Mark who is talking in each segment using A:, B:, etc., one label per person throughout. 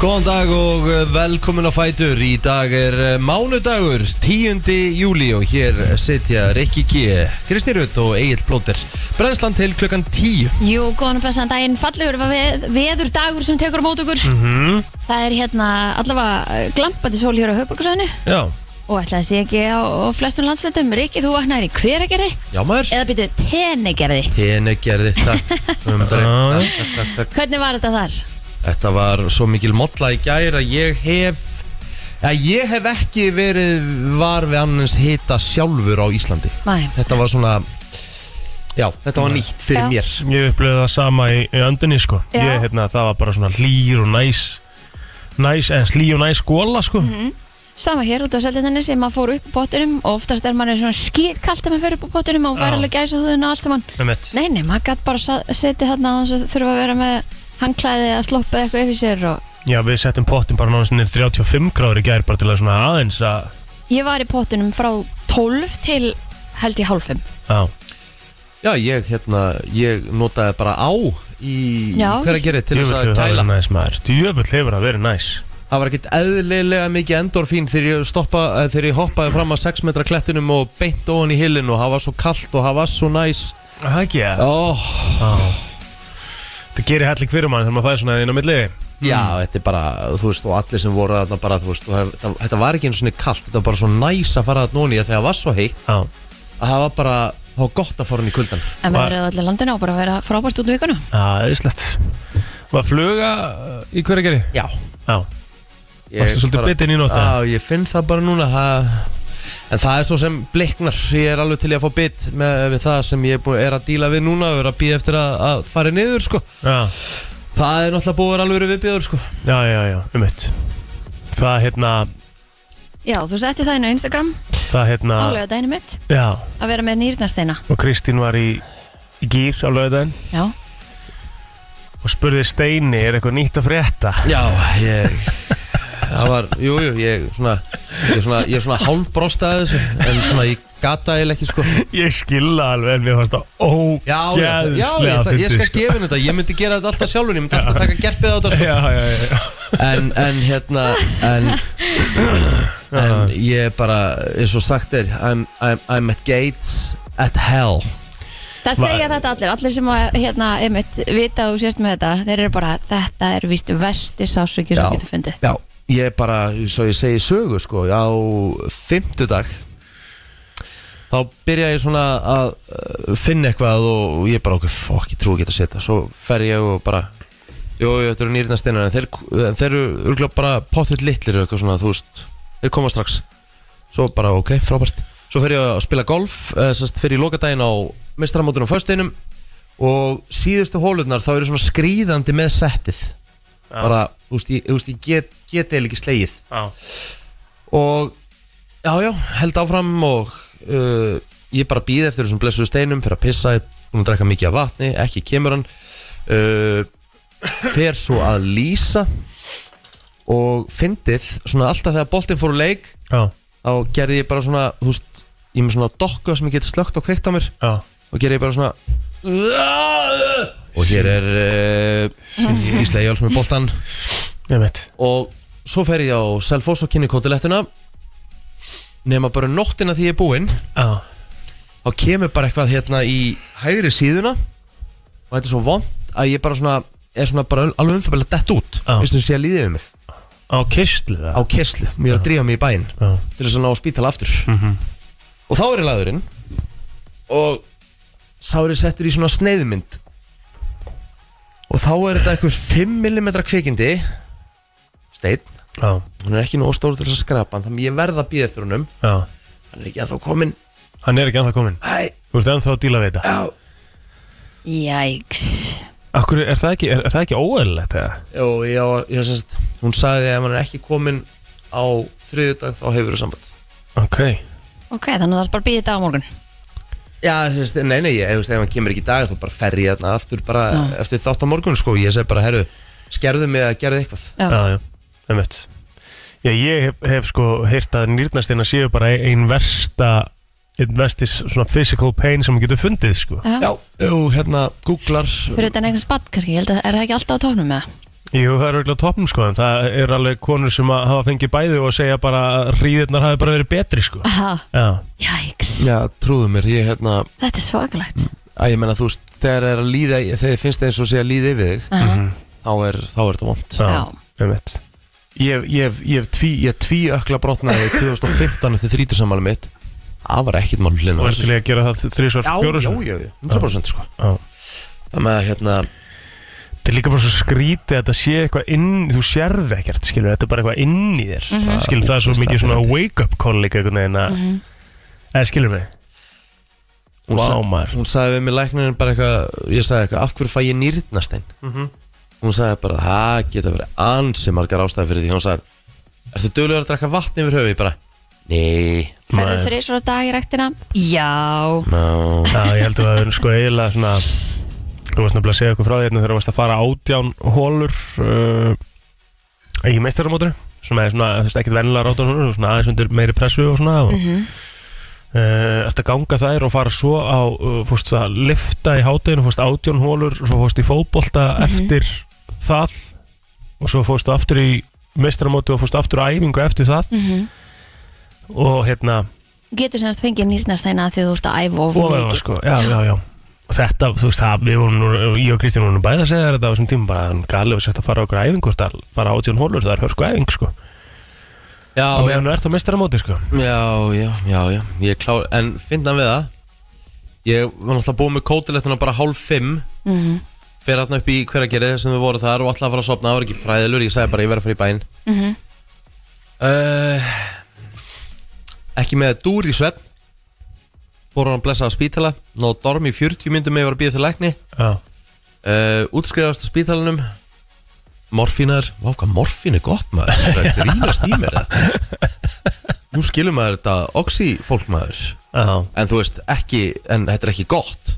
A: Góðan dag og eh, velkomin á Fætur Í dag er eh, mánudagur 10. júli og hér sitja Rikki G, Kristi Rutt og Egil Blóter Brennslan til klukkan 10
B: Jú, góðan og blessaðan daginn, fallegur var veð, veður dagur sem tekur á mót okkur
A: Mhm.
B: Það er hérna allavega eh, glampandi sól hér á höfburgarsöðinu
A: Já,
B: og ætlaði að sé ekki á, á flestum landslöndum Rikki, þú vaknaðir í hveragerði
A: já maður
B: eða byrju tenegerði
A: Henni gerði þetta um, takk, takk, takk, takk.
B: Hvernig var þetta þar?
A: Þetta var svo mikil molla í gær að ég hef að ég hef ekki verið var við annars hita sjálfur á Íslandi
B: Næ,
A: Þetta var svona Já, þetta var nýtt fyrir
B: Já.
A: mér
C: Ég upplöði það sama í, í öndinni sko
B: Já.
C: ég, hérna, Það var bara svona hlýr og næs Næs, eða slí og næs skóla sko
B: sama hér út á seldinni sem maður fór upp á pottunum og oftast er maður svona skýrkalt þegar maður fyrir upp á pottunum og fær
C: Já.
B: alveg gæsa og allt saman
C: Með mitt
B: Nei, nei, maður gætt bara sa- setið þarna og þurfa að vera með hangklæði að sloppa eitthvað yfir sér og
C: Já, við settum pottin bara náttúrulega niður 35 gráður í gær bara til að svona aðeins að
B: Ég var í pottunum frá 12 til held í hálfum
C: Já,
A: Já, ég, hérna, ég notaði bara á í
B: Já,
A: hverja gerði til þess
C: djöfull
A: að
C: hefur það
A: kæla
C: verið næs maður Djöfull hefur það verið næs
A: Það var ekkert eðlilega mikið endorfín þegar ég, stoppa, eh, þegar ég hoppaði fram að 6 metra klettinum og beint ofan í hillin og það var svo kallt og það var svo næs
C: Það ekki, já
A: oh,
C: Það gerir helling fyrir mann þegar maður fæði svona inn á milli
A: Já, þetta er bara, þú veist, og allir sem voru þarna bara, þú veist, og hef, það, þetta var ekki einu svona kallt, þetta var bara svo næs að fara þarna ofan í að þegar það var svo heitt
C: Já,
A: að það var bara, það var gott að fara hann í kuldan
B: En við
C: Var-
B: verðum allir landinu og bara að vera frábært út um vikuna
C: það er slett Var fluga uh, í hverja geri?
A: Já
C: Já, varstu svolítið bitinn í nótt, eða?
A: Já, ég finn það bara núna það... En það er svo sem bliknar Ég er alveg til í að fá bit með, við það sem ég er, búin, er að díla við núna og er að býja eftir að, að fara niður sko.
C: já,
A: Það er náttúrulega búið að vera alveg viðbjöður sko.
C: já, já, já, um mitt Það hérna,
B: Já, þú setti það inn á Instagram
C: það hérna
B: álega dæni mitt
C: Já,
B: að vera með nýrnasteina
C: og Kristín var í, í gýr á löðan
B: Já,
C: og spurði Steini, er eitthvað nýtt að frétta?
A: Já, ég Það var, jú, jú, ég svona Ég er svona, ég er svona hálfbrostaði þessu En svona, ég gata eða ekki sko Já,
C: Ég skilða alveg, en mér fannst það
A: já, já, ég,
C: ógæðslega
A: ætla, ég skal
C: sko.
A: gefa henni þetta Ég myndi gera þetta alltaf sjálfur Ég myndi alltaf taka gerpið á þetta sko.
C: Já, já, já, já.
A: en, en hérna en, en ég bara eins og sagt er I'm, I'm, I'm at gates at hell
B: það
C: Va-
B: segja þetta allir Allir sem að, hérna, einmitt, vita og sérst með þetta Þeir eru bara, þetta er víst vesti sásöki
A: Já.
B: sem getur fundið
A: já, ég bara, svo ég segi sögu sko, á fimmtudag þá byrja ég svona að uh, finna eitthvað og ég bara okkur, fokk, ég trú ekki að setja svo fer ég og bara jú, jú, þetta eru nýrna steinar en þeir, en þeir eru örgulega bara pottitt litlir og eitthvað svona, þú veist, þeir koma strax svo bara, ok, frábært svo fer ég að spila golf, eh, sérst, fer ég lokadaginn á mistramótunum á fösteinum og síðustu hólurnar þá eru svona skrýðandi með settið bara, þú veist, ég, þú veist, ég get, get eða ekki slegið
C: Já.
A: og já, já, held áfram og uh, ég bara býð eftir þessum blessuðu steinum fyrir að pissa, ég er búin að drekka mikið af vatni ekki kemur hann uh, fer svo að lýsa og fyndið svona alltaf þegar boltinn fór úr leik
C: já,
A: þá gerði ég bara svona, þú veist ég er með svona dokku sem ég get slögt og kveikt á mér
C: já.
A: og gerði ég bara svona og hér er uh, Gísla Jóls með boltan
C: Ég veit,
A: og svo fer ég á Selfoss og kynni kótilettuna nema bara um nóttina því ég er búinn
C: já,
A: þá kemur bara eitthvað hérna í hægri síðuna og þetta er svo vond að ég bara svona er svona bara alveg umfæmlega dett út
C: Já.
A: veistu þess að ég líði um mig
C: á kistlu
A: á
C: það
A: kerslu, mér er að drífa mig í bæinn
C: Já, Mhm.
A: til þess að ná á spítala aftur og þá er ég laðurinn og sá er ég settur í svona sneiðmynd og þá er þetta einhver 5mm kvikindi steinn
C: já,
A: hún er ekki nóg stór til þess að skrapa hann þannig ég verð að býða eftir húnum
C: já
A: hann er ekki að þá komin
C: Hann er ekki ennþá kominn
A: Æ,
C: Þú ert ennþá að díla við þetta
A: já.
B: Jæks
C: Akkur, er það ekki, er, er það ekki óeðlilegt eða?
A: og ég, var- ég sérst, hún sagði að ef hann er ekki komin á þriðjudag þá hefur það samband
C: Ok,
B: Ok, þannig að það er bara að býða þetta á morgun
A: já, sérst, nei, nei, ég, þú veist, ef hann kemur ekki í dag þá bara fer ég þarna aftur bara
B: Já.
A: eftir þátt á morgun, sko, ég segi bara, herru skerðu mig að gerðu eitthvað
B: Já.
C: já, já, ég veit Já, ég hef, hef sko heyrt að nýrnastina séu bara ein versta einn vestis svona physical pain sem maður getur fundið sko
B: Já.
A: já, jú, hérna, googlar
B: Fyrir þetta en eitthvað spatt kannski, ég held að er það ekki alltaf á tóknum með
C: Jú, það er auðvitað topnum sko, en það er alveg konur sem að hafa fengið bæði og segja bara að hríðirnar hafi bara verið betri sko.
B: Aha,
C: Já,
B: jæks,
A: Já, trúðu mér, ég hérna
B: þetta er svakalegt
A: að ég menna þú veist, þegar er að líða þegar finnst það eins og sé að líða yfir þig
B: Aha,
A: þá er, þá er þetta vond
C: já,
B: Já.
C: um mitt.
A: Ég, ég, hef- ég, hef tví, ég tví ökla brotnaði 2015 eftir þrítursamali mitt það var ekkit mál hlina
C: Og ertu líka að gera það
A: Já,
C: þrísvar,
A: já,
C: fjóru
A: já, já, 100% sko
C: Já.
A: Það með að hérna
C: Þetta er líka bara svo skrítið að þetta sé eitthvað inn, þú sérð ekkert, skilur, þetta er bara eitthvað inn í þér. Mm
B: Mhm.
C: Skilur, það er svo
A: Ógeðslega
C: mikið svona
A: pirrandi.
C: wake-up call líka einhvern veginn að, eða skilur mig,
A: hún, sa-
C: vá maður.
A: hún sagði við mig læknirinn bara eitthvað Ég sagði eitthvað, af hverju fæ ég nýrnastein?
C: Mhm.
A: Hún sagði bara, það geta verið ansi margar ástæði fyrir því Hún sagði, ertu duglegur að drakka vatn yfir höfu? Ég bara, nei,
B: Ferðu
C: Nei.
B: þreysur á dag í ræktina? Já
A: no
C: Já, ég held að það er sko eiginlega svona, þú varst nefnilega að segja eitthvað frá því hérna þegar þú varst að fara átján hólur uh, í meistaramótinu, sem er svona, þú veist, ekkert vennilega átján hólur, svona aðeins undir meiri pressu og svona, og Uh, eftir að ganga þær og fara svo á uh, fórst að lifta í hátæðinu fórst átjón hólur, svo fórst í fótbolta eftir það og svo fórst aftur í mestramóti og fórst aftur á æfingu eftir það og hérna
B: Getur semst fengið nýrnastæna því þú ert að æfa of
C: og það var
B: mikið
C: sko, já, já, já og þetta, þú veist, það, við vorum nú- ég og Kristján vorum nú bæði að segja þér þetta á þessum tíma bara, galið var sett að fara á okkur æfingu það fara átjón hólur, það er hörku æfing sko
A: Já,
C: og
A: já,
C: meðan þú ert á mestramóti sko
A: Já, já, já, já, ég er klár En finnan við það Ég var náttúrulega búið með kótilettuna bara hálf fimm
B: mm -hmm.
A: Fyrir hérna upp í hveragerið sem við vorum þar Og alltaf að fara að sopna, það var ekki fræðilur Ég sagði bara, ég verið að fara í bæinn uh, Ekki með dúr í svefn Fór hann að blessa á spítala Nóð dorm í 40 myndum Ég var að býða til lækni
C: já,
A: uh, Útskrifast á spítalanum Morfínar, vá hvað morfín er gott maður Það er grínast í mér eða? Nú skilum maður þetta Oxy fólk maður
C: já,
A: en þú veist ekki, en þetta er ekki gott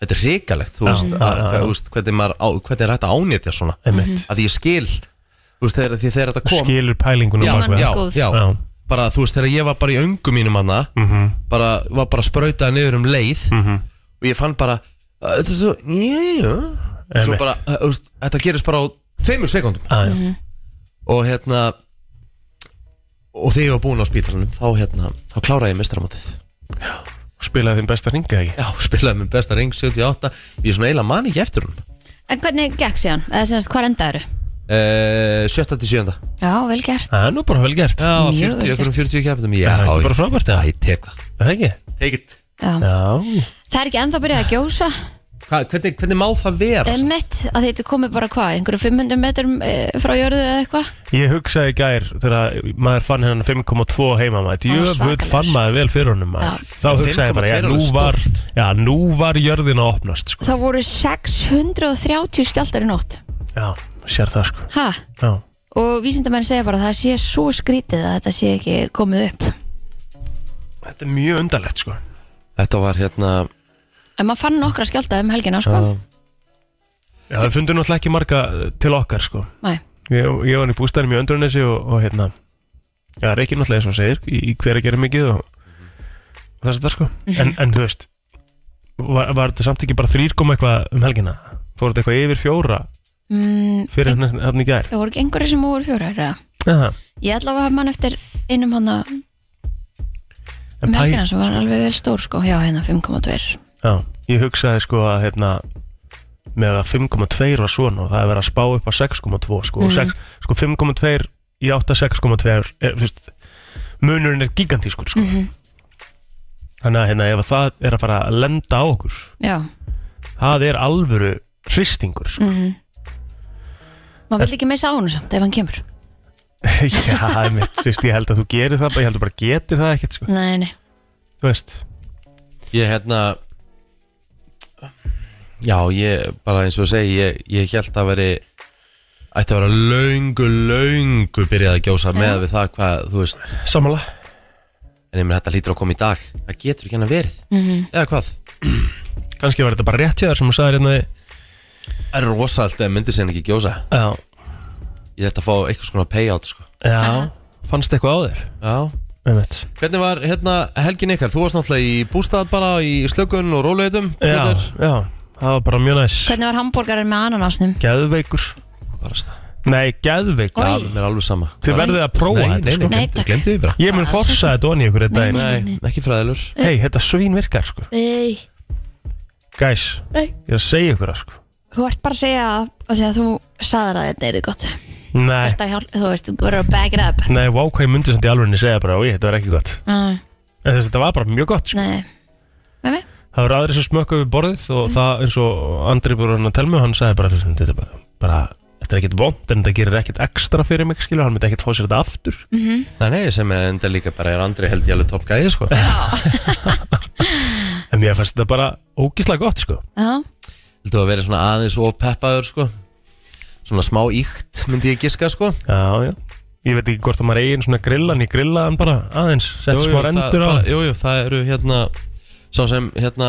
A: þetta er hrikalegt, þú
C: Já,
A: veist,
C: já,
A: að,
C: já,
A: hvað-
C: já.
A: þú veist hvernig, maður, á, hvernig er þetta ánýtja svona
C: einmitt
A: að því ég skil, þú veist, þegar, því þegar þetta
C: Þú
A: kom
C: skilur pælingunum
A: já,
B: bak við.
A: já,
B: Góð.
A: já,
C: já.
A: bara þú veist, þegar ég var bara í öngu mínum hana,
C: mhm,
A: bara, var bara sprautað niður um leið
C: mhm
A: og ég fann bara, "Æ, þetta er svo njö, svo
C: Einmitt.
A: bara, "Æ, þú veist, þetta gerist bara á tveimur sekundum
C: Já, já.
A: og hérna og þegar ég var búin á spítalanum þá hérna, þá kláraði ég mestramótið
C: spilaði þinn besta ringa ekki
A: Já, spilaði minn besta ring 78 Ég er svona eiginlega man ekki eftir hún
B: En hvernig gekk síðan? Eða semst hvað endaður?
A: uh, 7. til 7.
B: Já, vel gert
C: það er nú bara vel gert
A: Já,
B: Mjög
A: 40,
B: vel
A: okkur um 40 keppnum Já,
C: það er
A: já,
C: ekki bara frábært
A: já,
C: eða?
A: ég tek það
C: Er það ekki
A: Take it
B: Já.
C: já,
B: Það er ekki ennþá byrjað að gjósa
A: Hva, hvernig, hvernig má það vera? Um,
B: Emmett, að þetta komið bara hvað, einhverju 500 metrum eh, frá jörðu eða eitthvað
C: ég hugsaði í gær þegar maður fann hérna 5,2 heima maður
B: Það var
C: jöfull
B: svakalegur.
C: fann maður vel fyrir honum maður þá
A: Já,
C: hugsaði ég bara, já
A: 5,2
C: nú
A: er
C: var já, nú var jörðin að opnast sko.
B: Það voru 630 skjaldar í nótt
C: já, sér það sko
B: ha?
C: já,
B: Og vísindamenn segja bara að það sé svo skrítið að þetta sé ekki komið upp
C: þetta er mjög undarlegt sko
A: Þetta var hérna
B: En maður fann nokkra skjálta um helgina, sko
A: uh,
C: já, það fundur náttúrulega ekki marga eh, til okkar sko
B: Nei,
C: ég, ég var í bústæðinum í öndrunnesi og, og hérna já, Reykjur náttúrulega eins og segir í, í hver að gera mikið og, og þess að það sko en, en þú veist var, var þetta samt ekki bara þrýr koma eitthvað um helgina fór þetta eitthvað yfir fjóra
B: mm,
C: fyrir hann hann í gær
B: það voru ekki einhverju sem voru fjórar eða?
C: Aha.
B: Ég ætla að hafa mann eftir einum hann um
C: en pæ,
B: helgina sem var alveg vel stór, sko Já, hérna 5,2
C: já, ég hugsaði sko að hérna með að 5,2 var svona og það er verið að spá upp á 6,2 sko, mm. 6, sko 5,2 í 8 6,2 er, þú veist, munurinn er gigantískur sko. þannig að hérna ef að það er að fara að lenda á okkur
B: Já,
C: það er alvöru hristingur sko.
B: mhm Maður vill ekki missa á hún samt ef hann kemur
C: já, einmitt, þú veist, ég held að þú gerir það bara- ég held að þú bara getir það ekkert sko.
B: Nei, nei
C: þú veist,
A: Ég hérna Já, ég bara eins og að segja Ég, ég held að veri Ætti að vera löngu, löngu Byrjað að gjósa með við það hvað, þú veist
C: samanlega
A: En ég meina þetta lítur að koma í dag Það getur ekki hennar verið Eða hvað?
C: kannski var þetta bara rétt hjá þér sem þú sagðir hérna
A: Það er rosalega að myndi sinni ekki gjósa
C: já,
A: Ég ætti að fá eitthvað svona payout sko
C: já fannst eitthvað á þér
A: Já
C: einmitt.
A: Hvernig var hérna helgin ykkar? Þú varst náttúrulega í bústað bara í slökun og róleitum
C: já, já, það var bara mjög næs
B: Hvernig var hambúrgarinn með ananasnum?
C: geðveikur
A: Hvað var það?
C: Nei, geðveik
B: Oi.
A: Já, mér er alveg sama
C: Þið verðið að prófa
A: Nei,
C: þetta
A: nei, nei,
C: sko.
B: Nei,
A: glemdi,
B: takk.
A: glemdi því bara
C: Ég mun
B: Bara
C: forsa
B: alls
C: þetta onni ykkur þetta
B: Nei,
C: einn
B: nei.
A: Nei, ekki fræðilur
C: Hei, þetta svín virkar sko
D: Nei,
C: Gæs,
D: Nei.
C: ég er að segja ykkur það sko
B: Þú ert bara að segja að því að þú sagðar að þetta er gott
C: Nei,
B: Þetta hjálp, þú veist, þú verður að back it up
C: nei, vá hvað ég myndi samt í alvörinni segja bara Í, þetta var ekki gott
B: uh,
C: En þess að þetta var bara mjög gott sko.
B: Nei Með mig?
C: Það var aðri sem smökka við borðið og það eins og Andri búið hann að telja mig hann sagði bara, "Listen, þetta er bara, bara þetta er ekkert vond en þetta gerir ekkert ekstra fyrir mig skilur, hann myndi ekkert fá sér þetta aftur
A: Nei, nei, sem er enda líka bara er andri held ég alveg topp gæði sko
C: en mér fannst þetta bara ógíslega gott sko
B: Já,
A: Heldur að vera svona aðeins of peppaður sko Svona smá íkt myndi ég giska sko
C: Já, já Ég veit ekki hvort að maður eigin svona grillan, ég grillaði hann bara aðeins, setti smá rendur á
A: það, jú, jú, það eru hérna Sá sem hérna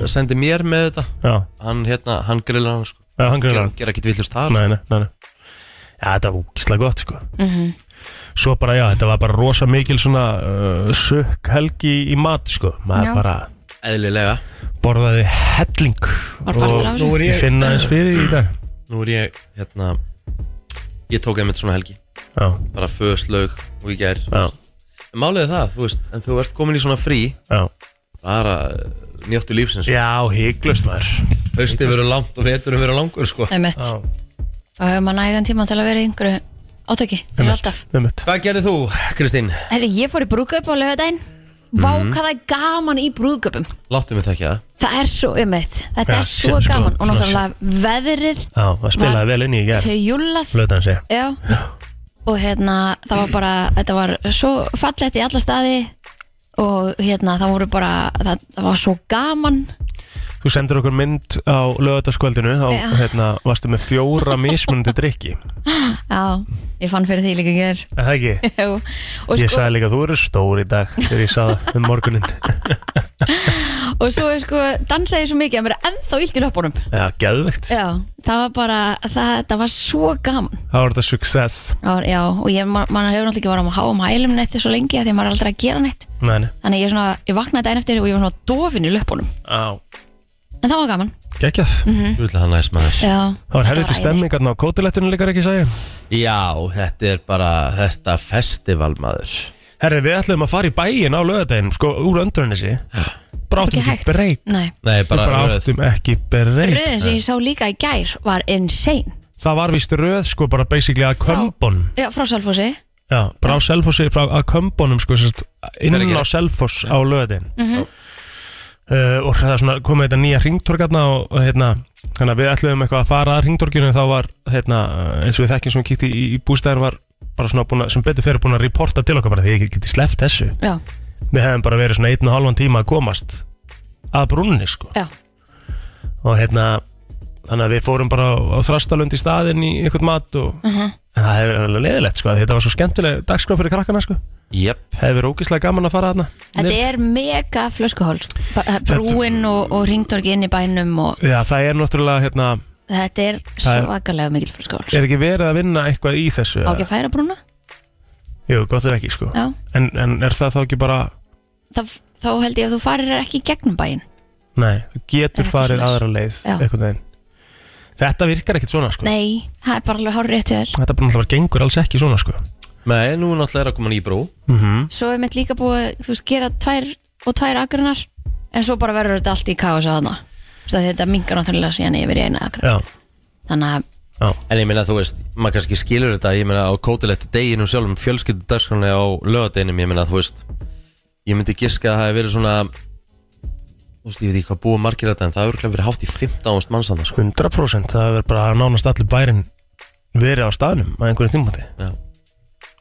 A: eh, sendi mér með þetta
C: Já,
A: Hann hérna, hann grillar hann sko
C: já, hann grillaði
A: Gera,
C: hann
A: gera ekki villust þar
C: Nei, nei, nei, nei Já, þetta var ógíslega gott sko
B: Mhm,
C: Svo bara, já, þetta var bara rosa mikil svona uh, sökk helgi í mat sko Maður
B: Já.
C: bara
A: Eðlilega
C: borðaði helling
B: Var partur af þessu?
A: Nú er
C: Ég finna þess fyrir í dag
A: Nú er ég hérna Ég tók einmitt svona helgi
C: Já,
A: Bara föðslaug og ég gær
C: já,
A: En Málið er það, þú veist, en þú ert komin í svona frí
C: já
A: bara njóttu lífsins
C: Já, hygglust maður
A: haustið verður langt og veturum verður langur sko.
B: með mitt
C: Já,
B: Þá hefur maður nægan tíma til að vera í einhverju átöki Það er alltaf
C: með mitt
A: Hvað gerðið þú, Kristín?
B: Herri, ég fór í brúðkaup á laugardaginn Vá,
C: Mhm.
B: hvað það er gaman í brúðkaupum
A: Láttu mig þekkja það
B: Það er svo umeitt, þetta
C: Já,
B: er svo
C: sé- sko,
B: gaman Og
C: svona-
B: náttúrulega veðrið
C: Já, það spilaði vel inn í í gær
B: Hjúlað
C: Flötaði sig
B: Já Og hérna, það var bara Þetta var svo fallegt í alla staði Og hérna, það voru bara Það, það var svo gaman
C: Þú sendir okkur mynd á lögataskvöldinu Þá
B: Já.
C: hérna, varstu með fjóra mismunandi drikki Er
B: Já, ég fann fyrir því líka hér
C: Það ekki?
B: og,
C: Ég
B: sko,
C: sagði líka, þú eru stór í dag Þegar ég sagði um morgunin
B: og svo sko, dansaði ég svo mikið að mér er ennþá illt í löpunum
C: Já, geðvegt
B: Já, það var bara, það, það var svo gaman
C: Það var þetta success
B: Það var, Já, og ég, ma- maður hefur náttúrulega ekki verið á háum hælum neitt svo lengi af því að maður er aldrei að gera neitt
C: Nei, nei
B: Þannig ég, svona, ég vaknaði daginn eftir og ég var svona dofin í löpunum
C: Á,
B: En það var gaman
C: geggjað
A: Þú vil hann næst maður
B: Já,
C: Það var
B: Mhm. þetta
C: helviti
B: æði.
C: stemming Þannig á kótilettinu líka ekki sagði
A: Já, þetta er bara þetta festival maður
C: Herri, við ætlum að fara í bæin á lögadaginn Sko, úr öndrunissi
B: Ekki
C: Bráttum
B: hægt.
C: ekki breyk
B: Nei,
A: Nei,
C: Við
A: bara,
C: bara áttum ekki breyk
B: röðin sem ég sá líka í gær var insane
C: Það var vist röð sko bara basically að kömbun
B: Já, frá Salfósi
C: Já, frá Selfossi, frá að kömbunum sko sérst, inn
A: Hver er
C: á
A: gerð?
C: Selfoss á löðin uh, og það er svona komið þetta nýja ringtorkarna og, og hérna þannig að við ætluðum eitthvað að fara að ringtorkinu þá var hérna, uh, eins og við þekkjum sem kíkti í, í bústæðar var bara svona búin að, sem betur fyrir búin að reporta til okkar bara því ég geti sleppt þessu
B: Já,
C: við hefum bara verið svona einn og halvan tíma að komast að brúnni sko
B: já,
C: og hérna þannig að við fórum bara á, á þrastalund í staðinn í einhvern mat og en það hefur verið leðilegt sko, af því þetta var svo skemmtileg dagskrá fyrir krakkana sko,
A: Jep,
C: hefur verið ógeðslega gaman að fara þarna
B: þetta er mega flöskuhól Brúin og, og ringdorgi inn í bænum og
C: Já, það er náttúrulega hérna,
B: Þetta er
C: Það er-
B: svakalega mikill flöskuhól
C: er ekki verið að vinna eitthvað í þessu?
B: Á ekki að færa brúna?
C: Jú, gott ef ekki sko
B: Já
C: en, en er það þá ekki bara,
B: Þá, þá held ég að þú farir ekki í gegnum bæinn
C: nei, þú
B: Er
C: getur
B: eitthvað
C: farið
B: svoleiðis.
C: aðra leið,
B: Já.
C: einhvern veginn Þetta virkar ekkert svona sko
B: Nei, það er bara alveg hárið rétt hjá þér
C: Þetta bara náttúrulega gengur alls ekki svona sko
A: nei, nú náttúrulega er að koma ný brú
C: mm
A: Mhm.
B: Svo er mitt líka búið, að, þú veist, gera tvær og tvær agrunar En svo bara verður þetta allt í kaos að hana Þetta mingar náttúrulega síðan yfir í eina agrun
C: Já,
B: Þannig að,
C: já,
A: En ég meina, þú veist, maður kannski skilur þetta Ég meina, á kótilegt deginum sjálfum Fjölskyldu dagskránni á lögadeginum Ég meina, þú veist Ég myndi giska að það hefur verið svona Þú veist, ég veit ekki hvað búa margir þetta En það hefur örugglega verið hátt í 15.000 mannsanda sko.
C: 100% það er bara nánast allir bærin verið á staðnum að einhverjum tímpúti
A: Já.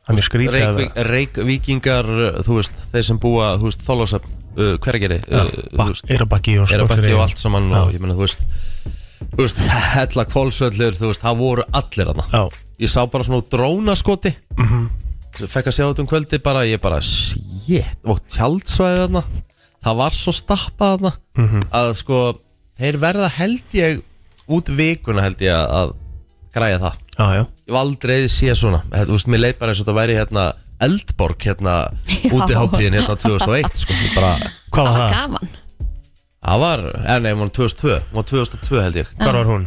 C: Það er mjög skrítið að vera
A: Reykvík, Reykvíkingar, uh, þú veist, þeir sem búa, þú veist, Þólásöfn, uh, hvergeri, uh, þú
C: Bak-
A: veist,
C: Eyrarbakki og
A: Erabakki
C: Skorpeyri.
A: og allt saman
C: Já.
A: og ég meina, þú veist, þú veist, hella kvolsvöllur, þú veist, það voru allir hana.
C: Já, Mhm.
A: Ég sá bara svona úr drónaskoti, fekk að sjá þetta um kvöldi bara, ég bara, shit, og tjaldsvæði hana, það var svo stappað hana,
C: Mhm.
A: að sko, þeir verða held ég, út vikuna held ég að, að græja það
C: já, já
A: ég hef aldrei séð svona Þetta, Þú veist, mér leið bara eins og þetta væri hérna Eldborg hérna
B: Já.
A: útiháttíðin hérna 2001 sko, Ég bara,
C: Hvað
B: það
C: var
B: var
C: það?
B: gaman
A: það var, eh, nei, hún var 2002 hún var 2002 held ég
C: Hvar var hún?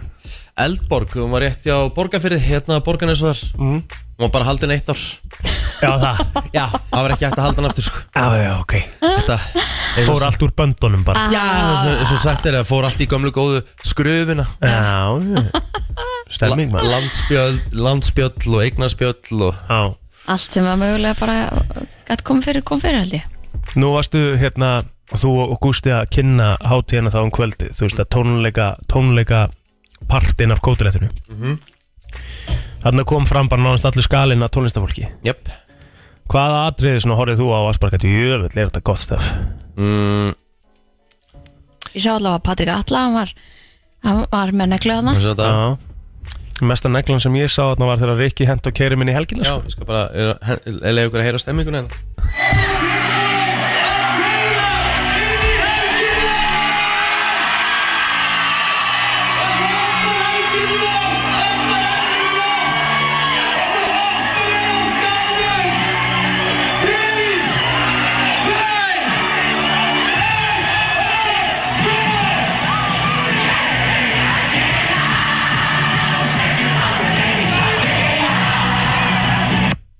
A: Eldborg, hún var rétt hjá Borgarfyrði hérna Borgarnes var
C: Mhm.
A: hún var bara haldin eitt ár
C: Já, það
A: já, það var ekki hægt að halda hann aftur sko.
C: Já, já, ok
A: þetta eins og-
C: Fór allt úr böndunum bara
A: já, eins og sagt er að fór allt í gömlu góðu skröfuna
C: Já, já Stemming
A: La-
C: maður
A: landsbjöll, landsbjöll og eignarspjöll og
C: Já
B: Allt sem var mögulega bara gætt komið fyrir, kom fyrir held ég
C: Nú varstu hérna Þú og Gústi að kynna hátíðina þá um kvöldi Þú veist að tónleika Tónleika partin af kótilettinu mm
A: Mhm.
C: Þarna kom fram bara nánast allir skalinn að tónlistafólki
A: jöp
C: Hvaða atriði svona horfið þú á að sparka til jöfull Er þetta gott stöf?
A: mm,
B: Ég sá allavega að Patrik Atla, hann var, hann var með negluðana
A: eins og þetta-
C: Já Mesta neglan sem ég sá þarna var þegar Rikki hent og keiri minni í helgina
A: já,
C: sko.
A: ég skal bara leiða ykkur að heyra stemminguna hérna.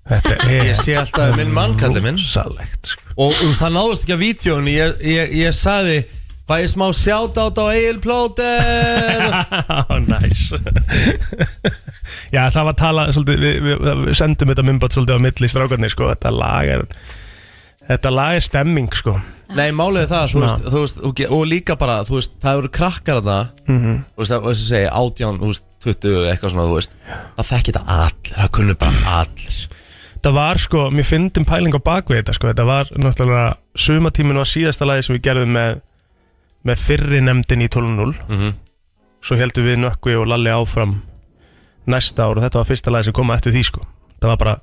C: Þetta er
A: ég sé alltaf minn mann kallið minn
C: Salegt sko.
A: og um, það náðust ekki að vítjón ég, ég, ég saði fæ ég smá sjátátt á Egil Plóter
C: Næs Já það var tala svolítið, við, við, við sendum þetta myndbátt svolítið á milli strákarnir sko. Þetta lag er Þetta lag er stemming sko.
A: Nei, málið er það, þú
C: Svona.
A: veist, þú veist og, og líka bara, þú veist, það eru krakkar það mm
C: Mhm.
A: -hmm. Þú veist, það, þess að segja, átján, þú veist, 20, eitthvað svona, þú veist Það þekki þetta allir, það kunnu bara allir
C: Þetta var sko, mér fyndum pæling á bakvið þetta sko. Þetta var náttúrulega Sumatíminn var síðasta lagi sem við gerðum með með fyrri nefndin í 12.0
A: Mhm.
C: Svo heldum við Nökkvi og Lalli áfram næsta ár og þetta var fyrsta lagi sem koma eftir því sko. Það var bara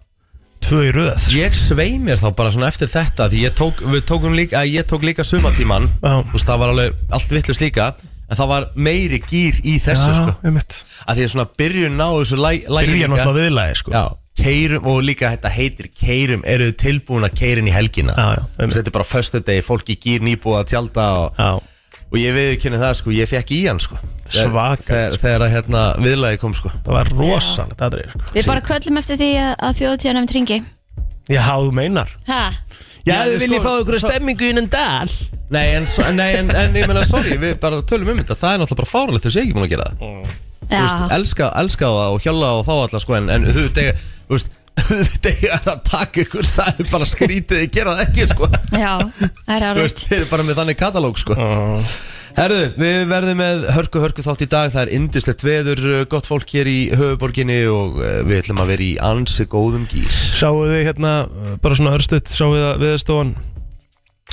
C: tvö í röð sko.
A: Ég svei mér þá bara svona eftir þetta Því ég tók, við tókum líka, að ég tók líka sumatíman
C: Já.
A: Þú veist, það var alveg allt vittlust líka En það var meiri gýr í þessu, sko
C: einmitt.
A: Að því að svona byrjun á þessu lægi
C: Byrja náttúrulega viðlagi sko.
A: Já, keirum, og líka þetta heitir keirum Eru þið tilbúin að keirin í helgina?
C: Já,
A: Þú
C: já,
A: veist,
C: einmitt.
A: Þetta er bara föstudegi, fólki gýr nýbúið að tjálta og
C: Já,
A: Og ég viðkynni það sko, ég fekk í hann sko Þegar-
C: Svakalegt,
A: Þegar, þegar að hérna viðlagi kom sko
C: það var rosalegt aðrið sko.
B: Við bara kvöllum eftir því að, að þjóðtíðan nefnd ringi
C: Já, þú meinar
B: Ha,
A: Já, við viljum fá ykkur að
C: stemmingu innan dal
A: Nei, en, svo- nei, en, en ég meina, sorry, við bara tölum um þetta Það er náttúrulega bara fáralegt þess að ég ekki múin að gera það Þú veist,
B: já,
A: elska, elska það og hjála og þá alla sko En, en þú degja, þú veist Þegar að taka ykkur, það er bara skrítið Ég gera það ekki sko Þú
B: já, það er árið
A: veist, þeir eru bara með þannig katalóg sko Herðu, við verðum með hörku hörku þátt í dag Það er indislegt veður, uh, gott fólk hér í höfuborginni Og uh, við ætlum að vera í ansi góðum gýr
C: Sáu þið hérna, bara svona örstutt Sáu þið að viðstofan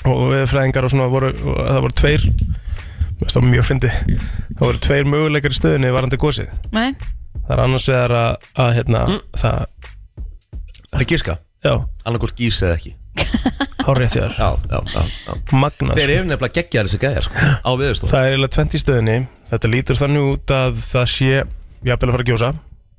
C: Og viðfræðingar og svona voru og Það voru tveir mér finnst Það var mjög fyndi Það voru tveir möguleikar í stöðinni varandi gósið
B: Nei,
C: Það er annars vegar að, að hérna
A: Mm.
C: Það,
A: Það er gíska,
C: já,
A: annarkort gís eða ekki
C: hárið þér
A: Já, já, já, já.
C: Magnað sko.
A: Þeir eru nefnilega geggjar þessi gæðjar sko, á viðurstofu
C: Það er eiginlega tvent í stöðinni Þetta lítur þannig út að það sé Jafnvel að fara að gjósa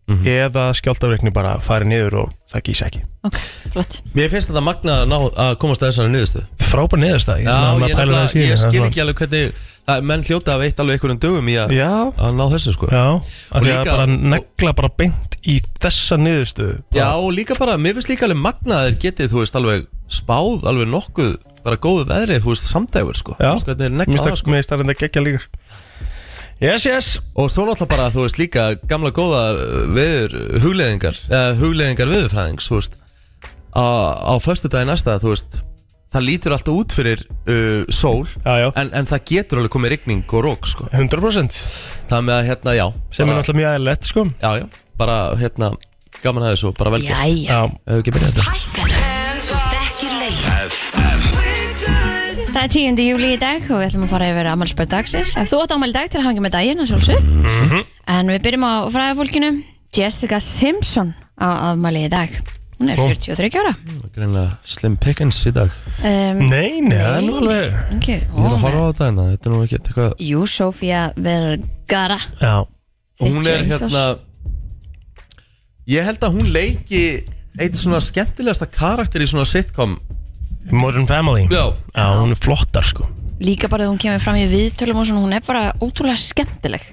A: Mhm.
C: Eða skjáltafreikni bara fari niður og það gísi ekki
B: ok, flott
A: Mér finnst þetta magna að, ná, að komast að þessari niðurstöðu
C: Frábær
A: Já,
C: neðurstæð
A: ég, nefnilega, ég skil ekki alveg hvernig það, menn hljóta að veit alveg einhverjum dögum í að,
C: Já,
A: að ná þessu sko
C: já af Því að
A: líka-
C: bara negla bara beint í þessa niðurstöðu
A: Já, og líka bara, mér finnst líka alveg magna að þeir getið, þú veist, alveg spáð alveg nokkuð, bara góðu veðri, þú veist, samdægur sko
C: Já.
A: Þú veist, Hvernig er negla
C: Mér
A: það sko
C: finnst það reynda geggja líka Yes, yes
A: Og svo náttúrulega bara, þú veist, líka gamla góða eh, veður, hugleðingar eða hugleðingar veðurfræðings, þú veist á, á föstudaginn næsta, þú veist það lítur alltaf út fyrir uh, sól
C: Já, já,
A: en, en það getur alveg komið rigning og rók sko.
C: 100%
A: það með að hérna, já
C: Sem er
A: bara,
C: náttúrulega mjög aðeinlegt, sko
A: já, já, bara hérna gaman aðeins og bara velgjast
B: Jæja,
C: Já,
A: hefur ekki byrjað þetta
D: Hækkar Þú þekkir legin
B: það er 10. júli í dag og við ætlum að fara yfir amalspörð dagsins Ef þú átt ámæli dag til að hangja með daginn, að sjálfsög
A: Mhm.
B: En við byrjum á fræðafólkinu Jessica Simpson á afmæli í dag Hún er
C: Ó.
B: 43 ára
A: greinlega slim pickings í dag
B: um,
C: nei, nei, það er nú alveg
B: okay.
A: Mm. ég er að
B: ó,
A: horfa á þetta en þetta er nú ekki eitthvað
B: Um, Jú, Sofía Vergara
C: Já,
A: hún er
B: 51 árs.
A: hérna ég held að hún leiki eitt svona skemmtilegasta karakter í svona sitcom
C: Modern Family Já,
A: já,
C: hún er flottar, sko
B: Líka bara þegar hún kemur fram í viðtölum og svona Hún er bara ótrúlega skemmtileg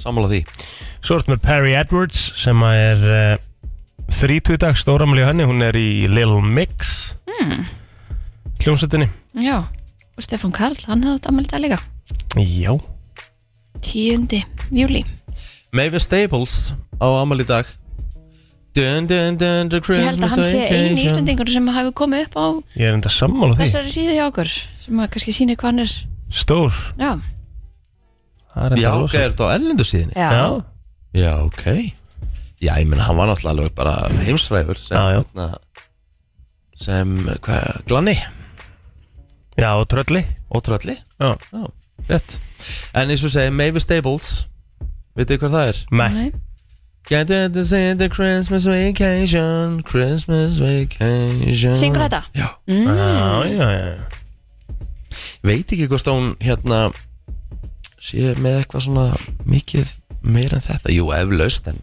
A: sammála því
C: Mhm. Svo ertu með Perry Edwards sem að er uh, 30 í dag, stóramæli á henni, hún er í Lil Mix
B: mm,
C: hljómsettinni.
B: Já, og Stefán Karl, hann hefði átt ammæli í dag líka
C: Já.
B: 10. júli
A: Mavis Staples á amal í dag dun, dun, dun, the
B: Ég held að
A: Christmas
B: hann sé eini
A: vacation.
B: Íslandingur sem hafi komið upp á
C: Ég er enda sammála því.
B: þessari síðu hjá okkur sem að kannski sýnir hvað hann er
C: Stór.
B: Já,
C: Það er enda
A: Já,
C: rosa.
A: ok, er þetta á ellendu síðinni?
B: já,
A: Já, ok Já, ég meina, hann var náttúrulega alveg bara heimsræfur sem,
C: Já, já.
A: hérna, sem hvað, glanni
C: Já, og trölli.
A: og trölli
C: Já.
A: Já, rétt En eins og segi, Mavis Staples Vitið þið hvað það er?
C: Nei.
A: Get it to see the Christmas vacation Christmas vacation
B: syngur þetta
A: Já
B: Mm.
C: Já, já, já.
A: Veit ekki hvort að hún hérna sé með eitthvað svona mikið meira en þetta Jú, eflaust en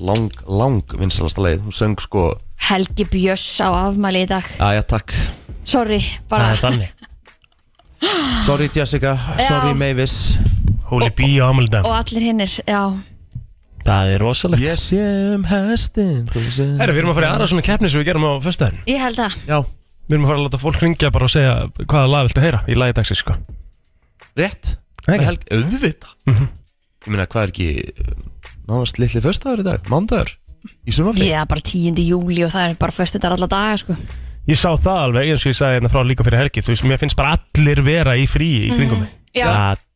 A: lang, lang vinsalasta leið Hún söng sko
B: Helgi Björs á afmæli í dag
A: Æja, takk
B: Sorry, bara
C: Það er þannig.
A: Sorry Jessica,
B: Já.
A: sorry Mavis
C: Hóli bí á amal í dag.
B: Og allir hinnir, já
C: Það er rosalegt.
A: Ég sé um hestin
C: Herra, við erum að fara í aðra svona keppni sem við gerum á föstudaginn.
B: Ég held að
A: Já,
C: Við erum að fara að láta fólk ringja bara og segja hvaða lag viltu heyra í lagi dagsins, sko.
A: rétt
C: Það
A: Með
C: er ekki?
A: helg, auðvita Ég meina, hvað er ekki um, Nánast litli föstaður í dag, mándagur Í sumafri
B: Ég er bara 10. júli og það er bara föstudar alla daga sko.
C: Ég sá það alveg, eins og ég sagði hérna frá líka fyrir helgi Þú veist, mér finnst bara allir vera í fríi í kringum mig
B: Mm, Já.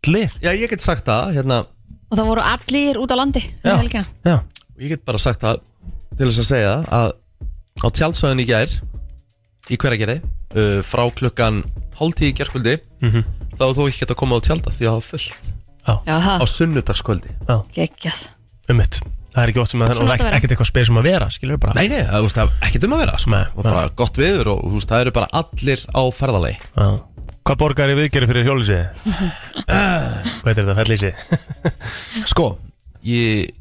C: Allir
A: Já, ég get sagt það, hérna
B: Og það voru allir út á landi
A: Já.
B: þessi helgina
C: Já,
A: Ég get bara sagt það til þess að segja að á tjaldsvæðin í gær í hverjargerði uh, frá klukkan hálftíð í gerkvöldi þá er þú ekki gett að koma á tjalda því að það var fullt
B: Já,
A: á
B: það,
A: sunnudagskvöldi
B: geggjað
C: ummitt um Það er ekki oft sem að
B: Svona
C: það
B: átti að
C: er
B: vera.
C: ekkert eitthvað spes um að vera, skilur við bara
A: Nei, nei, það þú veist, það er ekkert um að vera sko.
C: Nei,
A: og bara gott viður og þú veist, það eru bara allir á ferðalegi
C: Já. Hvað borgar ég viðgerið fyrir hjólísið? Hvað heitir þetta, fellísið?
A: Sko, ég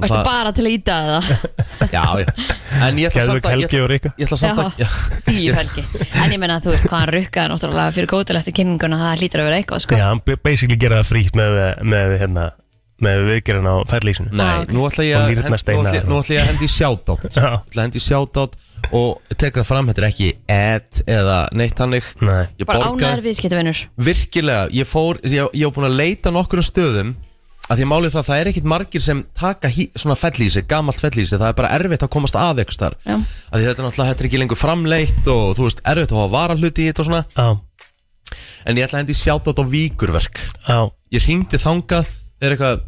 B: Varstu bara til að íta það
A: Já, já En ég ætla samt að ég
C: Geðvik helgi
A: ætla-
C: og ríka
A: Ég ætla samt að
B: Já.
A: já,
B: Tíu helgi En ég menna, þú veist hvað hann rukkaði náttúrulega fyrir kótel eftir kynninguna Það hlýtur að vera eitthvað, sko
C: Já, hann b- basically gera það frítt með, með, hérna, með viðgerðin á fellísinu
A: Nei, nú ætla ég
C: Og
A: að
C: lírnar
A: hend- nú ætla ég-
C: steinar.
A: nú ætla ég að hendi sjátátt
C: Já.
A: ætla að hendi sjátátt og teka það fram, þetta er ekki ad eða neitt hannig
C: Nei.
A: Ég
B: Bara
A: borga
B: ánæður viðskiptavinnur
A: virkilega, ég fór ég, ég var búin að leita nokkur stöðum að því málið það, það er ekkit margir sem taka hí, svona fellísi, gamalt fellísi það er bara erfitt að komast að ykkur þar
B: Já.
A: að því þetta er náttúrulega, þetta er ekki lengur framleitt og þú veist, erfitt að hafa varahluti í þetta og svona
C: Já,
A: en ég ætla að hendi sjátátt á víkurverk
C: já,
A: ég hringdi þangað þeir eitthvað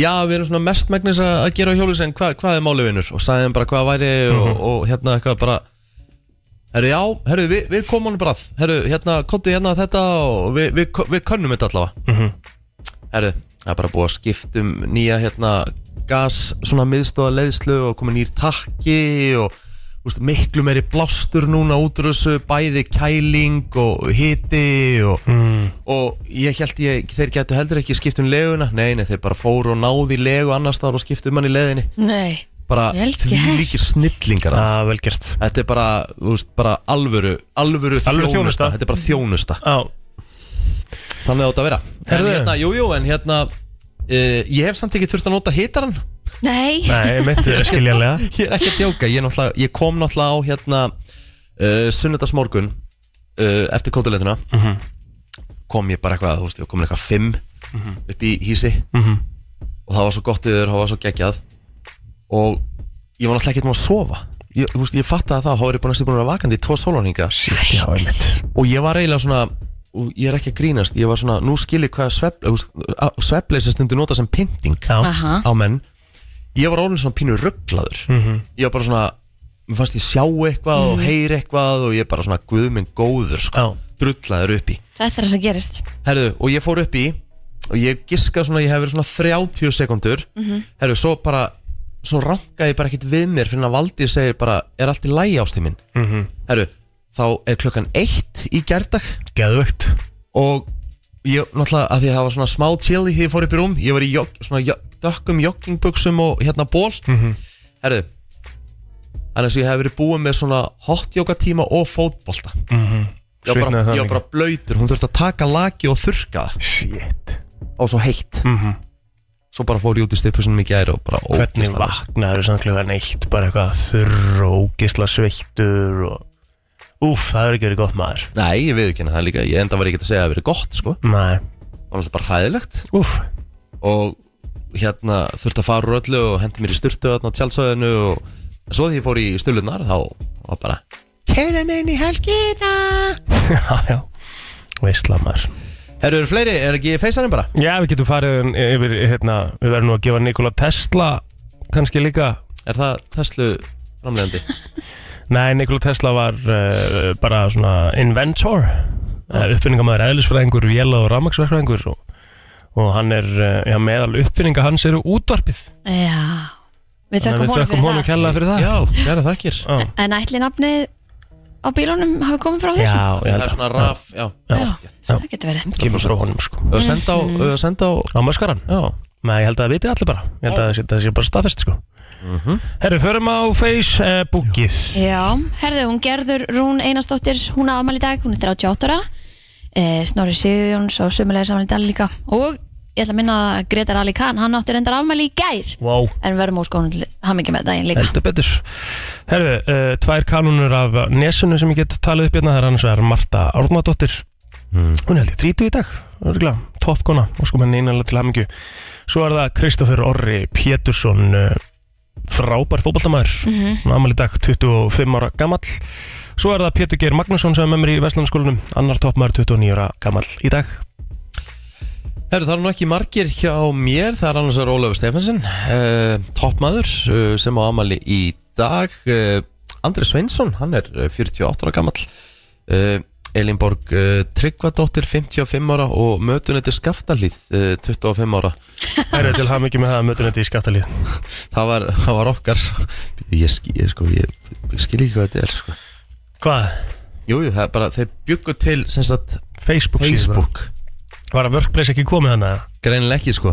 A: já við erum svona mestmægnis að að gera á hjólis en hva, hvað er málið vinnur og sagði hann bara hvað væri og, og hérna eitthvað bara herru já, herru við, við komum honum bara að. herru hérna, kontu hérna þetta og við, við, við könnum þetta allavega herru, það er bara búið að skipta um nýja hérna gas, svona miðstóða leiðslu og komið nýr takki og úst, miklu meiri blástur núna út úr þessu, bæði kæling og hiti og, og ég held ég, þeir getur heldur ekki skipt um leguna, nei, nei, þeir bara fóru og náði legu annars þar og skiptu um hann í leðinni
B: Nei,
A: bara
B: Vel gert.
A: því líkir snillingar
C: já,
A: ja.
C: velgert
A: þetta er bara, þú veist, bara alvöru alvöru,
C: Alvöru
A: þjónusta.
C: þjónusta.
A: þetta er bara þjónusta
C: Já,
A: Þannig átt að vera En
C: Herðu.
A: hérna, jújú, jú, en hérna uh, Ég hef samt ekki þurft að nota hitaran
B: nei
C: nei, mittu skiljanlega
A: Ég er ekki að djóka Ég, er náttúrulega- ég kom náttúrulega á hérna uh, Sunnudagsmorgun uh, Eftir kótuleituna
C: Mhm.
A: Kom ég bara eitthvað, þú veist, ég var komin eitthvað fimm
C: Mhm.
A: Upp í hísi Og það var svo gott yfir, það var svo geggjað Og ég var náttúrulega ekki búin að sofa Ég, þú veist, ég fattaði það, þá var ég búin að sé búin að vera vakandi í tvo sólóninga
C: Já, einmitt
A: og ég var eiginlega svona og ég er ekki að grínast, ég var svona nú skil ég hvað svefleysi stundu nota sem pynting
C: Já,
B: Aha.
A: á menn ég var orðin svona pínu rugglaður ég var bara svona, mér fannst ég sjá eitthvað og heyri eitthvað og ég bara svona guðminn góður sko,
C: Já.
A: drullaður upp í
B: Þetta er það sem gerist
A: herðu, og ég fór upp í og ég giska svona, ég hef verið svona 30 sekundur herðu, svo bara svo ranka ég bara ekkit við mér fyrir að Valdi segir bara, er allt í lægi ástíminn mm -hmm. herðu, þá er klukkan eitt í gerdag
C: geðvögt
A: og ég, náttúrulega, að því að það var svona smá chill í því ég fór upp í rúm, ég var í jog, svona jog, dökkum joggingbuksum og hérna ból
C: Mhm.
A: herðu annars ég hef verið búin með svona hot yoga tíma og fótbolta ég, var
C: Mm, Svitnaði
A: bara,
C: það
A: ég var bara blöytur, hún þurfti að taka laki og þurrka það
C: Shit
A: og svo heitt
C: Mhm.
A: svo Svo bara fór ég út í stipusunum í gæri og bara
C: Hvernig
A: ógeðslega ves.
C: vaknaður samt klugan eitt bara eitthvað þurr og ógisla sveittur og úf, það er ekki verið gott maður
A: Nei, ég veit ekki það líka Ég enda var ekki að segja að það verið gott sko
C: Nei
A: Það var alltaf bara hræðilegt
C: Úf
A: Og hérna þurfti að fara úr öllu og hendi mér í styrtu þarna á tjálsöðinu og svo því ég fór í stölunar þá var bara Keira mig inn í helgina
C: Já, já Veistla maður
A: Eru eru fleiri, er ekki feysanum bara?
C: Já, við getum farið yfir, hérna, við verðum nú að gefa Nikola Tesla kannski líka
A: Er það Tesla framlegandi?
C: Nei, Nikola Tesla var uh, bara svona inventor uh, uppfinningamæður eðlisfræðingur, vélag og rafmaksverkfræðingur og, og hann er, uh, já, meðal uppfinninga hans eru útvarpið
B: Já, við þökkum
C: Þannig að
B: honum fyrir
C: honum
B: það
C: kærlega fyrir það
A: Já, kæra þakkir
C: Já.
B: En ætli nafnið á bílunum hafi komið frá þessu?
C: Já, ég
A: Það
C: held
A: er
C: að
A: svona raf, já
B: Já, það getur verið
C: Kemur frá honum sko
A: Og senda á, og senda á
C: Á möskaran
A: Já,
C: Nei, ég held að það viti allir bara Ég held að það sé- það sé bara staðfest sko Herru, förum á Facebookið
B: Mhm. Já, herðu, hún gerður Rún Einarsdóttir, hún á afmæli í dag, hún er 38 ára e, Snorri Sigurjóns og sömulega saman í dag líka og ég ætla að minna að Gretar Ali Khan, hann átti reyndar afmæli í gær
C: Wow
B: en verðum óskóðan til hamingi með daginn líka
C: Heldur betur Herru, uh, tvær kanunur af nesunu sem ég get talið upp hérna Það er annars vegar Marta Árnadóttir Hún er held ég 30 í dag örgulega, Toppkona, og sko með neinalega til hamingju Svo er það Kristoffer Orri Pétursson uh, Frábær fótboltamæður mm -hmm. Amal í dag 25 ára gamall Svo er það Pétur Geir Magnússon sem er með mér í Vestlandskólanum Annar toppmæður 29 ára gamall í dag
A: Herru, það eru nú ekki margir hjá mér, það er annars að Ólafur Stefansson, uh, toppmaður uh, sem á amali í dag, uh, Andri Sveinsson, hann er eh, 48 ára gamall, uh, Elinborg uh, Tryggvadóttir, 55 ára og mötunetir Skaftalíð, uh, 25 ára.
C: Herru, til hamingju með það að mötum þetta í skaftalíð
A: Það var, það var okkar, sko. ég, skil, ég, sko, ég, ég skil ekki hvað þetta er. Sko.
C: Hvað?
A: Jú, jú, það er bara, þeir byggu til sem sagt,
C: Facebook, Facebook.
A: Facebook,
C: Var að workplace ekki komið hana?
A: greinileg ekki sko.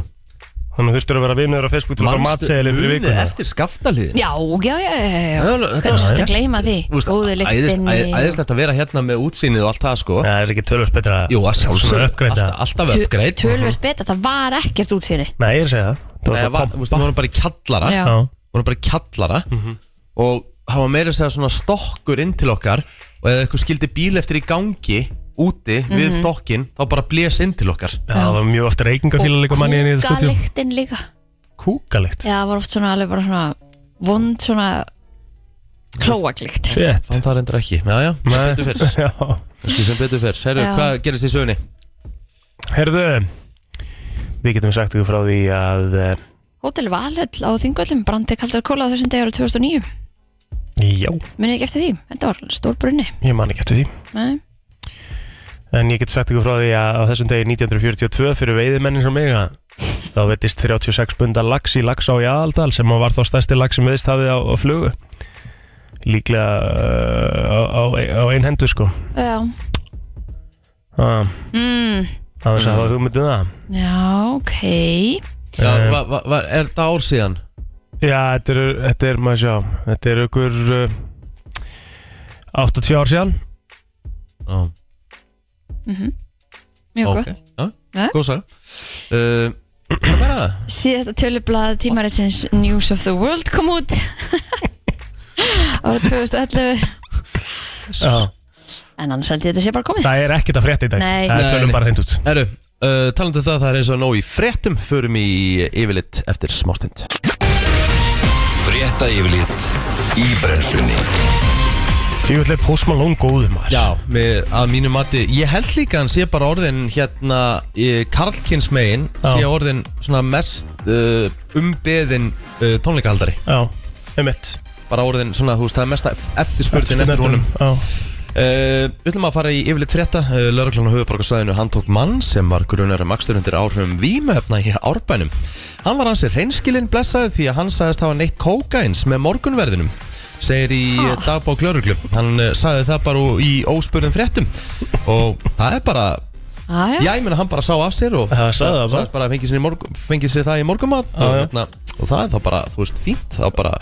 C: Þannig þú þurftur að vera vinur á Facebook til að fara matsegli fyrir
A: munið
C: vikuna
A: eftir Skaftalíðin?
B: Já, já, já, já, já.
A: Það var- þetta var
B: Hvernig
A: skemmt.
B: skal gleyma því?
A: Þú veist,
B: Góðu
A: æðist-
B: lyktinni
A: æ- Æðislegt að vera hérna með útsýnið og allt það sko
C: Það er ekki tölvöld betra
A: Jú, að sjálfsög
C: Svona uppgreita
A: alltaf, alltaf
B: Töl-
A: uppgreitt
B: Tölvöld betra, það var ekkert útsýni
C: Nei, ég er að segja það
A: Nei,
C: Það var
A: það var- þú veist, við
C: bara
A: vorum bara í kjallara
B: Já.
A: Við
C: pompa Já.
A: vorum bara í kjallara
C: Mhm.
A: Og það var meira að segja svona stokkur inn til okkar Og ef eitthvað skildi bíl eftir í gangi Úti við
B: Mhm.
A: stokkin Þá bara blés inn til okkar
C: Já, það var mjög oft reykingarfíla líka manni inn í þessu stúdíu
B: kúkalyktin líka
C: Kúkalikt
B: Já, það var oft svona alveg bara svona vond svona klóaklikt
C: Shit
A: Þannig það reyndir ekki Já, já, sem
C: Nei.
A: betur fyrst
C: Já
A: Kannski sem betur fyrst Herru,
B: Já.
A: hvað gerist í sögunni?
C: Herðu Við getum sagt ykkur frá því að eh,
B: Hótel Valhöll á Þingvöllum brandi kaldar kóla á þessum degar 2009
C: Já,
B: Munið ekki eftir því, þetta var stór brunni
C: ég man ekki eftir því
B: Nei.
C: En ég get sagt ykkur frá því að á þessum degi 1942 fyrir veiðimennin sem mig að þá vettist 36 bunda lax í lax á í aðaldal sem var þá stærsti lax sem veðist hafið á, á flugu líklega uh, á, á, á ein hendu sko
B: Já,
C: Ah,
B: mm,
C: það var þess að hafa hugmynd um það
B: já ok
A: Já,
C: Eh.
A: va, va, va, er þetta ár síðan?
C: Já, þetta er, þetta er maður sjá þetta er ykkur uh, 80 ár síðan
A: Já,
B: Mhm. Mjög
A: ok
B: gott Eh?
A: Já,
B: Nei.
A: Góð saga Uh, Hvað var það?
B: Síðasta tölublað tímaritsins News of the World kom út ára 2011
C: Já,
B: en annars held ég þetta sé bara komið
C: Það er ekkert að frétta í dag
B: Nei.
C: Það er
A: Nei,
C: tölum
A: nei.
C: bara hreint út
A: Herru, uh, talandi um það, það er eins og nóg í fréttum Förum í yfirleitt eftir smástund
E: Frétta yfirlit í brennslunni
C: Tjóðlega postmálón góður maður
A: Já, með, að mínu mati Ég held líka hann sé bara orðin hérna Karlkins megin
C: Já.
A: Sé orðin svona mest uh, umbeðin uh, tónleikahaldari
C: Já, einmitt
A: Bara orðin svona, þú veist, það er mest eftirspurnin eftir honum
C: Já
A: Uh, Við ætlum að fara í yfirleitt frétta uh, Lörglann á höfuborgarsæðinu hann tók mann sem var grunar um akstur undir áhrifum vímöfna í árbænum Hann var hansi reynskilinn blessaður því að hann sagðist hafa neitt kókains með morgunverðinum segir í ah. dagbók Lörglu Hann uh, sagði það bara úr- í óspurðum fréttum og það er bara
B: ah,
A: Já, ég meina hann bara sá af sér og
C: Það sagði það bara.
A: sagðist bara að fengið sér, í morgun, fengið sér það í morgumat
C: Já,
A: og,
C: já.
A: hérna, og það er þá bara, þú veist, fínt þá bara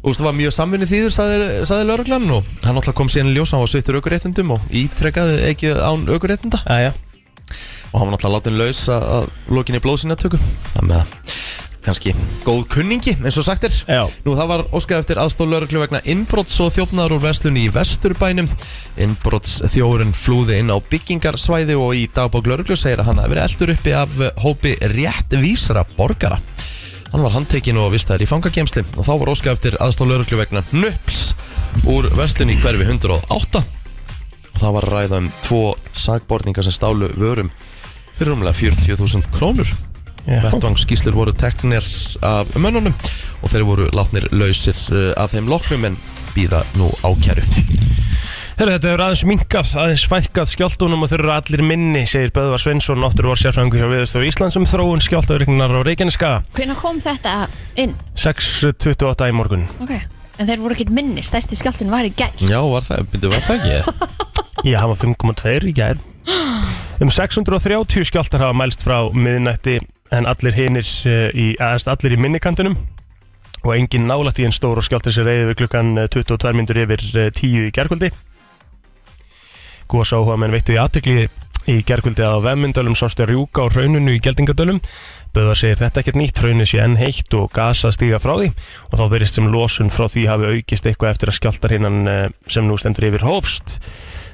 A: Þú veist, það var mjög samvinni þýður, sagði, sagði lauruglan og hann alltaf kom síðan í ljós, hann var sveittur aukuréttindum og ítrekkaði ekki án aukuréttinda
C: Æja
A: og hann var náttúrulega látin laus að, að lokinni blóðsýnatöku þannig að kannski góð kunningi eins og sagt er Já. Nú það var óskað eftir aðstóð lögreglu vegna innbrotts og þjófnaður úr verslunni í Vesturbænum Innbrottsþjórun flúði inn á byggingarsvæði og í dagbók lögreglu segir að hann hafi verið eldur uppi af hópi réttvísara borgara Hann var handtekinn og vistaður í fangagemsli og þá var óskað eftir aðstóð lögreglu vegna nöpls úr verslunni í hverfi 108 og það var að ræða um tvo sagborningar sem stálu vörum fyrir umlega 40.000 krónur
C: Já.
A: vettvangsskýslur voru teknir af mönnunum og þeir voru látnir lausir eh, af þeim loknum en býða nú ákjæru
C: Herru, þetta hefur aðeins minkað, aðeins fækkað skjáltunum og þeir eru allir minni, segir Böðvar Sveinsson, náttúru var sérfræðingur hjá Viðstofu Íslands um þróun skjáltavirknar á Reykjaneska,
B: Hvenær kom þetta inn?
C: 6.28 í morgun.
B: Ok, en þeir voru ekkert minni, stærsti skjáltun var í gæl
A: Já, var það, byrju, var það ekki?
C: Já, hann var 5.2 í gær. Um 630 skjáltar hafa mælst frá miðnætti en allir hinir eh, í, aðeins allir í minnikantinum og engin nálætt í en stór og skjáltar sér reyði við klukkan eh, 22 myndur yfir eh, 10 í gærkvöldi. Góðs áhuga menn veittu í aðtegli í gærkvöldi að á vemmyndölum sástu rjúka á rauninu í geldingadölum. Böðvar segir þetta ekkert nýtt, rauninu sé enn heitt og gasa stíga frá því og þá verist sem losun frá því hafi aukist eitthvað eftir að skjáltar hinnan eh, sem nú stendur yfir hófst.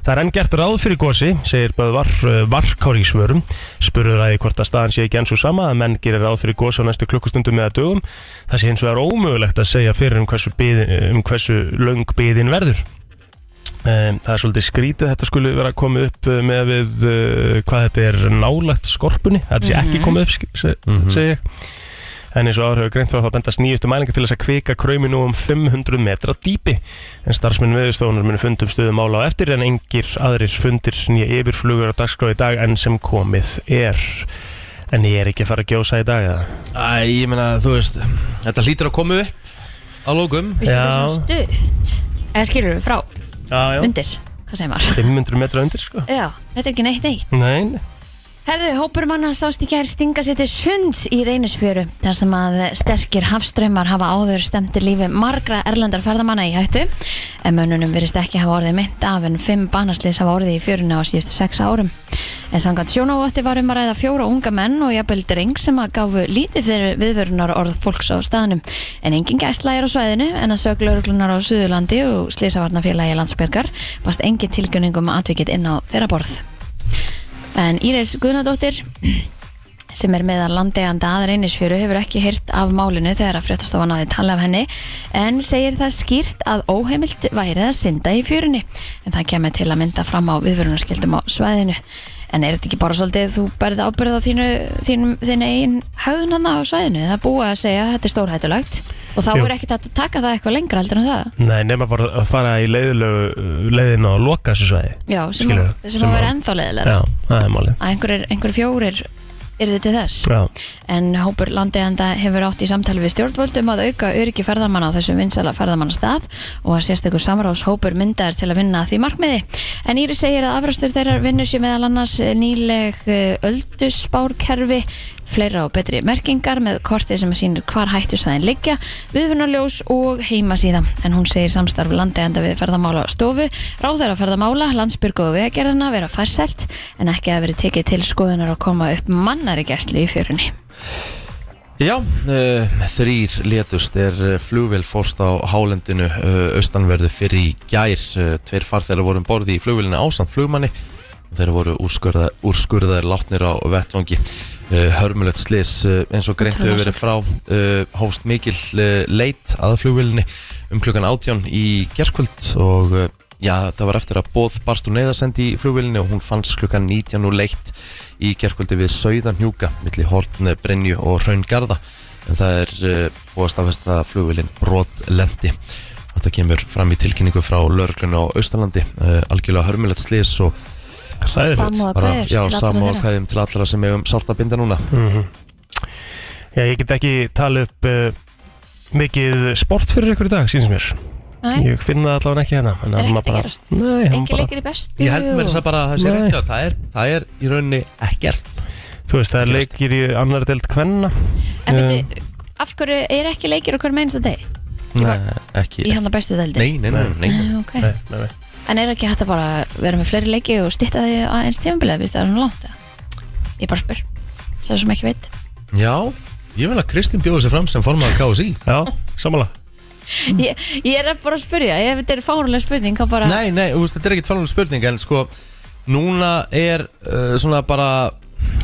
C: Það er enn gert ráð fyrir gósi, segir Böðvar eh, Varkár í svörum. Spurður að hvort að staðan sé ekki enn svo sama að menn gerir ráð fyrir gósi á næstu klukkustundum eða dögum. Það sé hins vegar ómögulegt að segja fyrir um hversu, byð, um hversu löng byðin verður. Em, Það er svolítið skrítið að þetta skulle vera komið upp eh, með við eh, hvað þetta er nálægt skorpunni. Þetta sé ekki
F: Mhm.
C: komið upp, sk- se-
F: Mhm.
C: segi ég. En eins og áður hefur greint frá þá bendast nýjustu mælingar til þess að kvika kraumi nú um 500 metra dýpi. En starfsmenn viðstofunar munu fundum stöðum mála á eftir en engir aðrir fundir nýja yfirflugur á dagskráð í dag enn sem komið er. En ég er ekki að fara að gjósa í dag, eða?
A: Æ, ég meina, þú veist Þetta hlýtur að koma upp á lókum
B: Vist þetta er svona stutt Eða skilur við frá,
C: já, já.
B: undir, hvað segir maður?
C: 500 metra undir, sko.
B: Já, þetta er ekki neitt neitt
C: Nei, nei.
B: Herðu, hópur manna sást í gær stinga sér til sunds í reynisfjöru þar sem að sterkir hafströmmar hafa áður stemti lífi margra erlendar ferðamanna í hættu en mönnunum verist ekki hafa orðið mynd af en fimm banaslis hafa orðið í fjöruna á síðustu sex árum en samkvæmt sjónávótti var um að ræða fjóra unga menn og jafnvel dreng sem að gáfu lítið fyrir viðvörunar orð fólks á staðnum en engin gæsla er á svæðinu en að söglauruglunar á Suðurlandi og Slisavarnafélagi Landsbyrgar bast engin tilgjöningum atvikið inn á þeirra borð En Íris Guðnadóttir sem er meðal landeiganda að reynisfjöru hefur ekki heyrt af málinu þegar að fréttastofan áði tala af henni en segir það skýrt að óheimilt væri að synda í fjörunni en það kemur til að mynda fram á viðvörunarskildum á svæðinu en er þetta ekki bara svolítið þú berði ábyrð á þínu, þín, þín eigin haugðunanna á svæðinu það er búið að segja að þetta er stórhættulegt og þá
C: Jú.
B: er ekki hægt að taka það eitthvað lengra heldur en það
C: Nei, nema bara að fara í leiðilegu leiðin og loka þessu svæði.
B: Já, sem,
C: Skilurðu?
B: að, sem, að vera ennþá leðilega
C: Já, það er málið.
B: að einhverjir einhver fjórir eru til þess
C: Já.
B: en hópur landeigenda hefur átt í samtali við stjórnvöldum að auka öryggi ferðamanna á þessum vinsala ferðamannastað og að sérstakur samráðshópur myndaður til að vinna að því markmiði. En Íri segir að afrastur þeirra vinnur sér meðal annars nýleg eh, öldusspárkerfi fleira og betri merkingar með kortið sem sýnir hvar hættusvæðin liggja, viðfunarljós og heimasíða. En hún segir samstarf landeigenda við ferðamála stofu, ráðherra ferðamála, landsbyrgu og vegagerðina vera færselt en ekki að veri tekið til skoðunar og koma upp mannari gæstli í fjörunni.
A: Já, uh, þrýr letust er uh, flugvél fórst á hálendinu uh, austanverðu fyrir í gær uh, tveir farþegar voru um borði í flugvélina ásamt flugmanni og þeir voru úrskurða, úrskurðaðir látnir á vettvangi uh, hörmulegt slis uh, eins og greint hefur verið frá uh, hófst mikil uh, leit að flugvélinni um klukkan átján í gerkvöld og uh, já, það var eftir að bóð barst úr neyðarsendi í flugvélinni og hún fannst klukkan 19 og leitt í gerkvöldi við Sauðanhjúka milli Hortn, Brynju og Hraungarða en það er uh, búið að staðfesta að flugvélinn brotlendi þetta kemur fram í tilkynningu frá lörglun á Austalandi, uh, algjörlega hörmulegt slis og
C: Hræðilegt. Samúðarkveðjur
A: Bara-
C: til
A: já,
C: allra
A: samúða
C: þeirra.
A: kveðjum til allra sem hefum sárt að binda núna
C: Mhm. Já, ég get ekki talið upp uh, mikið sport fyrir ykkur í dag, sínst mér.
B: Nei.
C: Ég finna það allavega ekki hérna. en
B: Er
C: það
B: ekkert
C: maður
B: að
C: bara-
B: gerast?
C: Nei, hann
B: Engi
C: bara-
B: leikir í bestu
A: Ég held mér þess að bara að það sé
C: Nei.
A: rétt hjá þér. það er, það er í rauninni ekkert
C: Þú veist, það er leikir í annar deild kvenna. Eh,
A: um,
B: En veitu, af hverju er ekki leikir okkur með einsta deg?
A: Nei, Eh, ekki
B: Í hann bestu deildi?
A: Nei, nei, nei, nei, nei.
B: Ok. Nei,
C: nei, nei.
B: En er ekki hægt að bara vera með fleiri leiki og stitta því aðeins tímabilið, við það er svona langt? eða? Ég bara spyr Sem sem ekki veit
A: Já, ég vil að Kristín bjóði sig fram sem formaður KSI
C: Já, samanlega
A: Mm.
B: ég, ég er bara að spyrja Ef þetta er fárlega spurning þá bara
A: Nei, nei, þú veist, þetta er ekkit fannlega spurning En sko, núna er uh, svona bara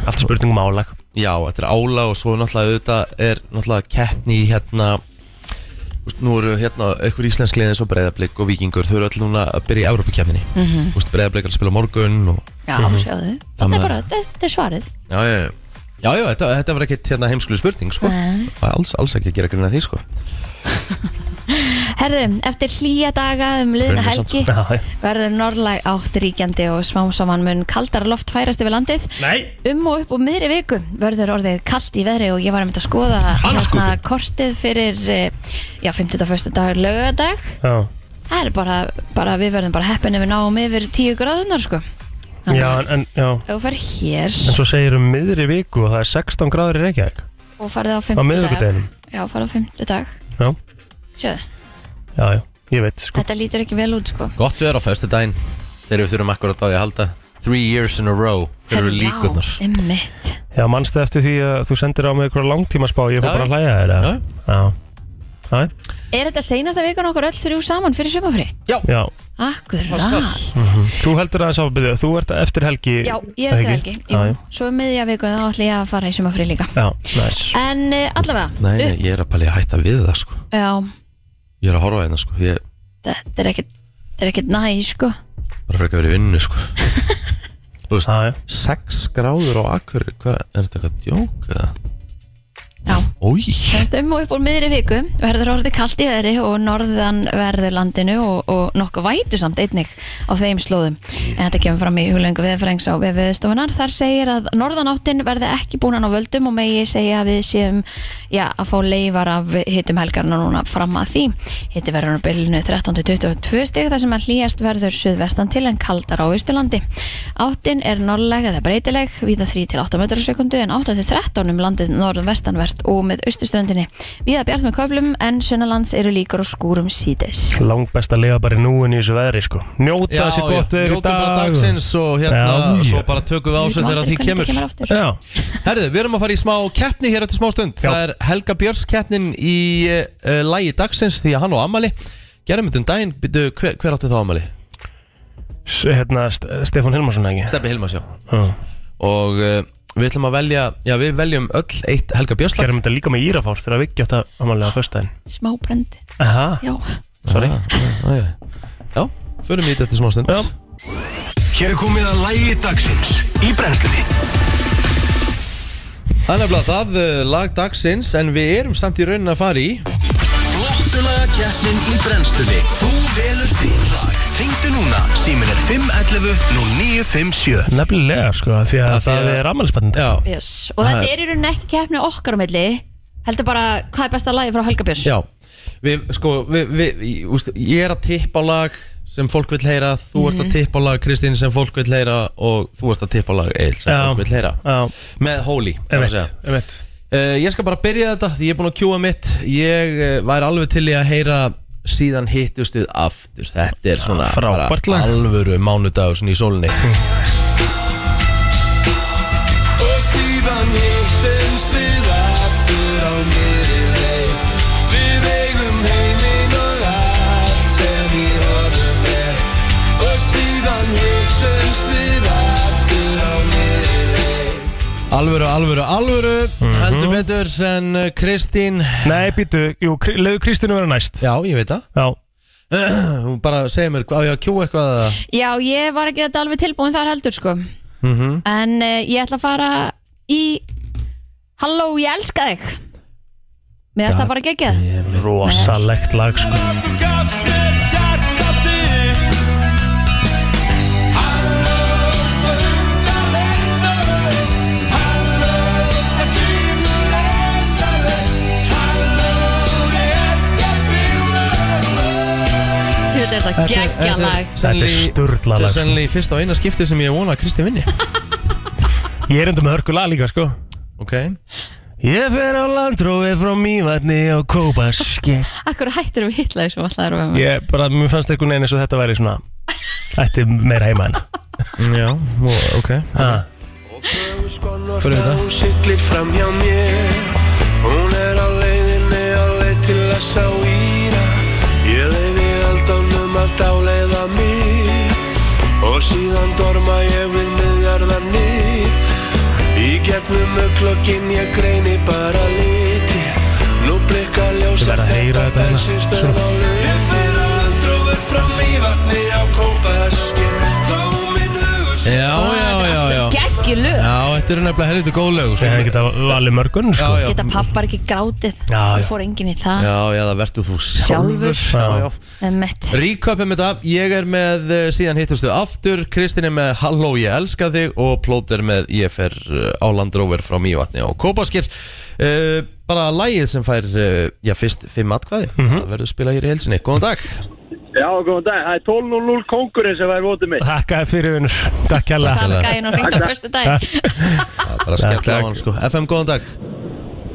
C: Allt spurning um álag
A: Já, þetta er álag og svo náttúrulega auðvitað er náttúrulega keppni í hérna þú veist, Nú eru hérna einhver íslensk liðin svo breyðablík og vikingur Þau eru öll núna að byrja í Evrópukeppninni mm
B: Mhm.
A: -hmm. Breyðablík er að spila á morgun og...
B: Já,
A: Mhm.
B: sjáðu Þetta
A: Þannig að-
B: er bara, þetta þetta er svarið
A: Já, já, já Já, já, þetta, þetta var ekkit hérna heimskulu spurning, sko
B: Nei.
A: Alls, alls ekki að gera grunna því, sko
B: Herðu, eftir hlýja daga um liðna
A: Unnið samt,
B: helgi
A: sko. Já, já.
B: verður norðlæg átt ríkjandi og smám saman mun kaldar loft færast yfir landið
C: Nei.
B: um og upp úr miðri viku verður orðið kallt í veðri og ég var að mynda að skoða hérna kortið fyrir eh, já, 51. dag lögadag
C: Já,
B: það er bara, bara við verðum bara heppin ef við náum yfir 10 gráðunar sko Þannig
C: já,
B: að
C: en, en, já.
B: ef þú ferð hér
C: en svo segir um miðri viku og það er 16 gráður í Reykjavík
B: og farið á
C: Á
B: 50 dag
C: miðvikudeginum.
B: já, farið á 50 dag
C: Já,
B: Sjöðu,
C: já, já, ég veit sko
B: þetta lítur ekki vel út sko
A: Gott við erum á föstudaginn Þegar við þurfum akkurat á því að halda Three years in a row Þeir eru
B: Herra, já,
A: líkurnar
B: einmitt.
C: Já, manstu eftir því að þú sendir á mig einhverja langtímaspá og ég
A: Já,
C: fór
A: já.
C: bara að hlæja þér eða? Já, já,
B: Er þetta seinasta vikan okkur öll þrjú saman fyrir sumafri?
A: já,
C: já.
B: Akkurat
C: Mhm. Þú heldur aðeins á að byrja, þú ert eftir helgi
B: Já, ég er eftir
C: ekki?
B: helgi
C: Já,
B: Jú,
C: já,
B: Svo um miðja viku þá ætla ég að fara í sumafri líka
C: já, næs
B: En uh, allavega
A: Nei, nei, ég er að pæli að hætta við það sko
B: Já,
A: Ég er að horfa hérna sko Ég er
B: þetta er ekkit Þetta er ekkit næ, sko
A: bara frekar að vera í vinnu sko Þú veist,
C: já, já.
A: sex gráður á akkur Hvað, er þetta eitthvað djók eða?
B: Já.
A: Ói
B: Semst um og upp úr miðri viku verður orðið kalt í veðri og norðan verður landinu og, og nokkuð vætu samt einnig á þeim slóðum. En þetta kemur fram í huglöngu viðfrængs á viðstofunar. Þar segir að norðanáttin verði ekki búin á völdum og megi segja að við séum já, að fá leifar af hittum helgarna núna fram að því. Hitti verður á bylunu 13-22 stig þar sem að hlýjast verður suðvestan til en kaldar á Ístilandi. Áttin er norðleg eða breytileg, víða 3-8 metrar á sekundu en 8-13 um landið norðvestanvert og með austuströndinni. Víða bjart með köflum en sunnalands eru líkur og skúrum síðis.
C: Langbest að lifa bara í núin í þessu veðri sko Njóta
A: Já,
C: þessi gott
A: já,
C: veður í
A: njótum bara
C: dag
A: dagsins og hérna, svo bara tökum við á
B: Við
A: sig
B: vitum
A: þegar
B: aldrei
A: því kemur.
B: hvernig þetta kemur aftur.
C: Já,
A: Herðu, við erum að fara í smá keppni hér eftir smá stund
C: Já.
A: Það er Helga Björns keppnin í uh, lægi dagsins því að hann á ammali Gerum þetta um daginn, byrju, hver, hver átti þá ammali?
C: S hérna St- Stefán Hilmarsson ekki
A: Steppi Hilmas, já
C: Já.
A: Og uh, við ætlum að velja, já við veljum öll eitt Helga Björns lag
C: Gerum þetta líka með Írafár þegar við ekki átt að amalega á föstudaginn
B: Smá brendi.
C: Aha,
B: Já.
C: sorry
A: Já, Ah, já, já förum í þetta eftir smá stund
C: Já.
E: Hér er komið að lægi dagsins í brennslunni
A: Það er nefnilega það, uh, lag dagsins En við erum samt í raunin að fara í
E: Flottulaga keppnin í brennslunni Þú velur þín lag Ringdu núna, símin er 511 nú 957
C: Nefnilega sko, því að
A: Af því
C: það
A: að-
C: er ammælisbænd
A: Já,
B: Yes. Og þetta er í rauninni ekki keppni okkar á milli. Heldur bara hvað er besta lagi frá Helga Björns?
A: já Við, sko, við, við, ég, úst, ég er að tippa á lag sem fólk vil heyra Þú ert
C: Mhm.
A: að tippa á lag, Kristín, sem fólk vil heyra Og þú ert að tippa á lag, Eil, sem
C: Já.
A: fólk vil heyra
C: Já,
A: Með Holy, er að
C: einmitt,
A: segja
C: einmitt
A: Uh, ég skal bara byrja þetta því ég er búinn að kjúa mitt Ég uh, væri alveg til í að heyra síðan hittust við aftur Þetta er svona
C: Ja, frábært lag.
A: alvöru mánudagur svona í sólinni
F: Og síðan hittumst við aftur á nýri leið Við eigum heiminn og allt sem í honum er Og síðan hittumst við aftur á nýri leið
A: Alvöru, alvöru, alvöru
C: Mhm.
A: Heldur betur sem uh, Kristín
C: Nei, býtu, jú, kri- leiðu Kristínu vera næst
A: Já, ég veit það
C: Já,
A: Hún bara segir mér, á ég að kjúa eitthvað eða?
B: Já, ég var ekki þetta alveg tilbúin þar heldur sko
A: Mhm.
B: En uh, ég ætla að fara í Halló, ég elska þig Mér finnst það bara geggjað
C: rosalegt lag sko
F: Gafst mér hjarta þitt Halló, söndalegnaður Halló, það glýmur endalaust Halló, ég elska þig
B: Þú veit þetta
A: Þetta er-
B: geggjað lag
C: Þetta er
A: sennilega-
C: sturlað
A: Þetta
C: lag,
A: er
C: sko.
A: sennilega í fyrsta og eina skipti sem ég vona að Kristín vinni
C: Ég er enda með hörku lag líka sko
A: Ok
C: Ég fer á landróið frá Mývatni og kópa skekk
B: Akkur hættir við hitlaði sem alltaf erum við með
C: Ég bara, mér fannst einhvern veginn eins og þetta væri svona Ætti meira heima en
A: Já, og- ok
C: Ha,
F: Þau skon og
A: Fyrir
F: þá
A: þetta.
F: siglir fram hjá mér Hún er á leiðinni á leið til að sá íra Ég leiði aldánum að dáleiða mig Og síðan dorma ég við miðjarðarnir Í gegnum auglokkin ég greini bara liti Nú blikka
C: Ég
F: ljósa
C: verð að heyra þetta hérna.
F: bensinstöð á leið Ég fer á landrófur fram í vatni á kópaðaski Tómin hugur
A: Já, já, já, já
B: Gekki lög
A: Já, þetta eru nefnilega helviti góð lög sko.
C: Ég hefði getað valið mörgun sko.
A: Já, já.
B: Geta pappar ekki grátið
C: Já,
B: Það
C: já.
B: fór enginn í það
A: Já, já, það verður þú
B: Sjálfur.
A: Já, já
B: Emmett
A: Ríköpum um þetta, ég er með eh, síðan hittustu aftur, Kristinn er með Halló ég elska þig og Plóter með ég fer eh, á landróver frá Mývatni og Kópaskir uh, bara lægið sem fær uh, já, fyrst fimm atkvæði,
C: Mhm.
A: það verður spilað hér í helsinni Góðan dag,
G: Já, góðan dag. Það er 12.00 kongurinn sem væri votið mitt.
C: Þakka þér fyrir vinnur Takk kjalla
B: Sami gæin og ringt á fyrstu dag
A: það er bara að skella á
C: takk.
A: hann sko FM, góðan dag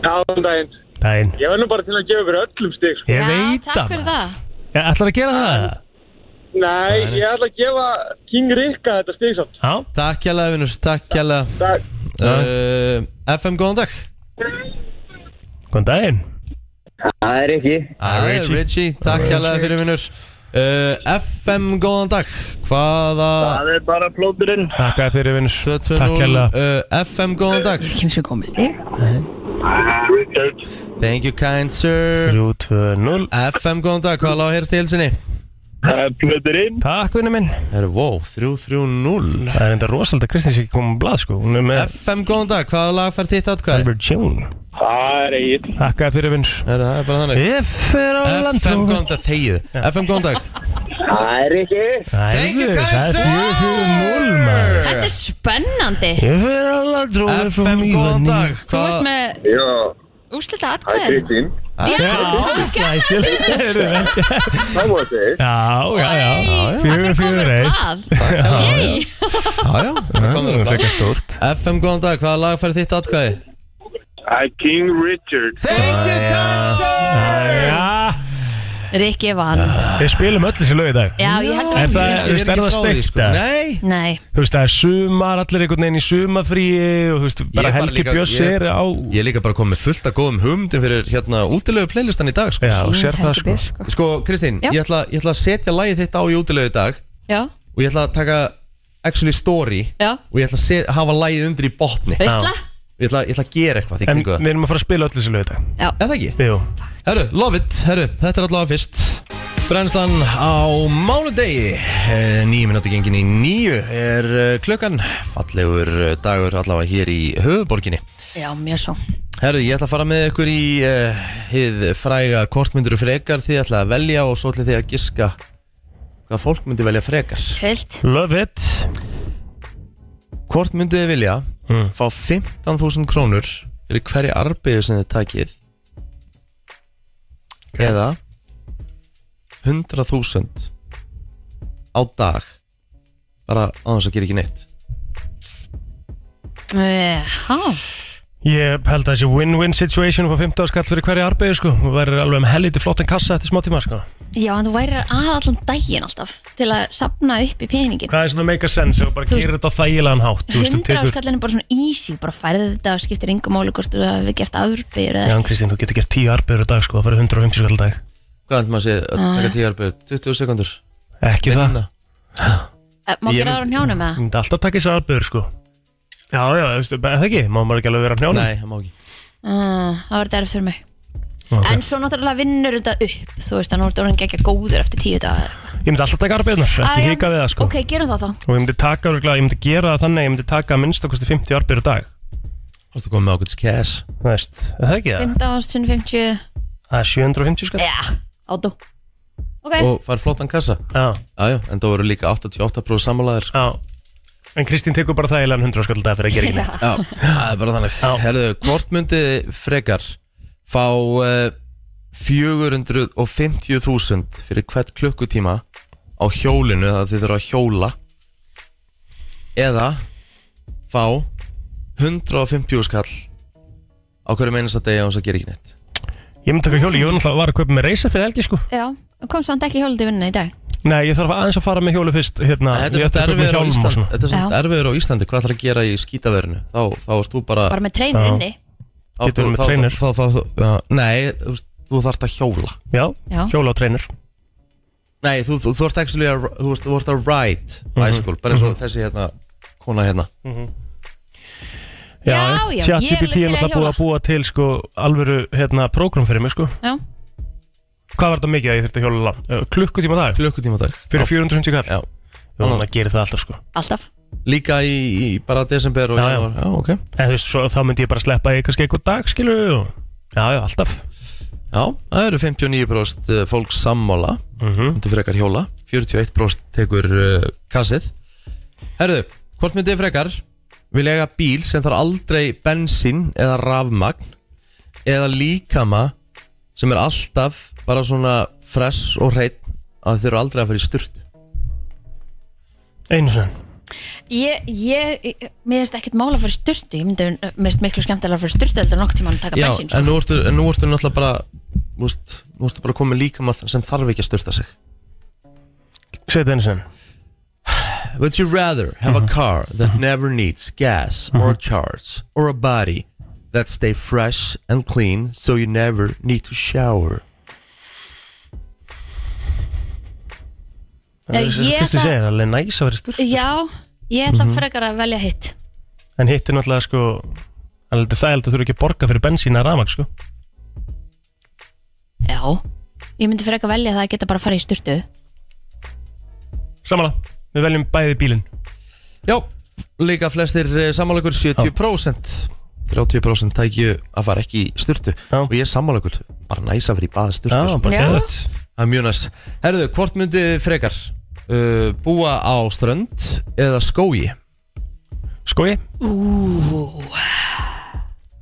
G: Já, góðan daginn.
C: Dæin
G: Ég verð nú bara til að gefa ykkur öllum stig. sko.
C: Ég
B: Já,
C: veit
B: takk fyrir
C: það
B: það
C: Ég ætlar að gera það
G: Nei, ég ætla að gefa King Rikka þetta stig samt.
C: Já,
A: Takk kjærlega vinnur, takk kjærlega
G: Takk.
A: uh, FM, góðan dag
C: góðan daginn
H: Það er ekki.
A: Æ,
C: Richie.
A: Richie, takk kjærlega fyrir vinnur uh, FM, góðan dag Hvaða
G: Það er bara plóturinn.
C: Takk að fyrir vinnur Takk
A: 220
C: kjalla
A: uh, FM, góðan dag
B: Ég kynns við komist í
G: Richard.
A: Thank you kind sir
C: 3-2-0
A: FM, góðan dag, hvað lág að heyrast í helsinni?
G: Það er plóturinn.
C: Takk vinnur minn
A: Herru, wow, 3-3-0
C: Það er enda rosalega Kristins ekki komið á blað sko Hún er með
A: FM, góðan dag, hvað lág fær þitt atkvæði?
C: Albert June
G: Það er eigin.
C: Takk að fyrir vinnur
A: Herru, það er bara þannig
C: Ég fer á
A: FM,
C: landrú
A: góðan dag, þegið FM, góðan dag
H: Það er ekki.
A: Thank you
C: Það
A: kind
C: er 4-4-0 maður
A: sir
B: Þetta er spennandi
C: Ég fer á landrú
A: FM, góðan dag
B: Þú ert
A: Hvað
B: með
H: Já,
B: úslita
H: það er
B: atkvæðin
H: Kristín.
B: Já,
C: Já,
H: Það voru þig.
C: já, já
B: Akkur komur
C: 4-4-1
B: blað Yey.
A: Já, já, það kom þér á blað.
C: Sveika stórt
A: FM, góðan dag, hvað lag fær þitt atkvæði?
G: Það er King Richard.
A: Thank you kind sir
C: Já,
B: Rikki vann
C: við spilum öll þessi lög í dag
B: Já, ég held
C: En
B: að
C: það-
B: það
C: Þú veist, er það steikt, eða?
A: sko. Nei
B: Nei,
C: Þú veist, það er sumar, allir einhvern veginn í sumafríi og þú veist, bara
A: Ég bara
C: Helgi
A: líka-
C: Björns
A: ég-
C: er á
A: Ég er líka bara komið fullt af góðum humdum fyrir hérna útilegu playlistan í dag sko.
C: Já, sér það
B: Helgi
C: sko
B: Björns, sko.
A: Sko, Kristín,
B: Já.
A: ég ætla, ég ætla að setja lagið þitt á í útilegu í dag
B: Já,
A: og ég ætla að taka actually story
B: Já.
A: og ég ætla að set, hafa lagið undir í botni
B: veistla
A: ég ætla, ég ætla að gera eitthvað í
C: En
A: kringu það
C: við erum að fara að spila öll þessi lög í dag
B: Já,
A: Er það ekki?
C: Jú,
A: Herru, love it, herru, þetta er allavega fyrst Brennslan á mánudegi Eh, Níu minúti gengin í níu er eh, klukkan Fallegur eh, dagur allavega hér í höfuborginni
B: já, mjög svo
A: Herru, ég ætla að fara með ykkur í uh, hið fræga kortmyndur og frekar því ég ætla að velja og svo ætla þið að giska hvað fólk myndi velja frekar
B: Trillt
C: love it
A: Hvort myndið þið vilja fá 15.000 krónur fyrir hverja arbeið sem þið takið eða 100.000 á dag bara á þess að gera ekki neitt
B: Já,
C: Ég held að þessi win-win situation og fá 15 skall fyrir hverja arbeið sko og verður alveg um helviti flottan kassa eftir smá tíma sko
B: já, en þú værir að allan daginn alltaf til að sapna upp í peningin
C: Hvað er svona make a sense og bara
B: Þú veist-
C: gerir þetta á þægilegan hátt Þú veist, þú
B: 100
C: tekur
B: áskallin er bara svona easy, bara færði þetta og skiptir yngu máli hvort þú hefur gert afbyrður
C: Já,
B: eða
C: Kristín, þú getur gert 10 arbeið á dag sko, það farið 150 skall á dag
A: Hvað heldur maður að segja að taka 10 arbeið 20 sekundur
C: Ekki það,
A: Minna.
B: Eh, Má
A: Ég
B: gera það á njánum eða?
C: þú myndi alltaf taka þessi arbeið sko Já, já, þú veist, er það ekki, má maður ekki alveg vera á hnjánum
A: Nei, það má ekki
B: Ah, Það var þetta erfitt fyrir mig
C: Ok.
B: En svo náttúrulega vinnur þetta upp Þú veist að nú ertu orðin gegja góður eftir tíu dag
C: Ég myndi alltaf taka arbeidunar,
B: Ah,
C: ekki
B: já.
C: hika við það sko
B: Ok, gerum það þá
C: Og ég myndi taka, örugglega- ég myndi gera það þannig að Ég myndi taka að minnst okkur 50 arbeidur á dag
A: Þú ert að koma með ákveðs cash
C: Það veist, er það ekki það?
B: 15 ást sinni 50
C: Það er 750 skall
B: Já, átú Ok,
A: og fær flottan kassa
C: Já,
A: Jájá, en það voru líka 88% samanlæðir
C: já En Kristín tekur bara það eiginlega 100 skall á dag fyrir að gera ekki neitt
A: Já, það er bara þannig
C: Já.
A: Herðu, hvort myndið þið frekar fá uh, 450.000 fyrir hvert klukkutíma á hjólinu það þið þurfa að hjóla eða fá 150 skall á hverju meinas að degja og þess að gera ekki neitt
C: Ég myndi taka hjóli, ég var náttúrulega var að kaupa með reysa fyrir helgi sko
B: já, kom samt ekki hjóldi vinna í dag
C: Nei, ég þarf aðeins að fara með hjólu fyrst hérna,
A: Þetta
C: ég
A: er
C: ætti að
A: svona
C: kaupa
A: erfiður á
C: hjálm og
A: Íslandi
C: svona.
A: Þetta er svona
B: Já.
A: erfiður á Íslandi Hvað ætlar að gera í skítaverinu Þá, þá ert þú bara
B: bara með treinur
C: Já.
B: inni
A: þá-
C: Getur verið með
A: þá- þá-
C: trainer.
A: þá- þá- þá- já, Nei, þú veist, þú þarft að hjóla
C: Já,
B: Já.
C: hjóla og treinir
A: Nei, þú, þú, þú ert ekki að Þú veist, þú ert að ride
C: Mhm.
A: bicycle Bara eins og þessi hérna Kona hérna
B: Já, já, ég er alveg
C: ChatGPT
B: til
C: er
B: í að
C: náttúrulega
B: hjóla.
C: búið að búa til sko, alvöru hérna, prógram fyrir mig sko.
B: Já,
C: Hvað var þetta mikið að ég þurfti að hjóla langt? Uh, Klukkutíma á dag,
A: Klukkutíma á dag
C: fyrir 450 kall
A: Já.
C: Jú, hann gerir það alltaf sko.
B: alltaf
A: Líka í, í bara desember og
C: Já, já.
A: janúar Já, ok
C: en, þú veist, svo, Þá myndi ég bara sleppa í kannski einhver dag skilu og... Já, já, alltaf
A: Já, það eru 59% eh, fólk sammála
C: mm
A: Myndi frekar hjóla 41% tekur uh, kassið Herðu, hvort myndið frekar Vil eiga bíl sem þarf aldrei bensín eða rafmagn Eða líkama sem er alltaf bara svona fress og hreitt að þeir eru aldrei að fara í styrtu
C: Einu sinni
B: Ég, ég, ég- mér finnst ekkert mála fyrir styrtu Ég myndi, mér finnst miklu skemmtilega fyrir styrtu heldur en nokk tíma að taka
A: Já,
B: bensín sko.
A: en nú ertu, en nú ertu náttúrulega bara þú veist, Nú ertu bara komið líkama sem þarf ekki að styrta sig
C: Sveit einu sinni
A: Would you rather have a car that never needs gas or charge or a body that stay fresh and clean so you never need to shower?
B: Eh, ég
C: Kristi
B: ætla-
C: segir, það er alveg næs að vera styrt
B: Já, ég
C: Mhm.
B: ætla frekar að velja hitt
C: En hitt er náttúrulega sko Það er þægilegt að þú eru ekki að borga fyrir bensína rafmagn sko.
B: Já, ég myndi frekar velja það að geta bara að fara í styrtu
C: Samanlega, við veljum bæði bílinn
A: Já, líka flestir eh, sammála ykkur 70% 30% tækju að fara ekki í styrtu
C: Já.
A: og ég er sammála ykkur bara næs að vera í baða styrtu
C: Já, bara
B: Já.
C: geðvægt
A: það er mjög næst Herðu, hvort myndið þið frekar uh, búa á strönd eða skói?
C: Skogi?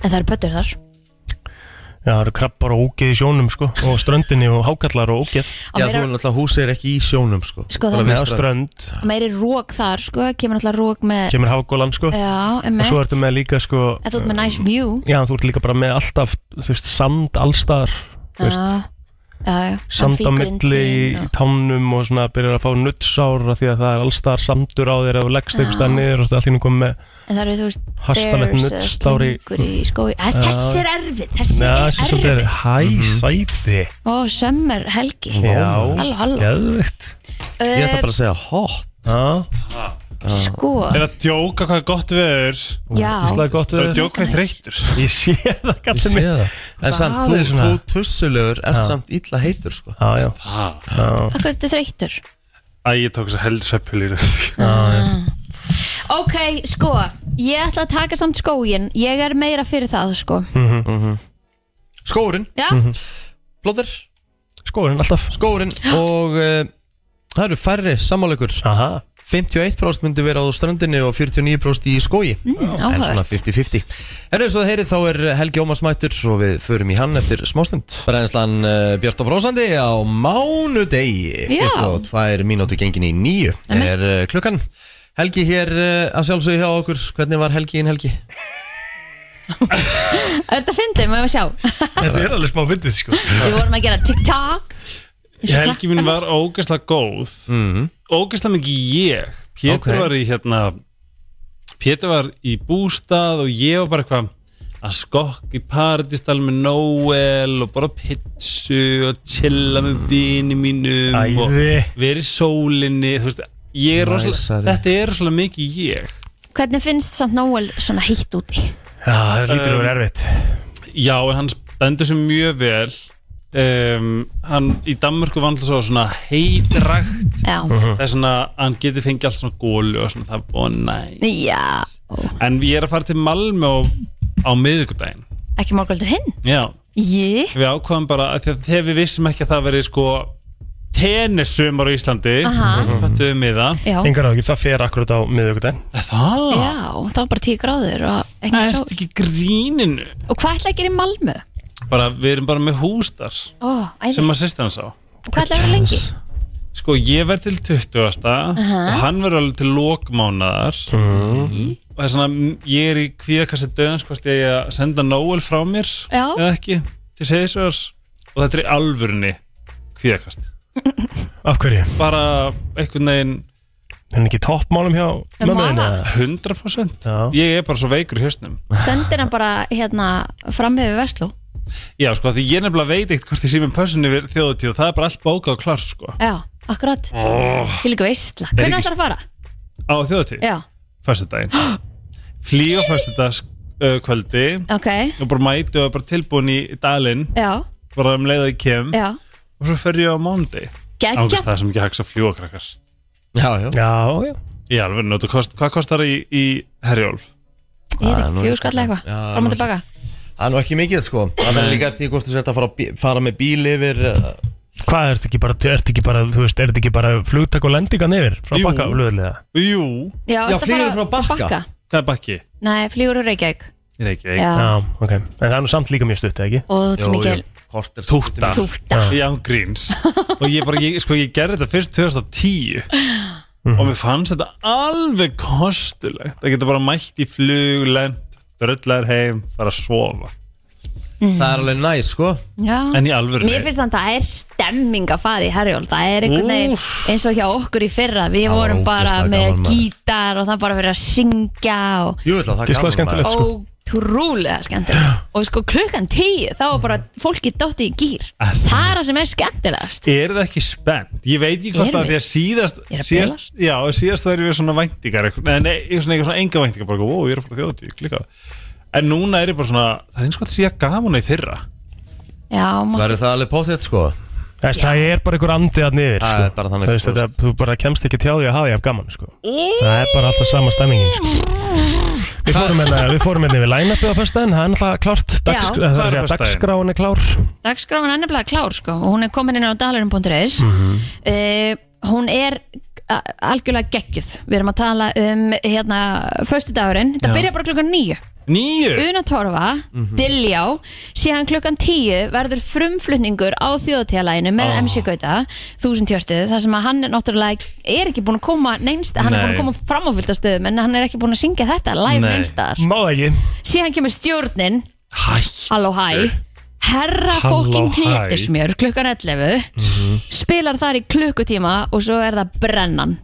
B: En það eru pöttur þar
C: Já, það eru krabbar og ógeð í sjónum sko Og ströndinni og hákallar og ógeð
B: Og
A: Já, þú er
B: meira,
A: náttúrulega húsið er ekki í sjónum sko,
B: Sko,
A: Bara
B: það-
A: við
C: Já, strönd
B: meiri rók þar, sko Kemur alltaf rók með
C: Kemur hafgólan sko
B: Já,
C: Og
B: emmett
C: svo ertu með líka sko
B: En þú ert með nice view
C: Já, þú ert líka bara með alltaf Þú veist, sand allstaðar Þú veist,
B: Já, já, já
C: sand á
B: Sandfíkurinn
C: milli í,
B: þín
C: í
B: og-
C: tánum Og svona byrjar að fá nuttsára Því að það er allstaðar sandur á þér Ef þú leggst einhverstað niður og það er allir komið með
B: En það eru, þú veist,
C: Hastalegt
B: bears eða
C: nuddstár í-
B: klingur í skói Æ, Þessi er erfið, þessi
C: Nei,
B: er
C: þessi svolítið Mhm.
B: erfið
C: er Hæ, sæti
B: Ó, sömmer helgi Halló, halló
C: Geðvikt
A: Ég ætla bara að segja hot
C: Það
B: Sko,
I: Er að djóka hvað er gott veður
B: já
C: er gott
I: Er
C: við
I: að
C: þér.
I: djóka hvað er þreyttur
C: Ég sé það
A: Ég
C: gæti
A: sé
C: mig
A: það En samt,
C: Það
A: þú,
C: er
A: þú
C: svona-
A: tussulegur er samt illa heitur sko.
C: Já, já
B: Akkur þetta þreyttur
I: Æ, ég tók þess að heldsveppilur
B: Ok, sko, ég ætla að taka samt skógin Ég er meira fyrir það, sko
A: Hm. Skórin,
B: Já,
A: blóður,
C: Skoðurinn alltaf
A: skórin Og uh, það eru færri sammáleikur
C: Aha
A: 51% myndi vera á ströndinni og 49% í skói
B: Hm,
A: En svona
B: áhört
A: 50-50 Herru, svo það heyrið þá er Helgi Ómars mættur Og við förum í hann eftir smástund Brænslan uh, Björn og Brósandi á mánudegi
B: Já.
A: 22 mínútu gengin í nýju Er uh, klukkan Helgi hér uh, að sjálfsögðu hjá okkur Hvernig var Helgi inn Helgi?
B: Þetta fyndið, maður að sjá
C: Þetta er alveg smá vindið sko
B: Við vorum að gera TikTok
I: Helgi mín var ógeðslega góð Ógeðslega mikið ég Pétur
A: Ok.
I: var í hérna Pétur var í bústað og ég var bara eitthvað að skokk í partystal með Noel og bara pitsu og chilla með vini mínum og
C: Æði
I: verið í sólinni þú veist, ég er rosalega,
A: Næsari.
I: þetta er rosalega mikið ég
B: Hvernig finnst samt Nóel svona heitt úti?
C: Já, það er lítur að vera erfitt
I: Já, en hann stendur sér mjög vel um, hann í Danmörku vann alltaf svo svona heitrakt
B: Já,
A: Hm.
I: það er svona, hann getur fengið allt svona gólu og svona það er búin næ
B: já
I: en ég er að fara til Malmö á, á miðvikudaginn
B: Ekki morgöldur hinn?
I: já,
B: Ég?
I: við ákvaðum bara að því að þegar við vissum ekki að það veri sko tennissumar á Íslandi
B: Aha.
I: fættuðum við það
B: Já,
C: Engar ágjur, það fer akkurat á miðvíkudaginn
I: það,
B: já, það var bara tíu gráður og, ekki
I: það
B: svo...
I: ert ekki í gríninu
B: og hvað ætla að gera í Malmö?
I: bara, við erum bara með hústar
B: Ó, æði,
I: sem að sýstan sá
B: hvað ætla að vera lengi?
I: Sko, ég verð til 20. og hann verður alveg til lokmánaðar og það er svona ég er í kvíðakassi döðans hvort ég eigi að senda Noel frá mér
B: Já.
I: eða ekki til segisverðars og þetta er í alvörunni kvíðakast
C: Af hverju?
I: Bara einhvern veginn
C: Er hann ekki í toppmálum hjá
B: Um
C: mömmu þinni,
B: hana?
C: eða?
I: 100% Ég er bara svo veikur í höstnum
B: Sendir hann bara hérna fram yfir Vestló
I: Já, sko, því ég nefnilega veit ekkert hvort ég sé með pössun yfir þjóðutíð og það er bara allt bókað og klar, sko
B: Já, akkurat
I: Oh.
B: Til líka veistla
I: Er
B: Hvernig
I: ekki-
B: ætlar að fara?
I: Á þjóðutíð?
B: Já,
I: Föstudaginn Flýg á föstudags uh, kvöldi
B: ok
I: og bara mæti og er bara tilbúin í dalinn
B: Já,
I: bara um leið og ég kem
B: já
I: og svo fer ég á mándi
B: Geggjað.
I: Ángast það sem ekki hagsa fljókrakkar
A: Já, já
C: Já, já
I: Í alveg, notu, kost, hvað kostar í, í Herjólf?
B: Ég veit ekki, fjögur skall eitthvað
A: Já,
B: Fram og
A: nú-
B: tilbaka
A: Það er nú ekki mikið sko Það er
I: Nei.
A: líka eftir því hvort þú sért að fara, á bí- fara með bíl yfir uh,
C: Hvað er þetta ekki bara, er þetta ekki bara, þú veist, er þetta ekki bara flugtak og lendingan yfir frá
I: Jú.
C: bakka og löðlega?
B: Ah.
I: Jú,
B: Já,
A: Já,
B: ertu að
A: flýgur
B: fara
A: frá Bakka?
I: hvað er bakki?
B: Nei, flýgur úr Reykjavík
I: Í Reykjavík
B: Já.
C: Já, ok. En það er nú samt líka mjög stutt, eða ekki?
B: Og þú mikil
A: Kort er
I: Túta
B: Túta
I: Já, gríns Og ég bara, ég, sko, ég gerði þetta fyrst 2010 Og mér fannst þetta alveg kostulegt Það geta bara mætt í flug, lent, dröllar heim, fara að sofa
A: Það er alveg næs sko
B: Já
I: En í alvöru
B: Mér finnst þannig að það er stemming að fara í Herjól Það er einhvern veginn eins og hjá okkur í fyrra Við
A: Það var
B: vorum bara
A: ógeðslega
B: með
A: gaman, maður.
B: gítar og það bara verið að syngja og
A: Jú, ætla, það er
C: Gísla
A: gaman
C: skemmtilegt.
A: maður.
C: sko.
B: ótrúlega skemmtilegt og sko klukkan tíu þá var bara fólki dotti í gýr það er það sem er skemmtilegast
I: Er það ekki spennt? Ég veit ekki hvort
B: Erum
I: það
B: við?
I: því að síðast
B: Er að
I: síðast, Já, síðast það er við svona væntingar einhvern- Nei, nei, ég er svona eitthvað svona enga væntingar Bara, ó, ég er að fara þjóðatík líka En núna er ég bara svona, það er eins og þetta sé að gaman í fyrra
B: já, má-
A: Verður það alveg póþitt sko
C: Þess, það er bara einhver andi að niður,
A: Það
C: sko.
A: er bara þannig,
C: Þú veist,
A: þú
C: þetta,
A: veist.
C: þú bara kemst ekki til á því að hafa ég af gaman, sko. Það er bara alltaf sama stemmingin, sko. Við fórum hérna, við fórum hérna við line-upið á fyrstæðin, það er náttúrulega klárt. Dags,
B: Já.
C: það
I: Hvað er
C: er að
I: föstudaginn?
C: dagskráin er klár.
B: dagskráin er nefnilega klár sko og hún er komin inn á dalarum.is mm hún er a- algjörlega geggjuð við erum að tala um hérna föstudagurinn, það byrja bara klukkan níu
I: Nýju?
B: Una Torfa,
I: Mhm.
B: Dilljá síðan klukkan 10 verður frumflutningur á þjóðtíðalæginu með
I: Ah.
B: MC Gauta, 1000 tjörstuð þar sem að hann náttúrulega er ekki búin að koma neinst, hann er
I: Nei.
B: búin að koma fram á fullt af stöðum en hann er ekki búin að syngja þetta live
I: Nei.
B: neinstaðar
C: Má það ekki.
B: síðan kemur stjórnin,
I: Hæ,
B: halló hæ herra
I: Halló,
B: fokkin
I: hæ.
B: pétismjör klukkan 11
I: Mhm.
B: spilar þar í klukkutíma og svo er það brennan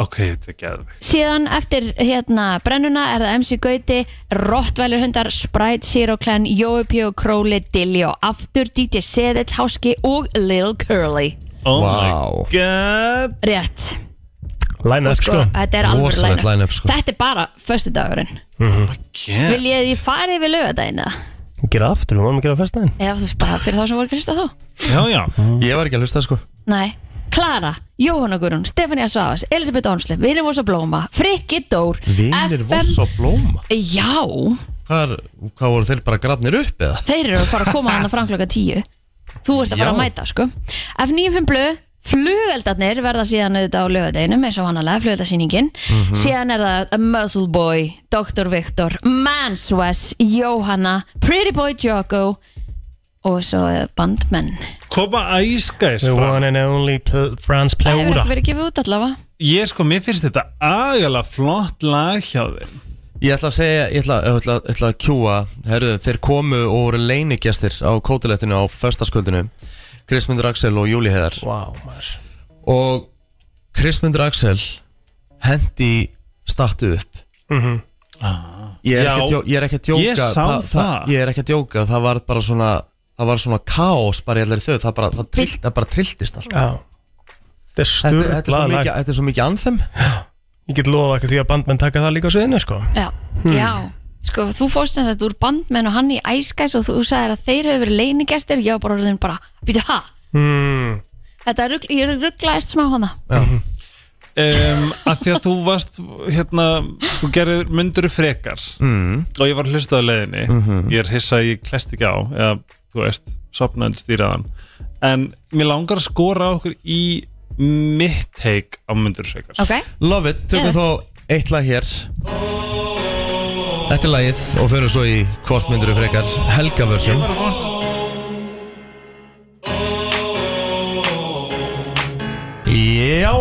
I: ok, þetta er geðvegt
B: síðan eftir hérna brennuna er það MC Gauti, Rottweiler hundar Sprite, Zero Clan, Jóupjó Króli, Dilljó, aftur DJ Seðill, Háski og Lil Curly
I: Oh
A: Vá.
I: my god
B: rétt,
C: Line-up,
B: sko,
C: sko.
B: þetta er alveg
A: Rosalegt
B: line
A: line-up, sko.
B: þetta er bara föstudagurinn
I: Oh yeah.
B: Mm. vil ég því farið við lögadaginn eða?
C: Gera aftur, við máum að gera á föstæðin.
B: eða þú veist bara fyrir þá sem voru kristið þá
I: Já, já
A: Ég var ekki að hlusta sko
B: nei, Klara, Jóhanna Gurun Stefania Svavas, Elisabeth Ónsli, Vinir Vossa Blóma Frikki Dór,
A: Vinir
B: FM
A: voss og blóma
B: já,
A: Hvað, er, hvað voru þeir bara grafnir upp eða?
B: þeir eru að fara að koma hann að framklokka 10 þú ert að fara að
A: Já.
B: mæta sko F95 blö, flugeldarnir verða síðan auðvitað á lögadeginum eins og vanalega flugeldarsýningin síðan er það A Muzzle Boy, Dr. Victor Manswes, Johanna Pretty Boy Jocko og svo eh, Bandmenn
I: Koma æskæs
C: The
I: fram
C: one and hérna only pl- France
B: það hefur
C: Plaura.
B: ekki verið gefið út allavega
I: Ég sko, mér finnst þetta agalega flott lag hjá þeim
A: Ég ætla að segja, ég ætla, ég ætla, ég ætla að kjúa Herru, þeir komu og voru leinigjastir á kótilettinu á föstasköldinu Kristmundur Axel og Júli Heðar
C: Vá, maður.
A: Og Kristmundur Axel hendi startu upp ég, er
I: Já.
A: ekki að djó, Mhm. ég er ekki að djóka
I: Ég sá það.
A: Ég er ekki að djóka, það var bara svona Það var svona kaos bara í allir þau Það bara, það trill, það bara trilltist allt
C: Já. Þetta er
A: Þetta, þetta, er svo
C: sturglað
A: mikið,
C: lag.
A: þetta er svo mikið anþem
C: Ég get lofa ekki því að bandmenn taka það líka á sviðinu, sko.
B: já, já Sko, þú fórst sem sagt úr bandmenn og hann í æskæs og þú sagðir að þeir hefur verið leinigestir ég var bara orðin bara, býtu ha
C: Hmm.
B: þetta rugl, ég rugglaðist smá hana
I: um, að Því að þú varst, hérna, þú gerir myndur frekar
A: mm.
I: Og ég var að hlusta á leiðinni Ég er hissa að ég klest ekki á Eða, þú veist, sopnaði stýraðan En mér langar að skora á okkur í mitt teik á myndur frekar
B: ok,
A: Love it, tökum þá eitt lag hér Þetta er lagið og förum svo í hvort myndur við frekar Helga version Já,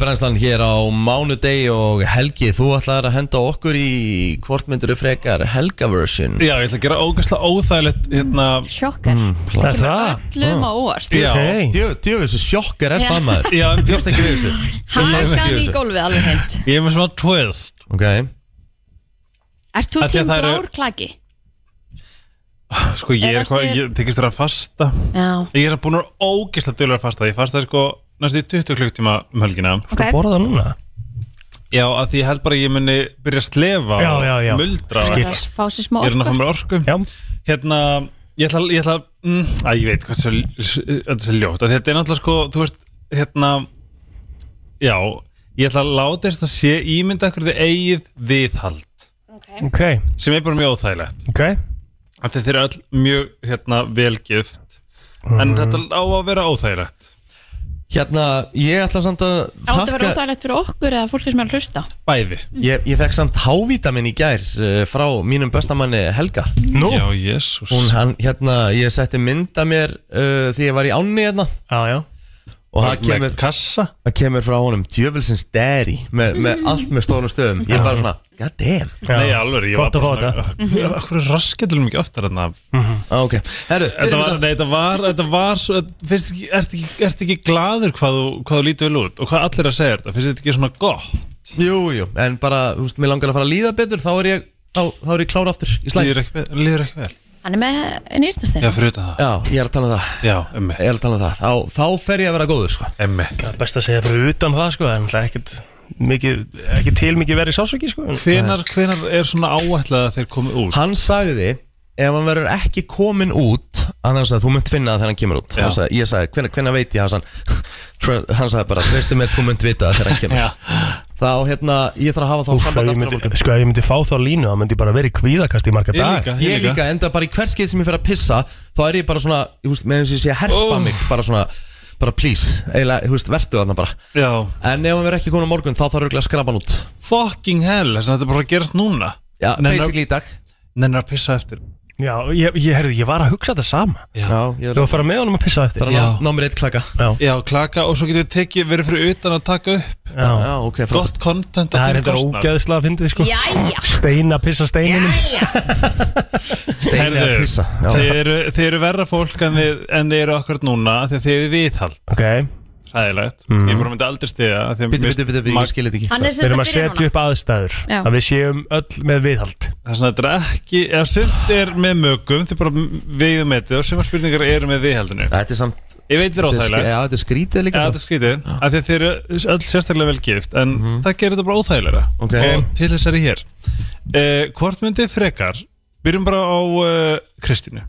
A: brennslan hér á mánudegi og Helgi, þú ætlaðir að henda okkur í hvort myndur frekar Helga version
I: Já, ég ætla að gera ógæslega óþægilegt hérna
B: Sjokkar mm,
A: Það er það?
B: Öllum á óvart
I: Já,
A: Hey. Djöfis, þessi sjokkar er
B: Já.
A: það maður
I: Já, en
A: Bjóst ekki við þessu
B: Hakan í gólfið alveg hend
I: Ég er með svona twist
A: Ok
B: Ert þú
I: Af því að
B: tím
I: það eru-
B: blár klaki?
I: Sko, ég
B: Eða
I: er hvað,
B: ertu-
I: ég tekist þér að fasta
B: Já
I: Ég er búin að vera ógæslega dölur að fasta Ég fastaði sko næstu í 20 klukktíma um helgina
B: Ok
C: Borða það núna
I: Já, að því ég held bara að ég muni byrja að slefa
C: Já, já, já.
I: og muldra og
C: Skil.
I: eitthvað.
B: Fá sér smá
I: Ég er hann að fá
B: orku
I: mér orku
C: Já.
I: Hérna, ég ætla, ég ætla mm, að ég veit hvað þetta er svo- þetta er svo ljótt Af því Þetta er náttúrulega sko, þú veist, hérna Já, ég ætla að láta þess að sé ímynda ykkur þið eigið viðhald
C: Ok,
I: sem er bara mjög óþægilegt
C: ok
I: af því þeir eru öll mjög, hérna, velgift
C: Mhm.
I: en þetta á að vera óþægilegt
A: Hérna, ég ætla samt að
B: Átt að vera
A: þakka
B: óþægilegt fyrir okkur eða fólki sem er að hlusta
I: Bæði
A: Ég, ég fekk samt hávítamin í gær eh, frá mínum bestamanni Helga
C: Nú,
I: Já, jésús
A: Hún, hann, hérna, ég setti mynda mér uh, því ég var í ánni hérna
C: já, já
A: Og það kemur,
I: kassa
A: það kemur frá honum djöfilsins daddy með, með allt með stórum stöðum Ég er bara svona, god damn
C: Já.
I: Nei, alveg, ég
C: Gott að fá þetta
I: svona Akkur raskettilum ekki oftar en það
A: ah, Ok, herru,
I: Þetta var,
A: byrjum
I: nei, þetta var, þetta var svo, finnst þér ekki, ert ekki, ert ekki gladur hvað þú, hvað þú lítur vel út og hvað allir að segja þetta, finnst þetta ekki svona gott?
A: þetta Jú, jú, en bara, þú veist, mér langar að fara að líða betur Þá er ég, þá, þá er ég klára aftur í slæm
I: Líður ekki, vel- líður ekki vel?
B: Hann er með nýrtastein
I: Já, fyrir utan það.
A: Já, ég er að tala um það
I: Já, emmi,
A: Ég er að tala um það, þá, þá fer ég að vera góður, sko
I: emmi.
C: Það er best að segja fyrir utan það sko Það er náttúrulega ekkert mikið, ekki til mikið verið sásöki sko en-
I: Hvenar, hvenar er svona áætlað að þeir komi út?
A: Hann sagði, ef hann verður ekki komin út Annars að þú munt finna það þegar hann kemur út
I: Já.
A: hann sagði, Ég sagði, hvenær, hvenær veit ég, hann sagði "Tr- Hann sagði bara, treystu mér, þú munt vita það þegar hann kemur
I: Já.
A: Þá, hérna, ég þarf að hafa þá
C: Úff, ef
A: samband aftur
C: ég
A: á
C: myndi-
A: morgun
C: Sko, ef ég myndi fá þá línu Það myndi ég bara verið kvíðakast í marga
I: Ég
C: dag
I: líka,
A: Ég líka, enda bara í hvert skeið sem ég fer að pissa Þá er ég bara svona, ég veist, með þess að ég sé að herpa
I: Oh.
A: mig Bara svona, bara please Eiginlega, þú veist, vertu þarna bara
I: Já,
A: En ef hann verður ekki komin á morgun, þá þarf örugglega að skrapa hann út
I: fucking hell, þess að þetta er bara að gerast núna.
A: Já,
I: Nennar-
A: basically í dag
I: Nennar að pissa eftir.
C: Já, ég, ég, herrðu, ég var að hugsa þetta sama
A: Já, ég
C: Þú
A: er
C: var að fara með honum að pissa eftir
A: Það
I: Já.
A: er ná mér eitt klaka
C: Já,
I: Já, klaka og svo getur við tekið, verið fyrir utan að taka upp.
C: já
A: Já, ok, frá
I: Gott content
C: Það
I: að
C: er
I: þín
C: þetta
I: kostnað.
C: ógæðslega að fyndið sko
B: Jæja
C: Steina pissa steininum
A: steini að
I: Herðu,
A: pissa Já.
I: Þið eru, þið eru verra fólk en þið, en þið eru akkurat núna af því að þið eru viðhald.
C: Ok,
I: Ræðilegt,
A: Mhm.
I: ég bara myndi aldrei stiða
A: Bitti, bitti, bitti, bitti, ég skil þetta ekki
B: Hann er
C: við
B: sem sagt
C: erum að
B: að byrja
C: setja
B: núna
C: upp aðstæður
B: Já.
C: Að við séum öll með viðhald
I: Það er svona, þetta er ekki eða sumt er með mögum, þið bara veiðum þetta og sumar spurningar eru með viðhaldinu
A: Þetta er samt
I: Ég veit þér
A: þetta er sko sk-
I: óþægilegt,
A: Já, þetta er skrítið
I: eða
A: líka
I: þetta er skrítið af því að þið eru öll sérstaklega vel gift en það gerir þetta bara óþægilega
A: Ok.
I: og til þess er ég hér uh, Hvort myndið frekar byrjum bara á uh, Kristínu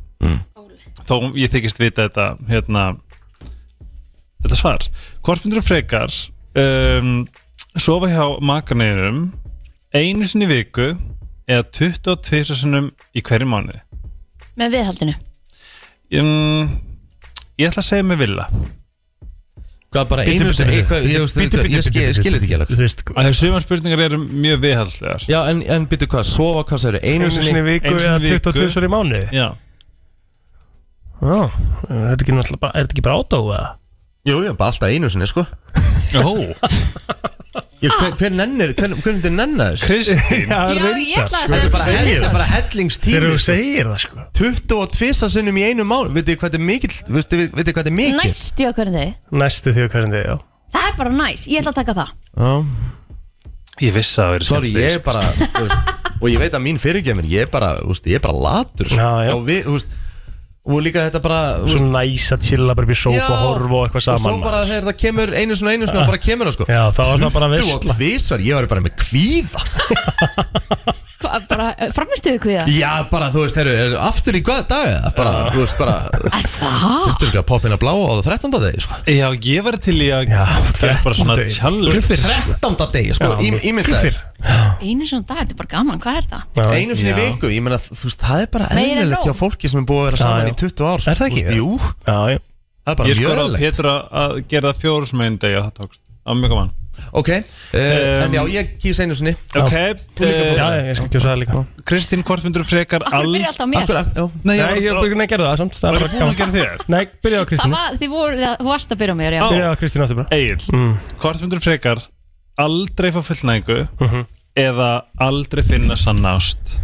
I: þó ég þykist vita þetta hérna þetta svar hvort myndir frekar um, sofa hjá makarneginum einu sinni í viku eða 22 sinnum í hverju mánuði
B: Með viðhaldinu
I: um, ég ætla að segja mig vilja
A: Hvað bara
C: Bíddu,
A: einu
C: bíddu,
A: sinni
C: bíddu,
A: ég- hvað- Ég
C: bíddu,
A: veist,
C: bíddu,
A: hvað- ég
C: bíddu,
A: skil
C: bíddu,
A: ég skil þetta ekki
C: Þú
A: alveg
C: veist,
I: að þau sumar spurningar eru mjög viðhalslegar
A: Já, en, en bitti hvað, sofa, hvað segir Einu sinni
C: í viku
I: einu
C: eða
I: sinni í viku.
C: 22 svar í mánu Já,
I: já,
C: er þetta ekki náttúrulega bara- er þetta ekki bara átó eða?
A: Jú, jú, bara alltaf einu sinni, sko
I: Ó,
A: Ég, hver, hver nennir, hver, hvernig þið nennar þessu?
I: Kristín
C: Já,
B: Já, ég ætla
C: reyndar, sko.
B: að
A: Þetta er bara,
B: segja
A: hell, þetta er
B: það
A: bara hellingstími
C: Þegar þú
A: sko.
C: segir það sko
A: 22 sinnum í einu mál Vitið þið hvað þetta er mikill Vitið þið- vitið þið hvað þetta er mikill
B: Næstu okkur en þið
C: Næstu því að hverjum þið, já
B: Það er bara næs, ég ætla að taka það
A: Já,
I: Ég vissi að það verið
A: Sorry, ég er bara þú veist, Og ég veit að mín fyrirgefin Ég er bara, þú veist, ég er bara latur sko.
C: Já, já.
A: Og við, þú veist Og líka þetta bara þú
C: Svo
A: veist,
C: næs að chilla bara upp í sófa og horfa og eitthvað
A: Og
C: saman
A: svo bara
C: maður.
A: þegar það kemur einu svona einu svona Bara kemur það sko
C: Já, þá er það bara
A: Og
C: veistla
A: tvísvar, ég var bara með kvíða
B: Hva- Bara eh, framistuðu kviða
A: Já, bara, þú veist, heru, er, aftur í hvað dag eða? Bara, þú veist, bara
B: Það
A: Þú veist, poppina blá á 13. degi sko.
I: Já, ég var til í að
C: Já,
I: Það er bara svona
C: þrettán degi.
I: challenge
C: Fyrir.
A: 13. degi, sko,
C: Já,
A: ímyndaður
C: fyrir.
B: Einu svona dag, þetta er bara gaman, hvað er það?
C: Já.
A: einu sinni í
I: Já.
A: viku, ég meina þú veist, það er bara
B: Meira en
A: eðlilegt
B: nóg.
A: hjá fólki sem er búið að vera saman
C: já.
A: í 20 ár sko.
C: Er það ekki?
A: Þú veist, Jú,
C: Já, já
A: það er bara
I: Ég
A: mjög
I: skor á
A: eðlilegt
I: Petra að gera það fjóru sem einn degi og það tókst Það var mjög gaman
A: Ok, uh,
I: Um,
A: en já, ég kýr seinu sinni
I: Ok,
A: Þú líka
I: eh,
A: bara.
C: Já, ég skal kjósa það líka
I: Kristín, hvort myndur frekar
B: Af hverju byrjar allt á mér? Af hverju-
A: já.
I: Nei,
C: Nei, ég
I: bara-
C: byrja að gera það samt Það
I: Varstu
C: er bara
I: búin að gera þér?
C: Nei, byrja á
B: Það
C: Kristínu
B: var, þið voru, það varst að byrja á mér, já
I: Á.
C: Byrja á Kristínu aftur bara
I: Egil, hvort myndur frekar aldrei fá fullnæðingu eða aldrei finna sann ást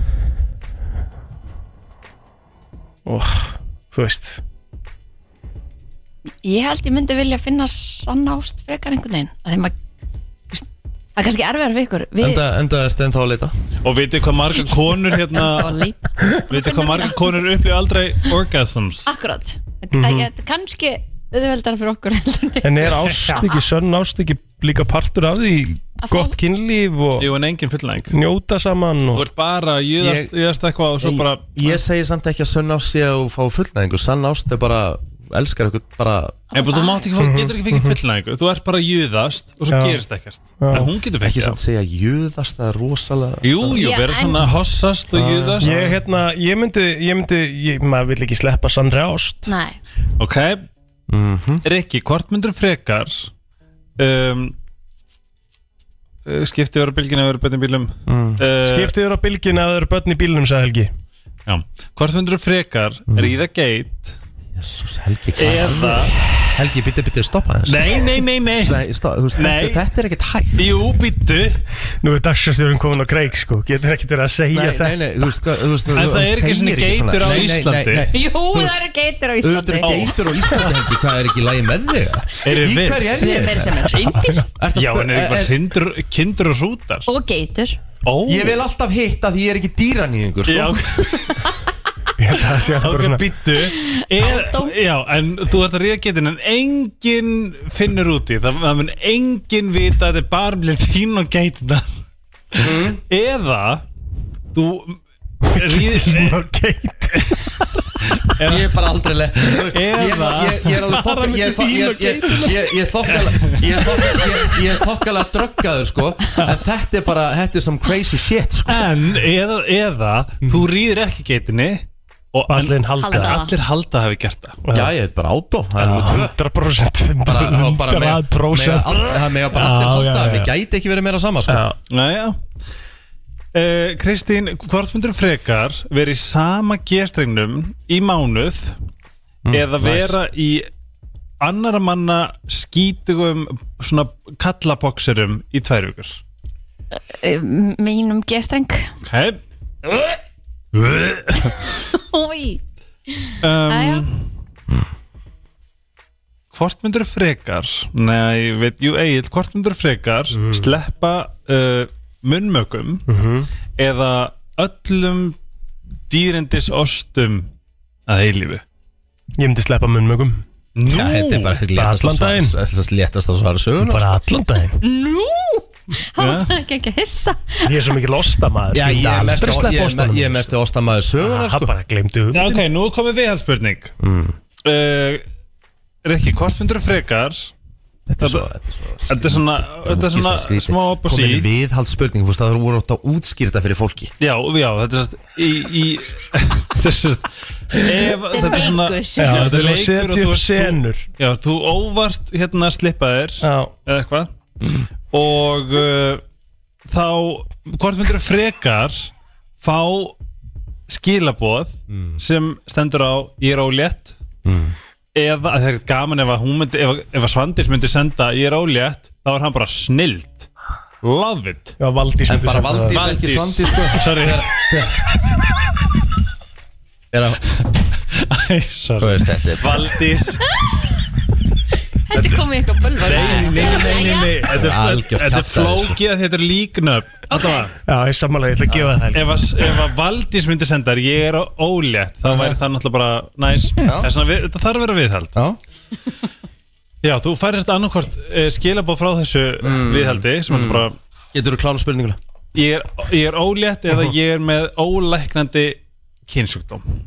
C: oh, Þú veist
B: Ég held ég myndi vilja finna sann ást frekar einhvern veginn að þeim að það er kannski erfiðar fyrir ykkur við,
A: Enda, enda er stenn þá að leita
I: Og vitið hvað marga konur hérna
B: Enda.
I: Vitið hvað marga konur upplýð aldrei orgasms
B: Akkurat mm -hmm. Kannski auðveldar fyrir okkur heldur en-
C: En er ást ekki sönn ást ekki líka partur af því
B: Að fá-
C: Gott kynlíf og
I: Jú, en engin fullnæðing
C: njóta saman
I: Þú
C: og
I: ert bara að juðast, juðast eitthvað og svo bara
A: Ég, ég segi samt ekki að sönn ást sé að þú fá fullnæðingu Sann ást er bara, elskar ykkur bara
I: En þú mátt ekki, fá- getur ekki fengið fullnæðingu Þú ert bara að juðast og svo
C: Já.
I: gerist ekkert En hún getur
A: Ekki
I: fengið
A: samt
I: það
A: segja júðast, það er rosalega
I: Jú, jú,
B: Já,
I: vera
B: en-
I: svona hossast og juðast
C: Ég, hérna, ég myndi, ég myndi, ég, maður vil ekki sleppa sannri ást
B: Nei,
I: Ok Rikki, hvort myndur frekar um, uh, Skipti vera bylgin að vera betni bílum mm.
C: Skiptið þér á bylgin að það eru börn í bílunum, sagði Helgi
I: já. Hvort myndur frekar ríða geit
A: Jesus, Helgi, hvað
I: Eða
A: Helgi, bitti, bitti, stoppa þess
I: Nei, nei, nei, nei
A: Nei, stá, þú veist,
I: Nei.
A: þetta, þetta er ekkert hægt
I: Jú, býttu
C: Nú er dagsjastjórun komin á kreik, sko Getur ekki þér að segja
A: Nei,
C: þetta
A: nei, nei, þú veist, hvað- þú veist
I: En það er ekki svona geitur á Íslandi.
B: jú það eru geitir á
A: Auðvitað er
B: Íslandi
A: geitur á Íslandi, Helgi, hvað er ekki lægi með þig?
I: Eru
A: Í
I: viss?
A: hverju er
B: Við erum
A: ég?
B: meira sem er reyndir
A: Ertu að
I: Já,
A: spyrja-
I: en er ekki bara hrindur, eh, kindur og hrútar
B: og geitur
I: Ó,
A: Ég vil alltaf hitta því ég er ekki dýranýðingur sko.
I: Já, ok,
C: Ég held að það sé alveg
I: ok,
C: bara svona
I: býttu
B: Aldó.
I: Já, en þú ert að ríða geitin En enginn finnur út í Það, það mun enginn vita að Þetta er bara með þín og geitina
C: Mhm.
I: Eða Þú ríð,
C: Þín og geit
A: Ég er bara aldrei leið
I: Eða-
A: Ég er alveg
C: Bara
A: þokkala
C: milli
A: Ég er þo-
C: þín og
A: ég- ég- ég- ég er þokkala Ég er þokkala ég- Ég er þokkala dröggaður sko En þetta er bara Þetta er some crazy shit sko
I: En eða, eða Þú
C: Mhm.
I: ríður ekki geitinni Og en-
C: Allir halda
B: Halda.
I: en allir halda hafi gert það
A: Já, ég er bara átó Það er nummer tvö
C: 100%
A: Bara, það bara með, mega
C: 100%
A: all, það mega bara allir
C: Já,
A: halda
C: já,
A: það,
C: já.
A: mér gæti ekki verið meira sama sko.
C: Já.
I: Næja uh, Kristín, hvort myndur frekar verið í sama gestrengnum í mánuð
A: Mm,
I: eða vera í annara manna skítugum svona kallabokserum í tvær vikur
B: M- mínum Eh, gestreng
I: Ok um,
B: Új, aðja,
I: Hvort myndur frekar Nei, ég veit, jú, Egil Hvort myndur frekar
A: Mm.
I: sleppa uh, munnmökum
A: Mhm.
I: eða öllum dýrindis ostum að eilífu
C: Ég myndi sleppa munnmögum
I: Nú,
A: Já, þetta er bara léttasta
C: allan
A: svara-
C: daginn.
A: þetta er léttasta svara söguna
C: Bara allan daginn
B: það var ekki ekki að hissa
C: Ég er svo mikið lostamæður
A: Já, ég er mest ég
C: aldrei sleppa
A: er me-
C: ostanum
A: ég er mest óstamaður sögunar
C: Það
A: sko.
C: bara um. glemdu
I: Já, ok, nú er komið viðhaldsspurning mm. uh, Rikki, hvort myndur frekar
A: Þetta er svo þetta
I: Þetta-
A: er svo-
I: Þetta er svona, þetta er svona
A: Ógeðslega skrítið.
I: smá upp og sí
A: Komin viðhald spurning, þú veist það voru átt að útskýra þetta fyrir fólki
I: Já, já, þetta er svona í, í Þetta er svona ef, Þetta er svona
B: leikur.
I: Já,
C: Já,
I: þetta er
C: þetta setja
I: leikur og þú
C: upp
I: ert- þú-
C: senur
I: Já, þú óvart hérna slippa þér
C: Já,
I: eða eitthvað og uh, þá hvort myndur frekar fá skilaboð sem stendur á ég er ólétt eða að það er ekkert gaman ef, að hún myndi, ef, ef að Svandís myndi senda ég er ólétt þá er hann bara snild love it
C: já, Valdís
A: En
C: myndi
A: bara
C: senda það.
A: Valdís, ekki Svandís sko.
I: sorry,
A: Er að-
I: Æ,
A: Þú
I: sorry.
A: veist, þetta er
I: Valdís
B: Þetta er komið í eitthvað bölvar
I: nei, nei, nei, nei, nei. Þetta er,
A: Algjört
I: þetta er
A: kjaftæði, sko.
I: flókið að þetta er líknöf okay.
C: Já, ég sammála, ég ætla að gefa það
I: ef, að, ef að Valdís myndi senda þér ég er á ólétt, þá væri það náttúrulega bara næs, það, er svona, við, það þarf að vera viðhald
A: Já,
I: já, þú færist annarkvort uh, skilabóð frá þessu viðhaldi sem er bara,
A: getur þú klára spurninguna?
I: ég er, ég er ólétt eða ég er með ólæknandi kynsjúkdóm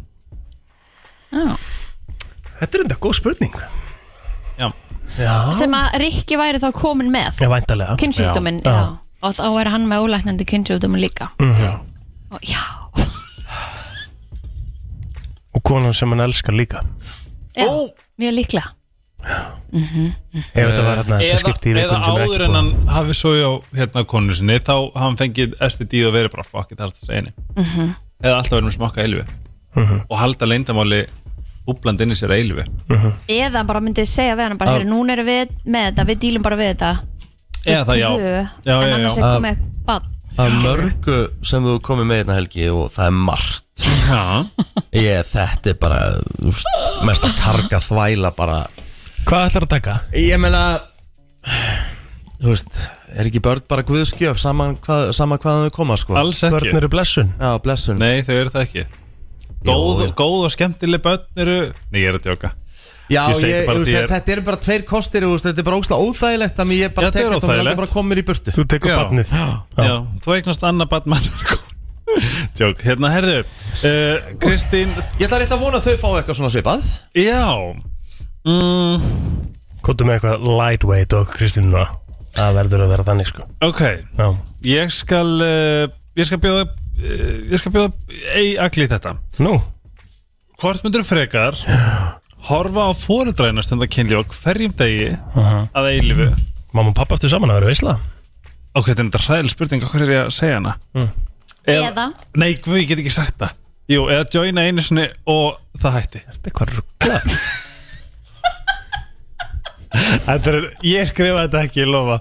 C: Þetta er enda góð spurning
I: já,
B: sem að Rikki væri þá komin með
C: Já, væntalega
B: kynnsjúkdóminn, já. og þá er hann með ólæknandi kynnsjúkdóminn líka
I: Mhm,
B: og já,
C: Og konan sem hann elskar líka
B: já mjög líklega
C: Ef þetta var hérna, þetta skipti í
I: eða
C: vikunum sem er
I: áður
C: ekki
I: en
C: búið.
I: hann hafi svo á hérna konu sinni þá hafi hann fengið STD og verið bara fuck it, það er alltaf að segja henni
F: Mhm.
I: eða alltaf verið með smokka eilvi
C: Mhm.
I: og halda leindamáli úbland inn í sér eilvi
B: Eða bara myndið segja við hann bara,
I: Já.
B: heyri, núna erum við með þetta, við dílum bara við þetta
I: eða það já,
B: Tvö, En
I: já, já, já.
B: annars er komið bann
A: Að mörgu sem þú komið með einna helgi og það er margt ég, Þetta er bara þú veist, mest að karga þvæla bara
C: Hvað ætlar að taka?
A: Ég meina Þú veist, er ekki börn bara guðskjöf saman hvað, sama hvaðan þau koma sko
I: Alls ekki. Börn eru
C: blessun
A: Já, blessun
I: Nei, þau eru það ekki góð, góð og skemmtileg börn eru nei, ég er að djóka
A: Já, ég,
I: segi
A: ég,
I: bara
A: þú veist,
I: þér-
A: þetta eru bara tveir kostir þú veist, Þetta er bara ógslag óþægilegt að mér ég bara
I: Já,
A: tek
I: þetta er
A: þetta og mér
I: óþægilegt.
A: langar bara að koma mér í burtu
C: Þú tekur
I: Já.
C: barnið.
I: Já, já. þú eignast annað barn mann Tjók, hérna, herðu uh, Kristín
A: Ég ætla rétt að vona að þau fá eitthvað svona svipað
I: Já mm.
C: Kóttu með eitthvað lightweight og Kristínuna Það verður að vera þannig sko
I: Ok,
C: Já.
I: ég skal uh, Ég skal bjóða uh, Ég skal bjóða ei agli í þetta
C: Nú
I: Hvort myndur frekar Horfa á fóreldræna stundar kynli og hverjum degi að eilifu
C: Mamma og pappa eftir saman að vera veisla
I: Ok, þetta er þetta hræðil spurning, hvað er ég að segja hana?
C: Mm.
I: Eða Nei, guð, ég get ekki sagt það Jú, eða joina einu sinni og það hætti Þetta
C: er hvað rugglað
I: Þetta er, ég skrifa þetta ekki, ég lofa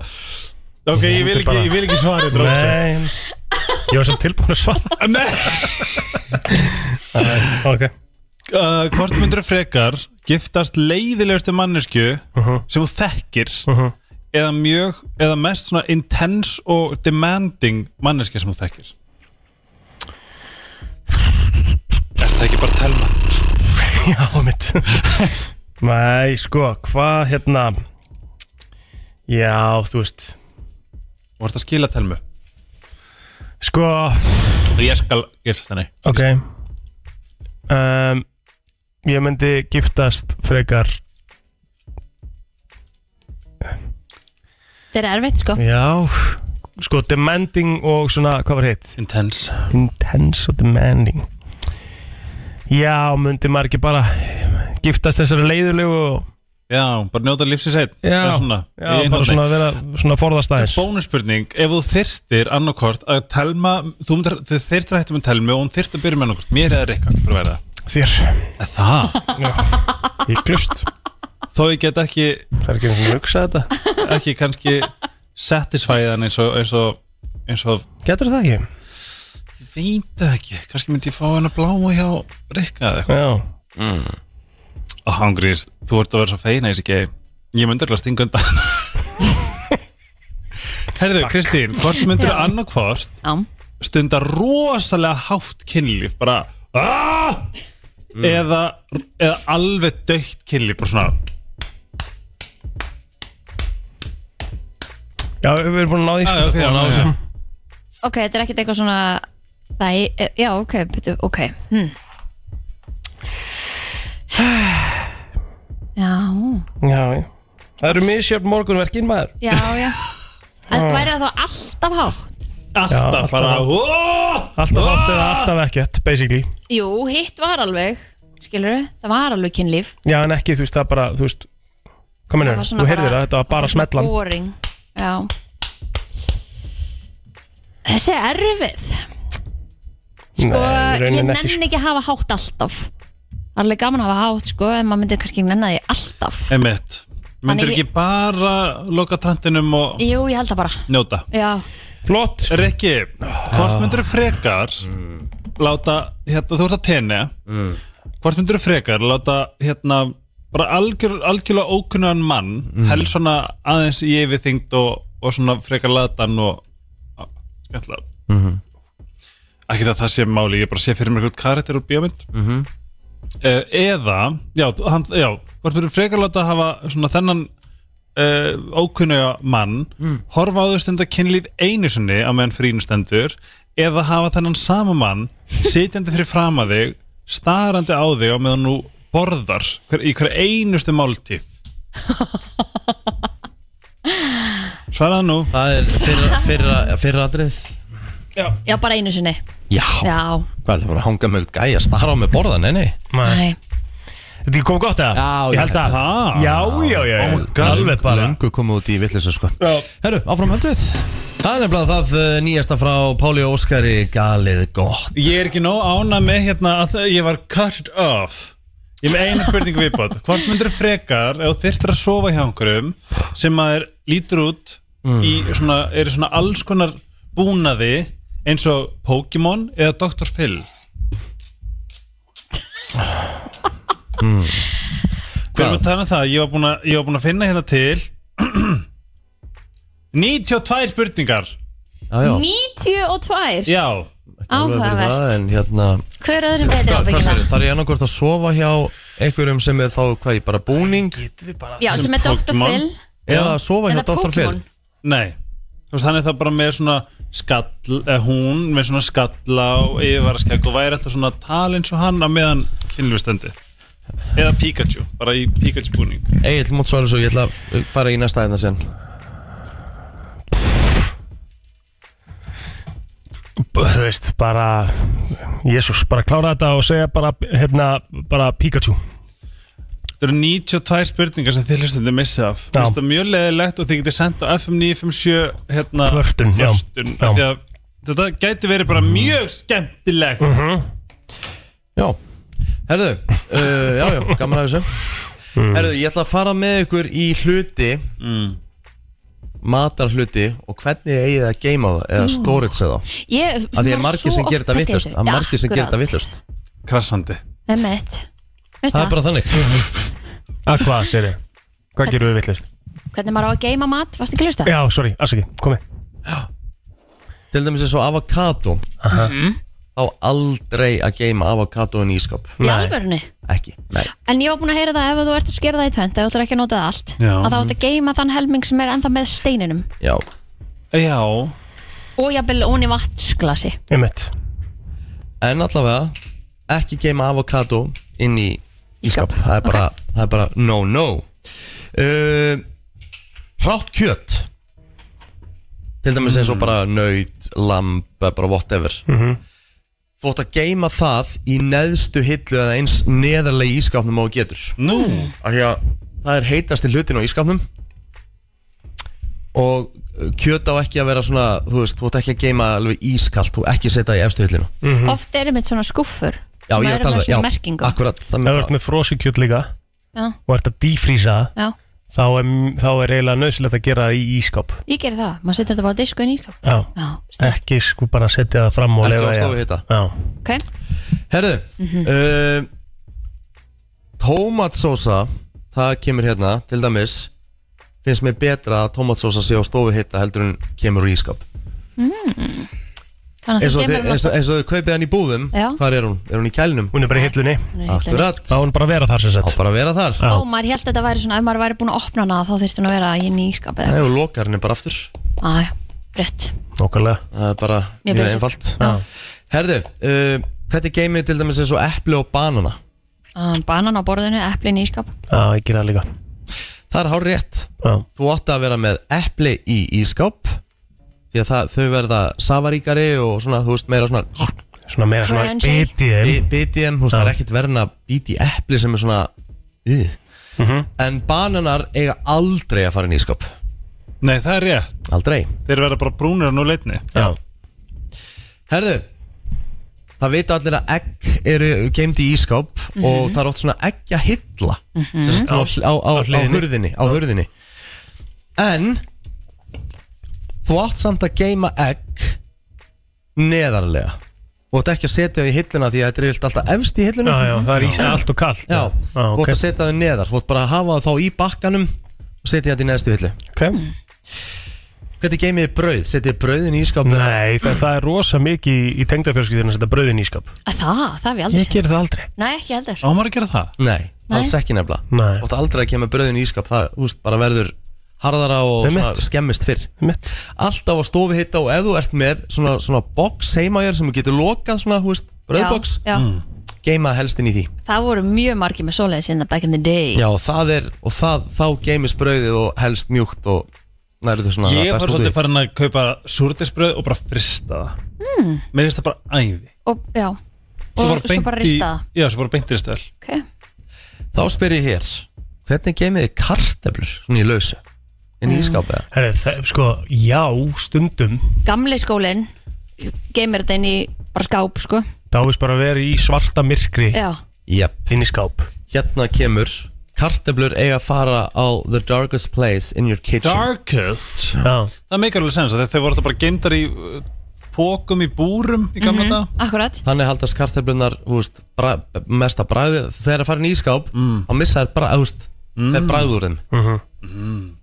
I: Ok, ég vil ekki, ég vil ekki svara þetta Rósa.
C: Nei Ég var samt tilbúin að svara
I: Nei
C: Ok
I: uh, Hvort myndur frekar giftast leiðilegustu mannesku sem þú þekkir eða mjög, eða mest svona intense og demanding manneski sem þú þekkir Er það ekki bara telma?
C: Já, mitt Nei, sko, hvað hérna Já, þú veist
I: Þú ert að skila telmu
C: Sko
I: Ég skal giftast henni
C: Ok um, Ég myndi giftast frekar
B: Þetta er erfitt sko
C: Já Sko, demanding og svona, hvað var hitt?
I: Intense
C: Intense og demanding Já, myndi maður ekki bara giftast þessari leiðulegu og
I: Já, bara njóta lífsins einn
C: Já,
I: Eða svona,
C: já, bara svona að vera- svona forðast aðeins.
I: Bónusspurning, ef þú þyrtir annarkort að telma, þú myndir, þau þyrtir að hættu með telmu og hún þyrt að byrja með annarkort, mér eða Rikka fyrir að vera
C: Þér
I: það Það?
C: Ég glust
I: Þó ég get ekki
C: Það er ekki eins og hugsa þetta
I: Ekki kannski satisfæðan eins og, eins og, eins og
C: Getur það ekki?
I: Ég veit það ekki, kannski myndi ég fá hennar bláma hjá Rikka eða eitthvað
C: Já
I: mm. Og hann grís, þú ert að vera svo feina í þessi geim Ég myndi alltaf stinga undan Herðu, Kristín, hvort myndir annarkvort stunda rosalega hátt kynlíf bara aah, eða, eða alveg dögt kynlíf bara svona
C: Já, við erum búin að ná því
I: sko. okay, já, ná, já.
B: Ok, þetta er ekkert eitthvað svona Það er, já, ok, betur, ok hm. Já,
C: Já, já Það eru misjöfn morgunverkin maður
B: já, já En
C: Já.
B: væri það þá alltaf hátt?
I: Alltaf bara, "Ah!"
C: Alltaf hátt eða alltaf ekkert, basically
B: Jú, hitt var alveg, skilur það var alveg kynlíf
C: Já, en ekki, þú veist, það bara, þú veist Hvað
B: Það
C: mennur,
B: var svona
C: þú heyrðir
B: bara-
C: það, þetta var bara smetlan
B: Boring, já Þessi er erfið Sko, ég
C: sko.
B: nenni ekki að hafa hátt alltaf Það er alveg gaman að hafa hátt, sko En maður myndir kannski ekki nenni því alltaf
I: Emmett, myndir
B: Þannig
I: ekki bara loka trantinum og
B: Jú, ég held það bara
I: njóta
B: Já,
C: Flott
I: Rikki, hvort myndir frekar láta, hérna, þú ert að tenni hvort myndir frekar láta, hérna, bara algjör, algjörlega ókunnan mann held svona aðeins í yfirþyngd og, og svona frekar latan og á, skemmtilega ekki það það sé máli, ég bara sé fyrir mér eitthvað karakter úr bíómynd
F: Mhm.
I: uh, eða já, þú- hann, já, hvort verður frekar láta að hafa svona þennan uh, ókunnuga mann horfa á þau stundar kynlíf einu sinni á meðan frínu stendur eða hafa þennan sama mann sitjandi fyrir fram að þig starandi á þig á meðan þú borðar hver, í hver einustu máltíð Svaraðu nú
A: Það er fyrra, fyrra, fyrra atrið
B: já bara einu sinni
A: Já,
B: Já,
A: hvað er það bara að hanga með einhvern gæja að stara á mig borða, nei nei
C: Nei.
B: nei
C: Þetta ekki kom gott eða?
A: Já,
C: ég held Oh að Já, já, já, já. alveg bara
A: Löngu komið út í villisa sko
C: Já.
A: Herru, áfram höldu við Það er nefnilega það uh, nýjasta frá Páli og Óskari Galið gott
I: Ég er ekki nóg ána með hérna að það- ég var cut off Ég er með eina spurningu viðbót Hvort myndur frekar ef þú þyrftir að sofa hjá einhverjum sem maður lítur út í svona, eru svona alls konar búnaði eins og Pokémon eða Dr. Phil
F: Mm.
I: Hver var það með um það? Ég var búin að, ég var búin að finna hérna til 92 spurningar
A: Já,
B: 92
I: Já
B: Áhugavert
A: En hérna
B: Hver öðrum betri ábyggjum það?
A: Þar er ég annarkvort að sofa hjá einhverjum sem er þá, hvað ég, bara búning
B: Já, sem er Dr. Phil
A: Eða að sofa hjá
B: Eða
A: Dr. Phil
B: Pokémon.
I: Nei Þú veist, hann er það bara með svona skall, eh, hún með svona skalla og yfirvaraskegg og væri alltaf svona tal eins og hann að meðan kynlufstendi eða Pikachu, bara í Pikachu búning
A: Egil mót svara svo, ég ætla að fara í næsta hérna aðeina sen
C: Þú veist, bara Jésús, bara klára þetta og segja bara hérna, bara Pikachu
I: Það eru 92 spurningar sem þið hlustandi missa af Mér finnst það mjög leðilegt og þið getið sendt á FM 957 hérna,
C: Kvörtun, já.
I: kvörtun,
C: Já.
I: af því að Þetta gæti verið bara mjög skemmtilegt
C: Mhm.
A: Já, herðu, uh, já, já, gaman að þessu Herðu, ég ætla að fara með ykkur í hluti Matar hluti og hvernig eigið þið að geima það eða
B: Jú.
A: storage það
B: Ég
A: Að því er
B: var
A: margir
B: svo
A: sem
B: oft
A: gerir þetta
B: pælt í
A: vittlust
B: þessu.
A: Það er margir sem gerir þetta
B: Akkurat.
A: vittlust
I: Krassandi
B: Einmitt. Veist
A: Það er bara þannig
C: Að Ah, hvað, segir ég? Hvað gerum við vittlist?
B: Hvernig maður á að geima mat, varstu ekki að hlusta?
C: Já, sorry, afsaki, komið
A: Til dæmis eins og avokado Þá aldrei að geima avokadóin í ískap
B: Í alvörunni?
A: Ekki, nei
B: En ég var búin að heyra það ef þú ert að skera það í tvend, ef þú ætlar ekki að nota það allt
A: Já.
B: að þá ert að geima þann helming sem er ennþá með steininum
A: Já
I: Já
B: og jafnvel ón í vatsglasi
C: Einmitt
A: En allavega, ekki geima avokado inn í ískap Það er bara, það er bara no no uh, Rátt kjöt Til dæmis eins og bara nöyt, lamb, bara whatever
C: Mhm.
A: Þú ætti að geima það í neðstu hillu eða eins neðarlega í ískapnum og þú getur
I: Nú
A: Af því að það er heitasti hlutin á ískapnum Og kjöt á ekki að vera svona, þú veist, þú ætti ekki að geima alveg ískalt Þú ekki setja það í efstu hillinu
B: Oft erum við svona skuffur
A: Mhm. Já,
B: sem
A: ég
B: eru
A: tala
B: með
A: það, já,
B: svona merkingu.
A: akkurat
C: Ef þú ert með frosikjöt líka
B: Já.
C: og ert að dýfrísa það,
B: Já,
C: þá er, þá er eiginlega nöðsilegt að gera það í ískáp
B: ég gerir það, maður setjar þetta bara á disku inn í ískap
C: Já, ekki sko bara setja það fram og
A: Ekki
C: leyfa
A: láta
C: því að-
A: stofu hita.
C: Já,
B: Ok,
A: Herðu
B: Mhm.
A: uh, Tómatsósa Það kemur hérna, til dæmis Finnst mér betra að tómatsósa sé á stofu hitta heldur en kemur úr ískap
B: mm. Þannig að
A: eins
B: þú
A: og, þið,
B: geimar
A: eins, og, eins og þið kaupið hann í búðum
B: Já.
A: Hvar er hún? Er hún í kælinum?
C: Hún er bara í hillunni
B: Hún er í hillunni.
A: Akkurat
C: Þá er hún bara að vera þar sem sett
A: Þá bara að vera þar
B: Ó, maður held að þetta væri svona, ef maður væri búin að opna hana þá þurfti hún að vera inn í ískapið
A: Nei, hún lokar henni bara aftur
B: Æ, rétt
C: Nókvælega
A: Það er bara
B: Mjög
A: mjög
B: basic.
A: einfalt
B: Já.
A: Herðu, uh, þetta er geimið til dæmis eins og epli og banana
B: Um, Banan á borðinu, eplin í ískap
C: Já, ég gera það líka
A: Það er hár rétt
C: Já.
A: Þú átt að vera með epli í ískáp Því að það, þau verða safaríkari og svona, þú veist, meira svona
C: Svona meira svona Crunchy. bit í þeim.
A: þeim Bit í þeim, þú veist, það er ekkert verðin að bíti í epli sem er svona uh. En bananar eiga aldrei að fara inn í ískáp
I: Nei, það er rétt
A: Aldrei
I: Þeir verða bara brúnir og nú leitni
C: Já
A: Herðu Það vita allir að egg eru geimd í ískáp og það er oft svona eggja hilla
F: Mhm.
A: sem sagt svona á, á, á,
F: Á
A: á
F: hliðinni.
A: hurðinni á hurðinni En þú átt samt að geima egg neðarlega Þú átt ekki að setja þau í hilluna því að þetta er yfirleitt alltaf efst í hilluna
C: Já, já, það er ís- allt og kallt.
A: Já,
C: Já,
A: þú
C: ok.
A: átt að setja þau neðar Þú átt bara að hafa þau þá í bakkanum og setja þetta í neðstu hillu
C: okay.
A: Hvernig geimið þið brauð? Setja brauðin í ískáp
C: Nei, það, það er rosa mikið í, í tengdafjörskiptinu að setja brauðin í ískap
B: Að Það, það hef ég aldrei
C: Ég gerir það aldrei
B: Nei, ekki heldur
I: Ámar að gera það?
A: Nei,
B: Nei.
A: alls ekki nefnilega
C: Nei.
A: Þú átt aldrei að kemur bröðin í ískap Það úst, bara verður harðara og
C: Einmitt.
A: svona, skemmist fyrr
C: Einmitt.
A: Alltaf á stofi hitta og ef þú ert með svona, svona box heima hér sem þú getur lokað svona, hú veist, bröðbox
B: Já, já. Mm.
A: Geima helstin í því
B: Það voru mjög margir með svoleiðis in the back in the day
A: Já, og það er, og það, þá geimist brauðið og helst mjúkt og nærðu þau svona
I: Ég
A: best
I: var
A: út í
I: svolítið
A: því.
I: farin að kaupa súrdisbröð og bara frista það
B: mm.
I: Mér finnst það bara æði
B: Og, já,
I: Svo
B: og svo bara rista það
I: Já, svo bara beint í stöðl
B: Ok.
A: Þá spyr ég hér Hvernig geymið þið karteflur svona í lausu inn í
B: Mm.
A: ískápi eða?
C: Herri, það, sko, já, stundum
B: Gamli skólinn geymir þetta inn í bara skáp sko
C: Þá veist bara að vera í svarta myrkri
B: Já,
A: Jep
C: Inn í skáp
A: Hérna kemur Karteflur eiga að fara á the darkest place in your kitchen
I: Darkest
C: Já.
I: Það meikar alveg sens að þeir voru þetta bara geimdar í uh, pókum í búrum
B: Mhm.
I: í gamla mm
B: akkurat
A: Þannig haldast karteflunar húst, bra, mesta bræði Þegar það farin í ískáp mm. Þá missa þær bara, húst, mm. þeir bræðurinn
C: mm -hmm.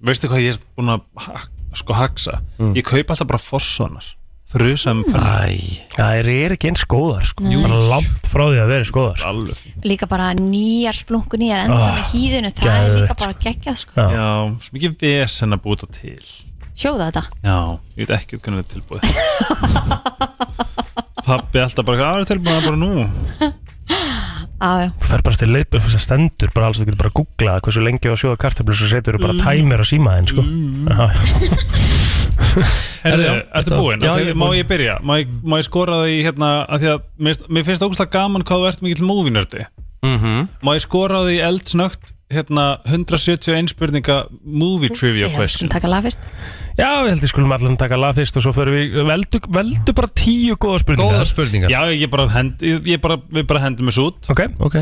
I: Veistu hvað ég er búin að ha- sko haksa Ég kaupa alltaf bara forsonar Frusaðum
B: Hmm.
A: pönn
C: Það eru ekki eins góðar sko.
B: Nei.
C: Bara langt frá því að vera eins góðar sko.
I: Alveg
B: Líka bara nýjar splunku nýjar enda
I: Ah,
B: með hýðinu Það er
I: geðveikt,
B: líka bara geggjað sko
I: Já, svo mikið vesen að búta til
B: Sjóða þetta
I: Já, ég veit ekki hvernig þetta er tilbúið Pappi alltaf bara Það er tilbúið það er bara nú
B: ah, já.
C: Fer bara til leipur, það stendur bara alls, þú getur bara að googla það, hversu lengi á að sjóða kartöflu svo setur þú bara
I: Mm.
C: tæmir á símaðin sko.
I: Erðu,
C: já,
I: ertu
C: þetta-
I: búinn?
C: Já,
I: Ok,
C: ég er
I: Má
C: búinn.
I: ég byrja? Má ég, má ég skora það í hérna að því að mér finnst- Mér finnst ógustlega gaman hvað þú ert mikill múvinördi
A: Mhm.
I: Má ég skora það í eldsnögt hérna 171 spurninga movie trivia question
B: Takk að laga fyrst
C: Já, við heldum við skulum allan taka lag fyrst og svo förum við, veldu, veldu bara tíu góða spurningar
A: Góðar spurningar
I: Já, ég bara, hend, ég, ég bara, við bara hendum þessu út
C: Ok,
A: ok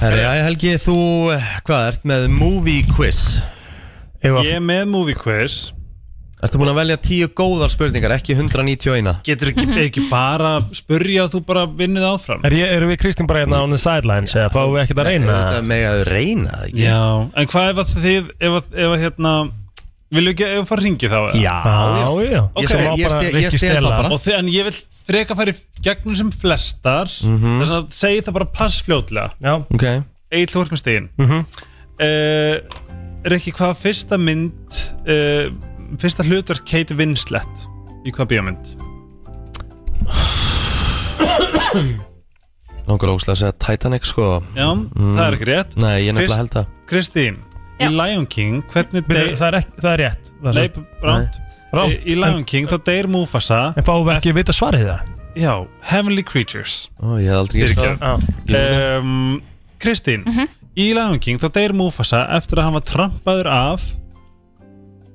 A: Herri, já, Helgi, þú, eh, hvað, ert með movie quiz
I: Ég er með movie quiz
A: Ertu búin að velja tíu góðar spurningar, ekki 191
I: Getur ekki, ekki bara spurja og þú bara vinnið áfram
C: er ég, eru við Kristín bara hérna on the sidelines eða fáum við ekkert að reyna?
A: Þetta megaðu reyna það ekki
I: Já, en hvað ef að þið, ef að, ef að hérna Viljum við ekki, ef að fara ringi þá? eða?
A: Já,
C: já, já.
I: Ok.
A: Ég stel- ég stel- ég
C: Rikki
A: stel það
C: Stella.
A: bara.
I: Og því, en ég vil freka fara í gegnum sem flestar Þess að segi það bara pass fljótlega
C: Já,
A: Ok
I: Egil Þú ert með stegin
C: mm -hmm.
I: Rikki, hvað var fyrsta mynd uh, Fyrsta hlutur Kate Winslet Í hvað bíómynd?
A: Nókur ógslag að segja Titanic, sko
I: Já, það er ekki rétt
A: Nei, ég nefnilega held að
I: Kristín, í Lion King Hvernig deyr
C: það, er ekki, það er rétt Það er
I: Nei,
C: svo-
I: rámt
C: Rangt.
A: eh,
I: Í í Lion King, þá deyr Mufasa
C: En fáum við ekki að vita svarið það?
I: Já, Heavenly Creatures
A: Ó, ég hef aldrei
I: Fyrirgefðu.
A: giskað.
I: um, Kristín Í Lion King þá deyr Mufasa eftir að hann var trampaður af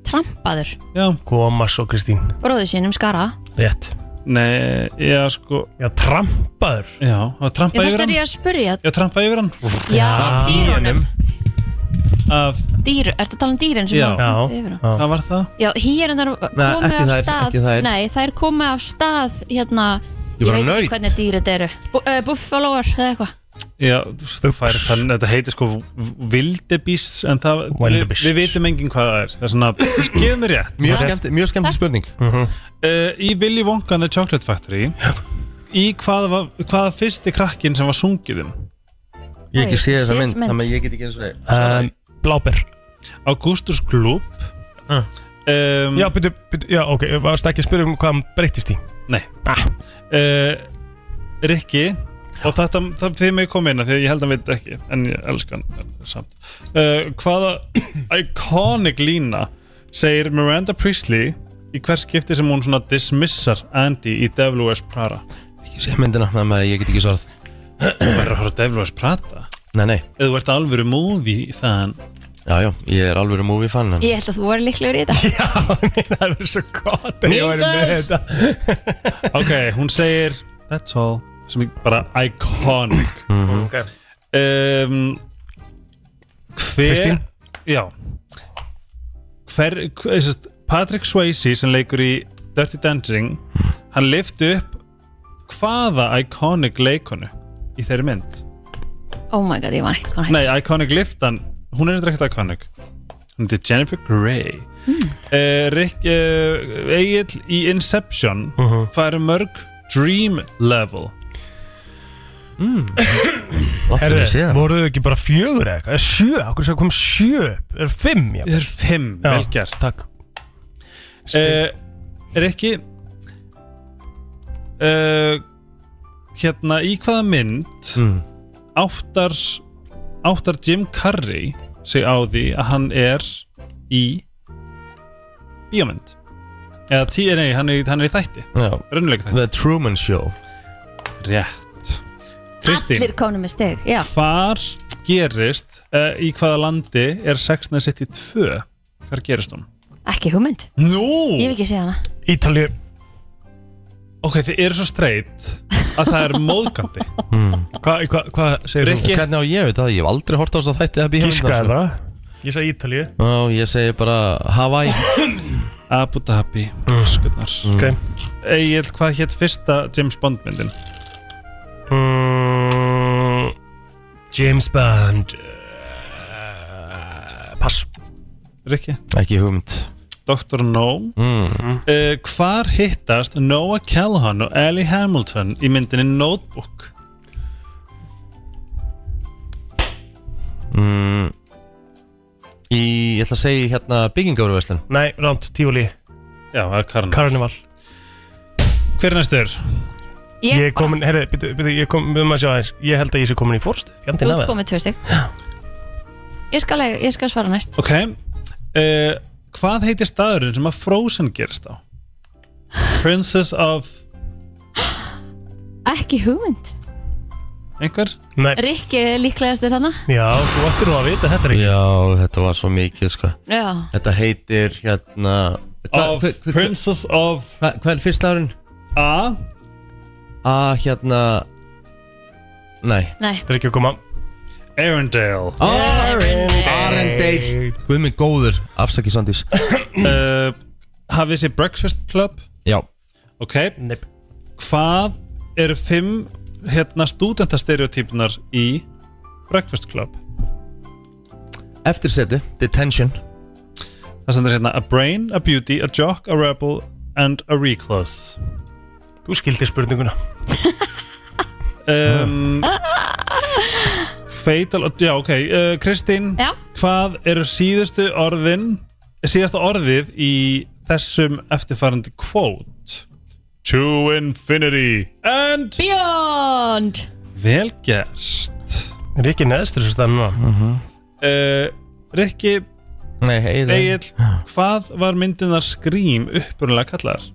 B: Trampaður
I: Já
C: Koma svo Kristín,
B: Bróður sínum skara
C: rétt
I: Nei, já sko
C: Já, trampaður
I: Já, hann var
B: Ég
I: trampað
B: þarst
I: yfir
B: að
I: hann
B: ég að spurja
I: Já, trampað yfir hann
B: Já, af dýrunum
I: af,
B: Dýr, ertu að tala um dýrin sem
I: Já.
B: hafa trampað yfir hann?
I: Hvað var það?
B: Já, hýjurnar komu
I: ekki
B: af
I: þær,
B: stað
I: ekki þær.
B: Nei, þær komu af stað hérna Ég
I: Ég var
B: veit
I: naut.
B: ekki hvernig dýr þetta eru Bu- uh, Buffaloar eða eitthvað
I: Já, þú veist, þú færi þann Þetta heitir sko Vildebeasts En það, við,
C: Wildebeest.
I: við vitum engin hvað það er Það er svona, gefðu mér rétt
A: Mjög skemmt- Mjög skemmt spurning
I: uh, Í Willy Wonka and the Chocolate Factory Í hvaða, var- hvaða fyrsti krakkin sem var sungiðum?
A: Ég hef ekki séð þessa mynd,
I: mynd.
A: þannig að ég get ekki eins og
C: um, Bláber
I: Augustus Gloop
C: uh.
A: Mm.
I: um,
C: Já, byrju, byrju, já, ok, varst ekki að spyrja um hvað hann breyttist í
I: Nei ah. Rikki Og þetta, það, þið með koma inn að því að ég held að hann veit ekki En ég elska hann en samt uh, Hvaða iconic lína segir Miranda Priestley í hvers skipti sem hún svona dismissar Andy í Devil Wears Prada
A: Ekki séð myndina, þannig að ég get ekki svarað
I: Þú verður að horfa á Devil Wears Prada
A: Nei, nei
I: Ef þú ert alvöru movie fan
A: Já, já, ég er alveg movie fan en...
B: Ég held að þú voru líklegur í þetta
C: Það er svo gott að ég væri með þetta
I: Ok, hún segir That's all sem er bara iconic
C: Ok
I: um, Hver
C: Kristín?
I: Já Hver, hver sest, Patrick Swayze sem leikur í Dirty Dancing hann lifti upp hvaða iconic leikonu í þeirri mynd
B: Oh my god, ég var ekkert hvað
I: Nei, iconic liftan, hún er eitthvað ekkert iconic hún heitir Jennifer Grey mm. Rick uh, Egil í Inception hvað eru mörg dream level
C: Herri, voruðu ekki bara fjögur eða eitthvað? Eða Sjö, okkur sem kom sjö upp? Er fimm, já
I: Ég er fimm,
C: Já,
I: vel gert
C: Takk
I: uh, Rikki uh, Hérna, í hvaða mynd áttar áttar Jim Carrey sig á því að hann er í bíómynd eða tí, nei, hann er, í- hann er í þætti
A: Já.
I: raunulegu þætti
A: The Truman Show
I: Rétt Kristín.
B: Allir komnum með stig, já
I: Hvar gerist, uh, í hvaða landi er Sex and the City 2? Hvar gerist hún?
B: Ekki hugmynd
I: Nú
B: Ég hef ekki séð hana
C: Ítalju
I: Ok, þið eru svo streitt að það er móðgandi
C: Hvað hva, hva segir
I: Rikki?
A: Hvernig á ég veit það, ég hef aldrei hort á þess að þætti að býja
C: Gíska er það sko. Ég sagði Ítalju
A: Já, ég segi bara Hawaii
I: Abu Dhabi Skurnar
C: Ok
I: Egil, hvað hétt fyrsta James Bond myndin?
C: mm, James Bond uh, Pass
I: Rikki?
A: Ekki hugmynd
I: Dr. No
A: mm.
I: uh, Hvar hittast Noah Callahan og Ellie Hamilton í myndinni Notebook?
A: Mm. Í, ég ætla að segja hérna byggingaurverslun
C: Nei, rámt, Tífúli
I: Já, það er Karna
C: Karnival
I: Hver er næstur?
C: Ég er komin, herri, byrju, byrju, ég er komin Við maður að sjá aðeins Ég held að ég sé komin í fórstu
B: Þú
C: Fjandinn af
B: ert
C: það
B: komið tvö stig Ég skal, ég skal svara næst
I: Ok uh, Hvað heitir staðurinn sem að Frozen gerist á? Princess of
B: Ekki hugmynd
I: einhver?
C: Nei,
B: Rikki er líklegast þess hana
C: já, þú ættir nú að vita þetta er ekki
A: Já, þetta var svo mikið sko
B: Já
A: Þetta heitir hérna
I: Of
A: hver- hver-
I: Princess of
A: hva- Hvað er fyrsta árun?
I: A
A: A hérna Nei
B: Nei
C: Þetta er ekki að koma
I: Arendelle
A: Arendale Guð minn góður, afsaki Sandís
I: uh, Hafið þessi Breakfast Club
A: Já,
I: Ok,
C: Neip
I: hvað eru fimm hérna stúdentastereotypunar í Breakfast Club?
A: eftir setu, detention
I: Það sendur hérna A brain, a beauty, a jock, a rebel and a recluse
C: Þú skildir spurninguna
I: um, Fatal, já ok uh, Kristín,
B: Já.
I: hvað eru síðustu orðin síðasta orðið í þessum eftirfarandi quote To infinity and
B: Beyond
I: Vel gert
C: Er ekki neðstur þess að núna
I: uh, Rikki,
A: Nei, heiði
I: Egil, hvað var myndinar Scream upprunalega kallar?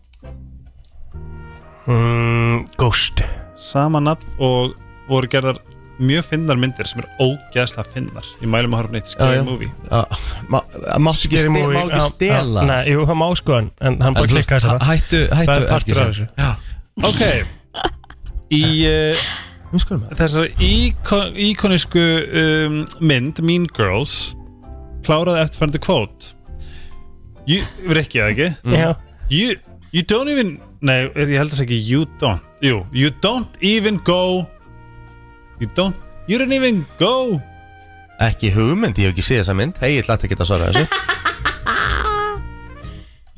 C: mm, Ghost
I: Sama nafn og voru gerðar mjög finnar myndir sem er ógeðslega finnar Ég mælum að horfa á neitt
A: Já,
I: Scary
A: já.
I: Movie
A: Ah, ma- Máttu ekki,
C: Scary
A: ste
C: movie,
A: má ekki
C: já,
A: stela
C: já, Nei, jú, hann má sko en, en hann
A: En
C: bara
A: þú veist,
C: klikkaði
A: hæ-
C: þess að
A: Hættu, hættu
C: Það er partur af þessu
I: Ok Í uh,
A: Nú skoðum við
I: þessari íkon, íkonisku um, mynd Mean Girls kláraði eftirfærandi quote You, Rikki, eða ekki?
C: Já
I: You, you don't even Nei, ég held þess ekki You don't Jú, you don't even go You don't You don't even go
A: Ekki hugmynd, ég hef ekki séð þessa mynd Hei, ég ætla ekki að svara þessu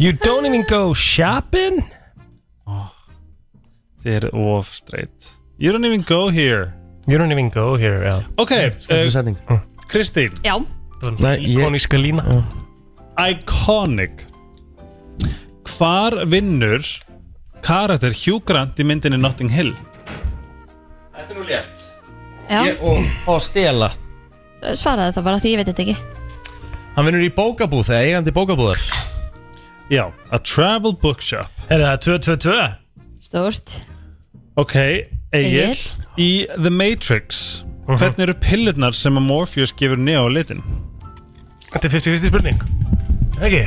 C: You don't even go shopping
I: Þið eru of straight You don't even go here
C: You don't even go here, já
I: Ok,
A: Þetta er
I: uh,
A: setning
I: Kristín
B: Já
C: Það
A: Nei,
C: var
A: ég-
C: Íkoníska lína
I: Iconic Hvar vinnur karakter Hugh Grant í myndinni Notting Hill
A: Þetta er nú létt
B: Já
A: Ég- Og og stela
B: Svaraði það bara því ég veit þetta ekki
A: Hann vinnur í bókabúð, þegar eigandi bókabúðar
I: Já, a travel bookshop
C: Er það 222?
B: Stórt
I: Ok, Egil
B: Egill.
I: Í The Matrix Hvernig eru pillurnar sem að Morpheus gefur Neo litin?
C: Þetta er 50-50 spurning Ekki?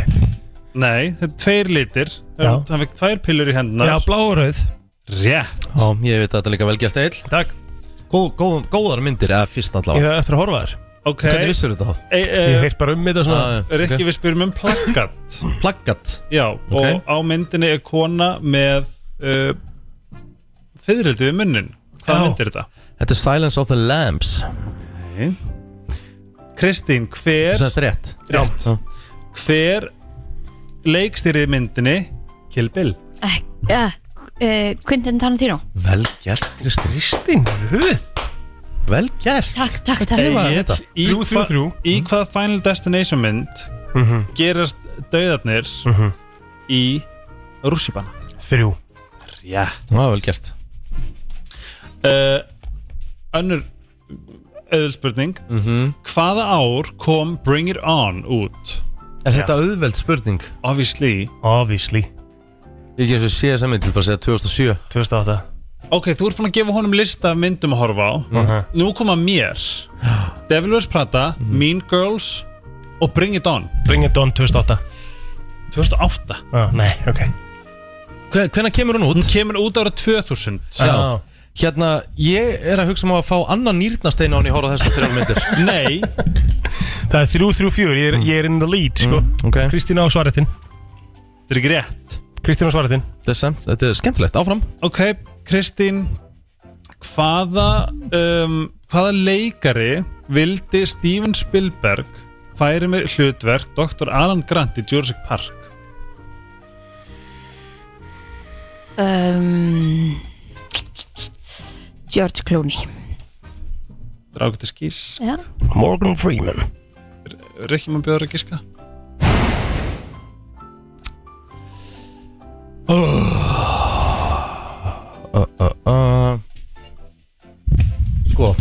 I: Nei, þetta er tveir litir
C: Já.
I: Hann fekk tvær pillur í hendunar
C: Já, blá og rauð
I: Rétt
A: Já, ég veit að þetta er líka vel gert eil
C: Takk
A: Góð, góð, Góðar myndir, eða fyrst
C: Ég
A: allavega
C: þarf eftir að horfa þér
I: Ok,
A: Hvernig vissur þetta þá?
I: e, e,
C: Ég heilt bara um þetta svona
A: Ah,
I: Rikki
A: ok.
I: við spyrum um plakkat
A: Plaggat
I: Já, og á myndinni er kona með uh, Fyðrildi við munnin Hvaða
C: Já.
I: mynd er þetta?
A: Þetta er Silence of the Lambs
I: Kristín, hver,
A: Þess að rétt
I: Rétt.
A: Já.
I: hver leikstýrið myndinni Kill Bill?
B: Ek, ja, uh, Eh, Quentin Tarantino
A: Vel gert, Kristi
C: Kristín, hud
A: Vel gert
B: Takk, takk, takk
A: Ég var þetta
I: Í,
C: Þrjú, þrjú, þrjú.
I: í hvaða Final Destination mynd gerast dauðarnir í rússipanna?
C: Þrjú
I: Já
A: Já, vel gert
I: uh, Önnur öðulspurning mm Hvaða ár kom Bring It On út?
A: Er þetta auðveld spurning?
I: Obviously
C: Obviously
A: Ég ekki eins og sé þessa mynd, ég vil bara segja 2007
C: 2008
I: Ok, þú ert búin að gefa honum lista af myndum að horfa á Nú koma mér Devil Wears Prada, Mean Girls og Bring It On
C: Bring It On 2008
I: 2008?
C: ah, Nei, ok
A: Hvenær kemur hún út?
I: Hún kemur út ára 2000
A: Já. Hérna, ég er að hugsa um að fá annan nýrnastein á hann í horf á þessar þrjálf myndir
I: Nei
C: Það er 3-3-4, ég, er-
A: Mm.
C: ég er in the lead sko. okay. Kristína á svaretin
I: Þetta er ekki rétt
C: Kristína á svaretin
A: Þetta er, samt, þetta er skemmtilegt, áfram
I: Ok, Kristín Hvaða um, Hvaða leikari vildi Steven Spielberg færi með hlutverk Dr. Alan Grant í Jurassic Park
B: um, George Clooney
I: Drákti skís
B: Já.
C: Morgan Freeman
I: Rikki maður bjóður að giska
A: uh, uh, uh. Sko,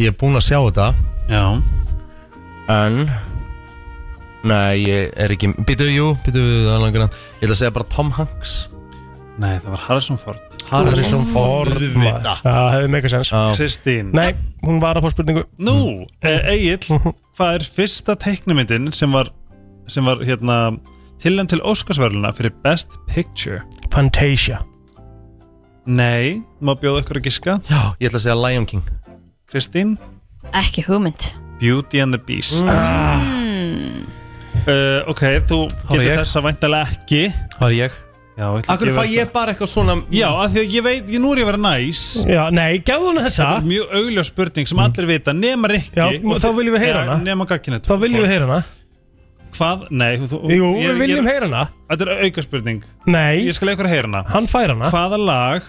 A: ég er búinn að sjá þetta
I: Já
A: En Nei, ég er ekki Býtu, jú, býtu við alveg grann Ég ætla að segja bara Tom Hanks
I: Nei, það var Harrison Ford
A: Harrison Ford
C: Það hefði megasens
A: Já,
I: Kristín
C: Nei, hún var að fá spurningu
I: Nú, Egil Hvað er fyrsta teiknumyndin sem var sem var hérna tilnæm til Óskarsverðluna fyrir Best Picture
C: Fantasia
I: Nei, maður bjóða ykkur að giska
A: Já, ég ætla að segja Lion King
I: Kristín
B: Ekki hugmynd
I: Beauty and the
C: Mm.
I: Beast Ah. uh, Ok, þú getur
A: ég.
I: þess að væntalega ekki
A: Það er ég
I: Já,
A: Akkur fæ ég bara eitthvað svona
I: Já, af því að ég veit, ég, nú er ég að vera næs
C: Já, nei, gefðu hún þessa
I: Það er mjög augljós spurning sem allir vita nema
C: Mm.
I: Rikki
C: Já,
I: og
C: þá
I: þi-
C: viljum við heyra
I: Já,
C: hana.
I: Nema gagkinet
C: Þá viljum við heyra hana
I: Hvað? Nei þú,
C: Jú,
I: ég-
C: við
I: ég-
C: viljum heyra hana
I: Þetta er auka spurning
C: Nei,
I: Ég skal leiða ykkur að heyra hana
C: hann fær hana
I: Hvaða lag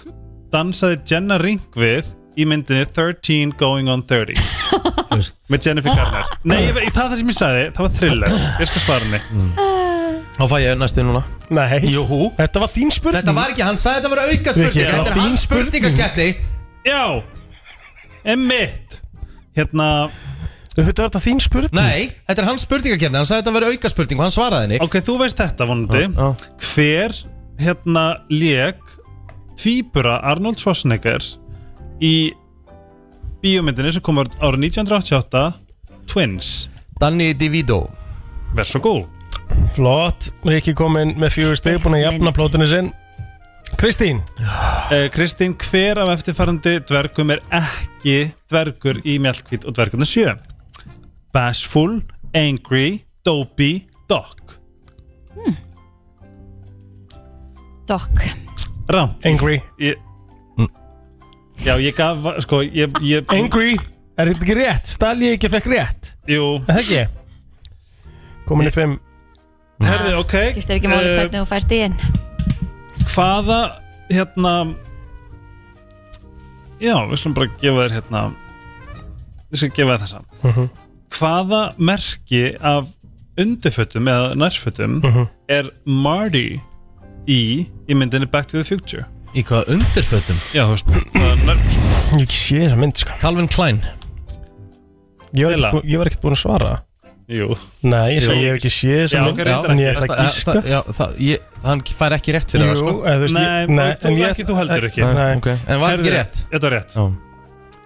I: dansaði Jenna Ring við í myndinni 13 Going on 30
A: Veist.
I: með Jennifer Garner Nei, ég, það er það sem ég sagði, það var thriller Ég skal svara henni
A: Þá fæ ég næstu núna
C: Nei,
A: Jú
C: þetta var þín spurning
A: Þetta var ekki, hann sagði þetta var auka spurning
C: Rikki,
A: Þetta
C: það
A: er hans
C: var fín spurning.
A: spurningaketti
I: Já, emmitt Hérna,
C: Þetta var þetta þín spurning
A: Nei, þetta er hans spurningaketti Hann sagði þetta var auka spurning og hann svaraði henni
I: ok, þú veist þetta vonandi
A: Já, já.
I: Hver, hérna, lék Tvíbura Arnold Schwarzenegger í bíómyndinni sem kom árið 1988 Twins
A: Danny DeVito
I: Verð svo góð
C: Flott, Rikki kom inn með fjögur stig Búin að jafna
B: Mynd.
C: plótunni sinn Kristín,
I: Eh, Kristín, hver af eftirfarandi dvergum er ekki dvergur í Mjallkvít og dvergurna sjö? Bashful, Angry, Dopey, Dog
B: Doc
I: Rám
C: angry
I: ég... Já, ég gaf, sko, ég, ég
C: Angry, er þetta ekki rétt? Stal ég ekki að fekk rétt?
I: Jú,
C: Er Það ekki Komin í fimm
I: herði, ok
B: Skiptir ekki máli
I: Eh,
B: hvernig þú færst í inn
I: Hvaða, hérna Já, við slum bara gefa þér hérna Ég skal gefa þér þessa Hvaða merki af undirfötum eða nærfötum er Marty í í myndinni Back to the Future
A: Í hvaða undirfötum?
I: Já, þú veist, það er nærfötum
C: Ég hef ekki sé þessa mynd sko
A: Calvin Klein
C: Ég var
I: Stella.
C: ekkert bú- ég var ekkert búin að svara
I: Jú,
C: Nei, ég, sagði,
I: Jú.
C: ég hef ekki sé
I: Já,
C: þessa
I: ok,
C: mynd
I: reyndar
C: En
I: ekki.
C: ég ætla að gíska
A: það, já, það, ég, hann fær ekki rétt fyrir það sko
C: eða þú veist, ég-
I: Nei, þú-
C: en ég-
I: ekki þú heldur ekki.
C: Nei,
A: Ok, En var
I: Herðu,
A: ekki rétt?
I: Þetta var rétt
A: Já.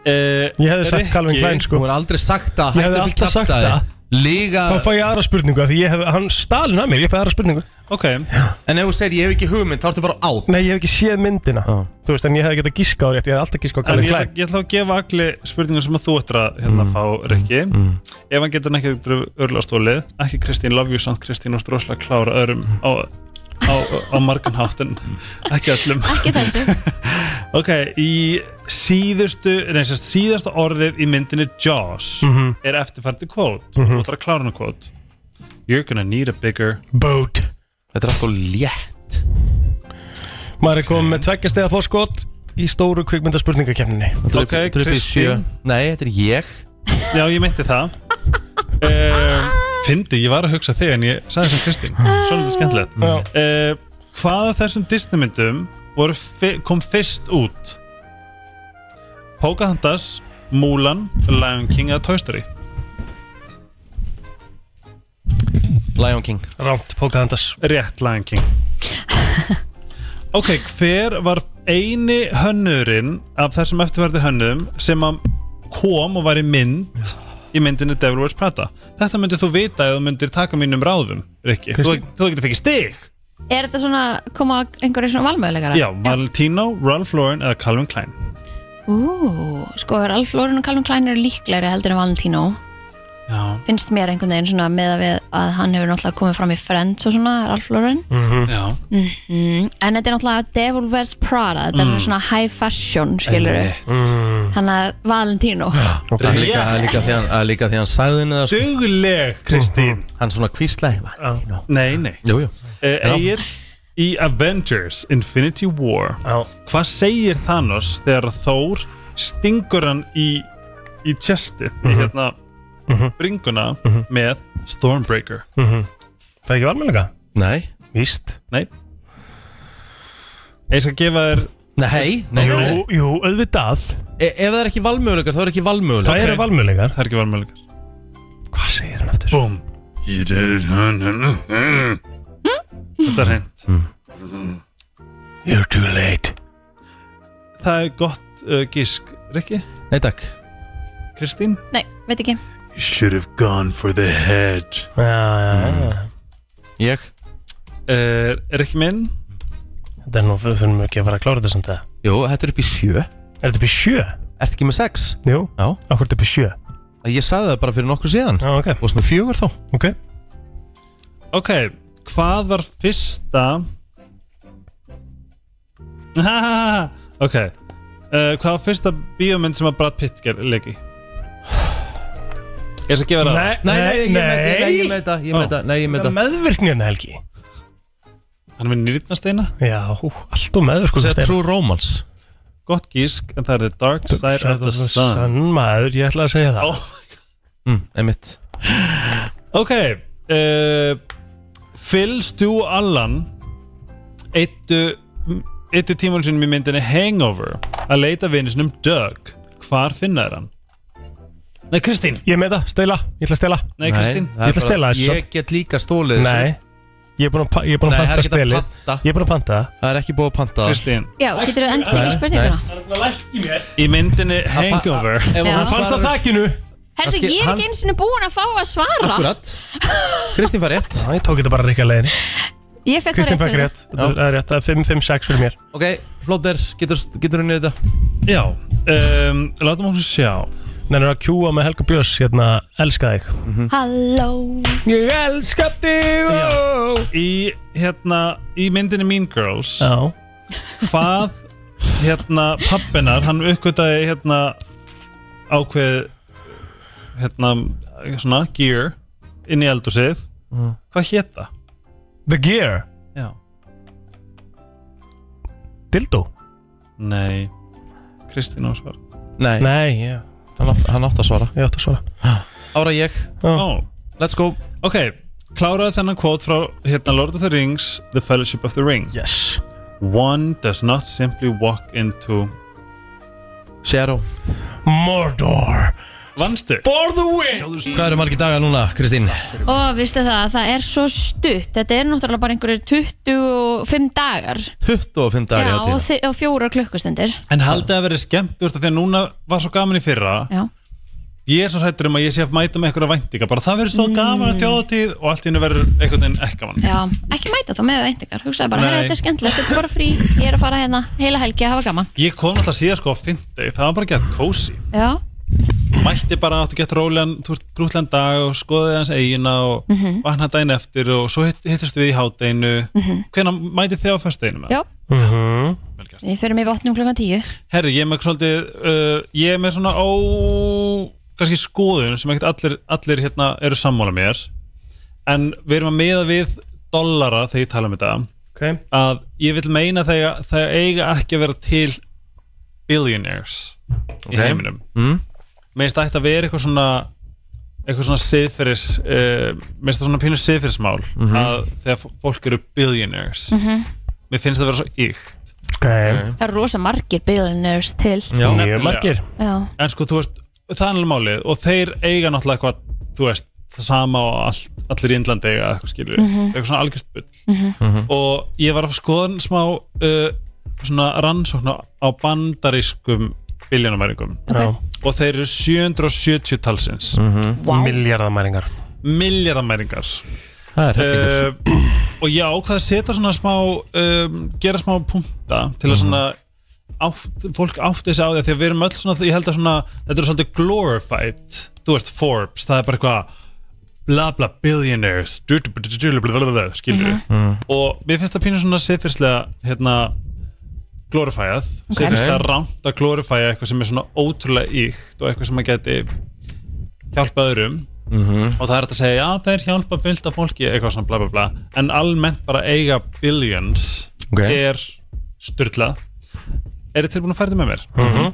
I: Eh,
C: Ég hefði sagt
I: Rikki,
C: Calvin Klein
A: Þú
C: sko
A: er aldrei sagt að
C: Ég hefði
A: hætta fyrir
C: alltaf sagt
A: kæftæði Líga
C: Þá fæ ég aðra spurningu af Því ég hef, hann stalin að mér, ég fæ aðra spurningu
I: Ok,
A: En ef þú segir ég hef ekki hugmynd þá ertu bara átt
C: Nei, ég hef ekki séð myndina
A: Já.
C: Þú veist, en ég hefði getað gískað á rétt Ég hefði alltaf gískað á
I: en
C: Calvin
I: ég ætla,
C: Klein
I: ég ætla að gefa allir spurningar sem að þú ættir að hérna fá, Rikki Ef hann getur hann ekki örlastólið ekki Kristín, love you samt Kristín og stróslega klára öðrum á, á, á margan hátt en ekki öllum
B: Ekki þessu
I: Ok, í síðustu nei, sérst, síðasta orðið í myndinni Jaws er eftirfærdi kvót þú ætlar að klára hann kvót You're gonna need a bigger
C: Boat
A: Þetta er alltaf létt
C: Maður er komið með tveggja stegar fórskot Í stóru kvikmyndaspurningakefninni
I: Ok, Kristín.
A: Nei, þetta er ég
I: Já, ég myndi það um, Fyndi, ég var að hugsa þig en ég sagði sem Kristín Svona þetta er skemmtilegt
C: Já.
I: um, Hvað af þessum Disneymyndum voru fi- kom fyrst út? Pocahontas, Mulan, Lion King eða Toy Story
A: Lion King
C: Rámt, Pocahontas
I: Rétt Lion King Ok, hver var eini hönnurinn af þessum eftirverði hönnum sem að kom og var í mynd í myndinni Devil Wears Prada þetta myndir þú vita ef þú myndir taka mínum ráðum Rikki, þú, þú getur fengið stig
B: Er þetta svona, koma einhverju svona valmöðuleikara?
I: Já, Valentino, Ralph Lauren eða Calvin Klein
B: Ú, sko, Ralf Lauren og Calvin Klein eru líklegri heldur en Valentino
I: Já,
B: Finnst mér einhvern veginn svona með að við að hann hefur náttúrulega komið fram í Friends og svona, Ralf Lauren
I: Já.
B: Mhm. En þetta er náttúrulega Devil Wears Prada, þetta
A: Mm.
B: er svona high fashion, skilur við
A: mm.
B: Hann að Valentino
A: Það er líka, það er líka, því hann- það er líka því hann sagði henni það
I: Dugleg, Kristín
A: Hann svona kvíslaði Valentino
I: Nei, nei Eh,
A: Jú, jú Já.
I: Egil í Avengers Infinity War Já. Hvað segir Thanos þegar Þór stingur hann í, í chestið í hérna bringuna með Stormbreaker
C: Það er ekki varmælega?
A: Nei
C: Víst
I: Nei Ég skal gefa þér
A: Nei, nei, nei, nei.
C: Jú, jú, auðvitað
A: E ef það er ekki valmöguleikar, þá er ekki valmöguleikar
C: Það eru valmöðuleikar
I: Það er ekki valmöðuleikar
C: Hvað segir hann aftur?
I: Búm Þetta
C: Hm?
I: er hreint
A: Hm.
C: You're too late
I: Það er gott uh, gísk Rikki?
A: Nei takk
I: Kristín?
B: Nei, veit ekki
I: Should have gone for the head
C: Já, já, já
A: Ég?
I: uh, Rikki minn?
C: Þetta er nú, við þurfum ekki að fara að klára þetta samt eða
A: Jú, þetta er upp í sjö Er
C: þetta upp í sjö?
A: þetta ekki með sex?
C: Jú
A: Já
C: Akkur þetta upp í sjö?
A: Ég sagði það bara fyrir nokkur síðan
C: Já, ok
A: Og sem er fjögur þá
C: Ok
I: Ok, hvað var fyrsta Ok uh, Hvað var fyrsta bíómynd sem að Brad Pitt gerði leik í? Ég skal gefa það
C: Nei,
A: Nei, nei, ég með- ég- nei, ég með þetta, ég með
C: Ó.
A: þetta, nei, ég með
C: Það er meðvirknin, Helgi
I: Hann er með nýrnasteina
C: Já, hú, allt og meðvirknin
A: Þetta er trú romance
I: Gott gísk, en það er The Dark Side of the Sun
C: Sann maður, ég ætla að segja það
I: oh.
A: mm, Einmitt
I: Ok uh, Phil, Stu og Allan eittu eittu tímann sinum í myndinni Hangover að leita vinisnum Doug Hvar finna er hann? Nei, Kristín
C: Ég með það, stela, ég ætla að stela
I: Nei, Kristín
A: það er
C: Ég ætla að
A: bara-
C: stela þessu.
A: Ég get líka stólið þessu.
C: Nei, ég er búin að, pa- ég er búin
A: Nei,
C: að
A: það er
C: panta
A: ekki að
C: spilið
A: panta.
C: Ég er búin að panta það
A: Það er ekki búið að panta það.
I: Kristín
B: Já, getur við endur tekið spurninguna?
I: Í myndinni Hangover
A: Ef
B: Já.
A: hún
C: Fannst
A: svarar-
C: það þakkinu?
B: Herðu,
A: skil-
B: ég er
A: hann-
B: ekki eins og búin að fá að svara
A: Akkurat Kristín fær rétt
C: Já, ég tók þetta bara ríka leiðin
B: Ég fekk það
C: Kristinn
B: rétt
C: fekk
B: fyrir
C: rétt, það er rétt, það er 5-5-6 fyrir mér
A: Ok, flóter, getur, getur hún niður þetta?
I: Já, um, látum okkur sjá
C: Þannig að kjúa með Helga Björns, hérna, elska þig
B: það Halló
C: Ég elska þig ó.
I: Í, hérna, í myndinni Mean Girls
C: Já,
I: Hvað, hérna, pappinar Hann uppgötaði, hérna Ákveð Hérna, svona, gear Inn í eldhúsið Hvað hét það?
C: The Gear,
I: Já
C: Dildo
I: Nei, Kristín ásvar
A: Nei,
C: Nei, já,
A: Hann, átt, hann átt að svara
C: ég átt að svara
A: Ára ég,
I: Ó,
A: let's go
I: ok Kláraði þennan kvót frá, hérna, Lord of the Rings The Fellowship of the Ring
C: Yes
I: One does not simply walk into
A: Shadow
C: Mordor
I: Vannstu?
C: For the win
A: Hvað eru margir dagar núna, Kristín?
B: Og vistu það, það er svo stutt Þetta er náttúrulega bara einhverju 25 dagar
A: 25 dagar í
B: Já, og,
A: hátíðina
B: þi- og fjóra klukkustundir
I: En haldið að vera skemmt úr því að núna var svo gaman í fyrra
B: Já,
I: Ég er svo hrættur um að ég sé að mæta með einhverja væntinga bara það verður svo gaman að þjóðatíð og allt innu verður einhvern veginn ekki gaman
B: Mm. já, ekki mæta þá með eindegar Hugsaði bara,
I: Nei.
B: herra, þetta er skemmtilegt, þetta er bara frí Ég er að fara hérna heila helgi að hafa gaman
I: Ég kom alltaf síðan sko á fyndegi, það var bara gett kósi
B: Já,
I: Mætti bara áttu gett rólegan, þú veist, grútlegan dag og skoðið hans eigina og mm
B: Mhm.
I: -hmm. vakna daginn eftir og svo hitt- hittist við í hádeginu mm
B: Mhm.
I: -hmm. Hvenær mætið þið á föstudeginu?
B: já,
A: Mhm.
I: Vel gert.
B: við förum í votnum klukkan 10
I: Herðu, ég er með svolítið, uh, ég er með svona ó, kannski skoðun sem ekkert allir, allir hérna eru sammála mér en við erum að miða við dollara þegar ég tala um þetta
C: Ok,
I: að ég vil meina þegar það eiga ekki að vera til billionaires í heiminum
A: Mm.
I: Mér finnst það ætti að vera eitthvað svona eitthvað svona siðferðis uh, mér finnst það svona pínu siðferðismál
A: Mhm.
I: að þegar fó- fólk eru billionaires mér finnst það vera svo ykt
C: ok
B: Það eru rosa margir billionaires til
A: Já.
C: Mjög margir
B: Já,
I: en sko, þú veist, það er alveg málið og þeir eiga náttúrulega eitthvað, þú veist það sama og all, allir í Indlandi eiga eitthvað skilur, eitthvað svona algjörst bull og ég var að skoða smá uh, svona rannsókn á- á bandarískum biljónamæringum
C: Já.
I: og þeir eru 770 talsins
C: Vá. Milljarðamæringar
I: Milljarðamæringar
A: Það er hellingur.
I: Eh, Og já, hvað setja svona smá um, gera smá punta til að svona átt, fólk átti þessi á því að því að við erum öll svona, ég held að svona þetta er svolítið glorified, þú veist Forbes, það er bara eitthvað bla bla billionaires du- du- du- du- du- du- bla, bla, bla, skilur
F: Mhm.
I: og mér finnst það pínu svona siðfyrslega hérna glorifyað
F: Ok.
I: okay. siðfyrslega rámt að glorifya eitthvað sem er svona ótrúlega íkt og eitthvað sem að geti hjálpa öðrum
F: Mhm.
I: og það er hægt að segja já þeir hjálpa fullt af fólki eitthvað svona bla bla bla en almennt bara eiga billions
A: Ok.
I: er styrla er þið tilbúin að færa þetta með mér?
F: Mhm.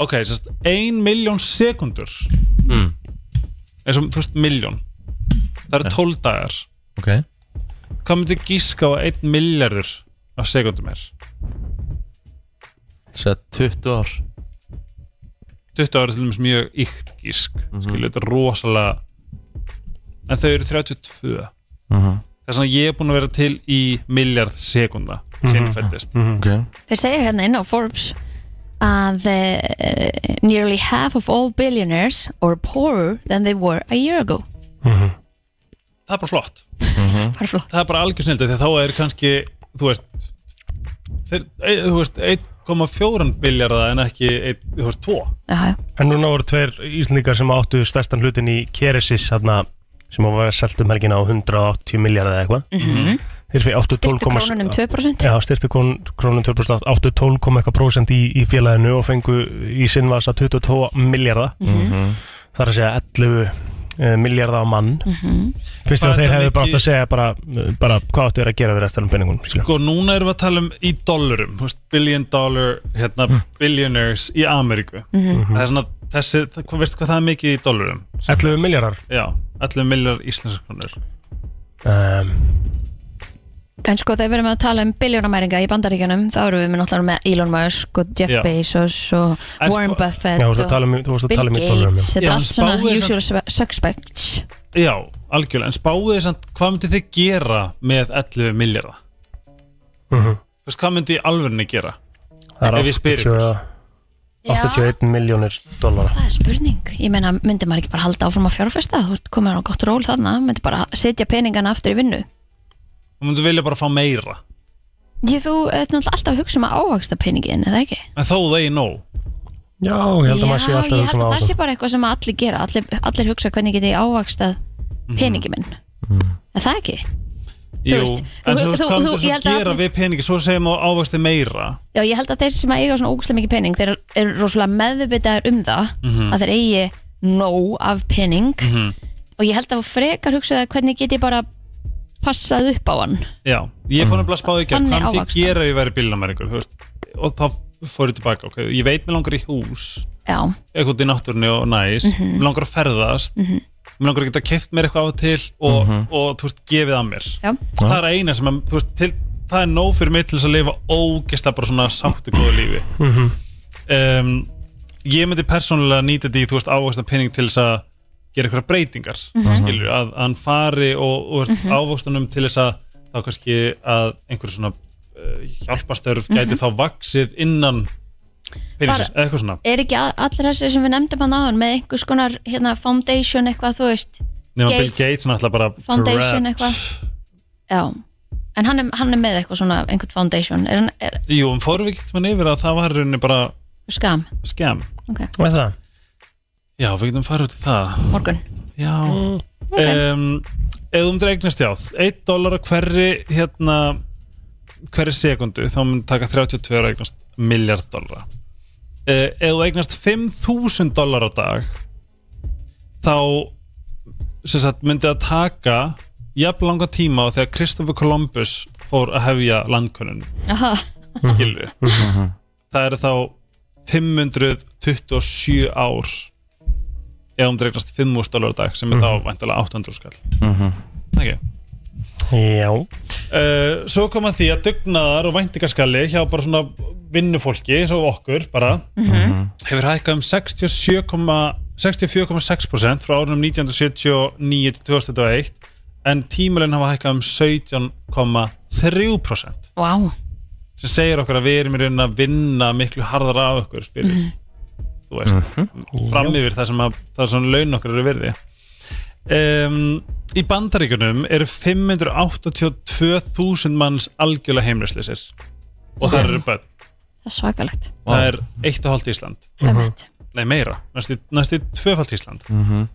I: ok, sérst, ein miljón sekundur
A: Mm.
I: eins og þú veist miljón það eru 12 dagar
A: Ok.
I: hvað myndi gíska á 1 miljardur á sekundum er?
A: Sæt 20 ár
I: 20 ára til dæmis mjög ykt gísk mm þetta er rosalega en þau eru 32
A: Mhm.
I: þess að ég er búin að vera til í miljard sekunda síðan ég
A: Mhm.
I: fættist
A: okay.
B: Þeir segja hérna inn á Forbes að uh, nearly half of all billionaires are poorer than they were a year ago.
I: það er bara flott Mm.
B: Bara flott.
I: það er bara algjör snildu því að þá er kannski þú veist, þeir, e, þú veist 1,4 biljarða en ekki ein, þú veist 2
B: Aha.
C: En núna voru tveir íslendingar sem áttu stærstan hlutin í Keresis þarna, sem var selt um helgina á 180 miljardið eða eitthvað
B: Mhm.
C: Þeir fyrir áttu
B: Styrktu
C: 12,
B: krónunum 2%.
C: Já, styrtu krón- krónunum 2% áttu 12,1% í, í félaginu og fengu í sinnvasa 22 miljarda
F: Mhm.
C: Það er að segja 11 uh, miljarda á mann
F: Mhm.
C: Finnst þér
I: Hvað
C: að
I: er
C: þeir
I: það
C: hefðu bara átt
I: mikið-
C: að segja bara, eh, bara hvað áttu þeir að gera við restanum penningunum skilja?
I: sko núna erum við að tala um í dollurum þú veist, billion dollar hérna,
B: Mm.
I: billionaires í Ameríku
C: Mhm.
I: það er svona þessi, það- hvað- veistu hvað það er mikið í dollurum
C: 11 miljardar
I: já, 11 miljardar íslenskronur
C: um,
B: En sko þegar við erum að tala um biljónamæringa í bandaríkjunum þá erum við með náttúrulega með Elon Musk og Jeff
I: Já.
B: Bezos og
I: En sko-
B: Warren Buffett
I: Já, þú
B: og
I: varst að tala um- þú varst að
B: Bill
I: tala um í dollurum, já.
B: Gates Þetta er
I: Já, en
B: allt svona
I: spáðu þessar-
B: usual suspects
I: já, algjörlega, en spáðu þess að hvað myndi þið gera með 11 miljarda
C: Mhm.
I: þú veist, hvað myndi í alvörunni gera
C: Það er
I: ef ég spyr
C: 80
I: ykkur
C: 81 miljónir dollara
B: Það er spurning, ég meina myndi maður ekki bara halda áfram að fjárfesta þú ert komin á gott ról þarna myndi bara setja peningana aftur í vinnu
I: þú myndi vilja bara fá meira
B: Ég þú ert náttúrulega alltaf að hugsa um að ávægsta peningin eða ekki?
I: en þó það er nóg
C: já, ég held að maður sé
B: Já,
C: alltaf
B: ég held að
C: svona
B: það sé bara eitthvað sem að allir gera allir, allir hugsa hvernig geti ég ávægstað
C: Mhm.
B: peningi minn Er það ekki? Þú
I: Jú,
B: veist,
I: en
B: þú-
I: þú veist
B: þú-
I: hvað
B: þú-
I: myndir
B: ég
I: svo
B: held að
I: gera
B: allir-
I: við peningi svo segjum á ávöxti meira
B: Já, ég held að þeir sem að eiga svona ógustlega mikið pening þeir eru rosalega meðvitaðir um það
I: Mhm.
B: að þeir eigi nóg af pening
C: Mhm.
B: og ég held að frekar hugsa það hvernig get ég bara passað upp á hann
I: Já, ég fór nefnilega að spáði ekki
B: Þannig
I: hvað myndi ég
B: ávaxta.
I: gera ef ég væri bílnamæringur og þá fór ég tilbaka okay. ég veit mér langar í hús
B: Já,
I: eitthvað út í náttúrunni og næs
B: Mhm.
I: mér langar að ferðast
B: Mhm.
I: mér langar að geta keft mér eitthvað af og til og,
A: Mhm.
I: og þú veist, gefið að mér
B: Já.
I: það er eina sem að, þú veist, til, það er nóg fyrir mig til þess að lifa ógeðslega bara svona sáttu góðu lífi
C: Mhm.
I: um, ég myndi persónulega nýta þetta í þú veist ávöxtan pening til þess að gera eitthvað breytingar
F: Mhm.
I: skilur, að, að hann fari og, og mm
F: Mhm.
I: ávöxtunum til þess að þá kannski að einhver svona uh, hjálpastörf
B: Mhm.
I: gæti þá vaksið innan peningsins,
B: Bara-
I: eitthvað svona
B: er ekki a- allir þessi sem við nefndum hann áðan með einhvers konar hérna, foundation eitthvað, þú veist
I: nema Bill Gates náttúrulega bara
B: foundation
I: grabs-
B: eitthvað Já, en hann er, hann er með eitthvað svona einhvern foundation, er hann er,
I: Jú, en fórum við ekki mann yfir að það var í rauninni bara
B: skam
I: skemm
B: okay.
C: Hvað er það?
I: Já, við getum farið út í það
B: Morgun
I: Já
C: mm.
I: um, Ef þú myndir eignast já 1 dólar á hverri hérna hverri sekundu þá myndir taka 32 að eignast miljard dólara uh, Ef þú eignast 5.000 dólar á dag þá sem sagt myndi að taka jafn langa tíma á þegar Christopher Columbus fór að hefja landkunnun
B: Aha.
I: skilju það eru þá 527 ár ef um dregnast 5.000 dólar á dag sem er þá væntalega 800 skall
F: Mhm.
I: okay.
C: Já
I: uh, Svo kom að því að dugnaðar og væntingaskalli hjá bara svona vinnufólki eins og okkur bara hefur hækkað um 67,- 64,6% frá árunum 1979 til 2001 en tímalinn hafa hækkað um 17,3%
B: Vá,
I: sem segir okkur að við erum í raunin að vinna miklu harðar af okkur fyrir
F: Mhm.
I: þú veist, fram yfir það sem, að, það sem laun okkur eru virði um, Í bandaríkunum eru 582.000 manns algjörlega heimlisleisir og það eru bönn
B: Það er svakalegt
I: það er eitt og hálft Ísland
B: Einmitt.
I: nei meira, næstu, næstu tvöfalt Ísland
A: Mhm.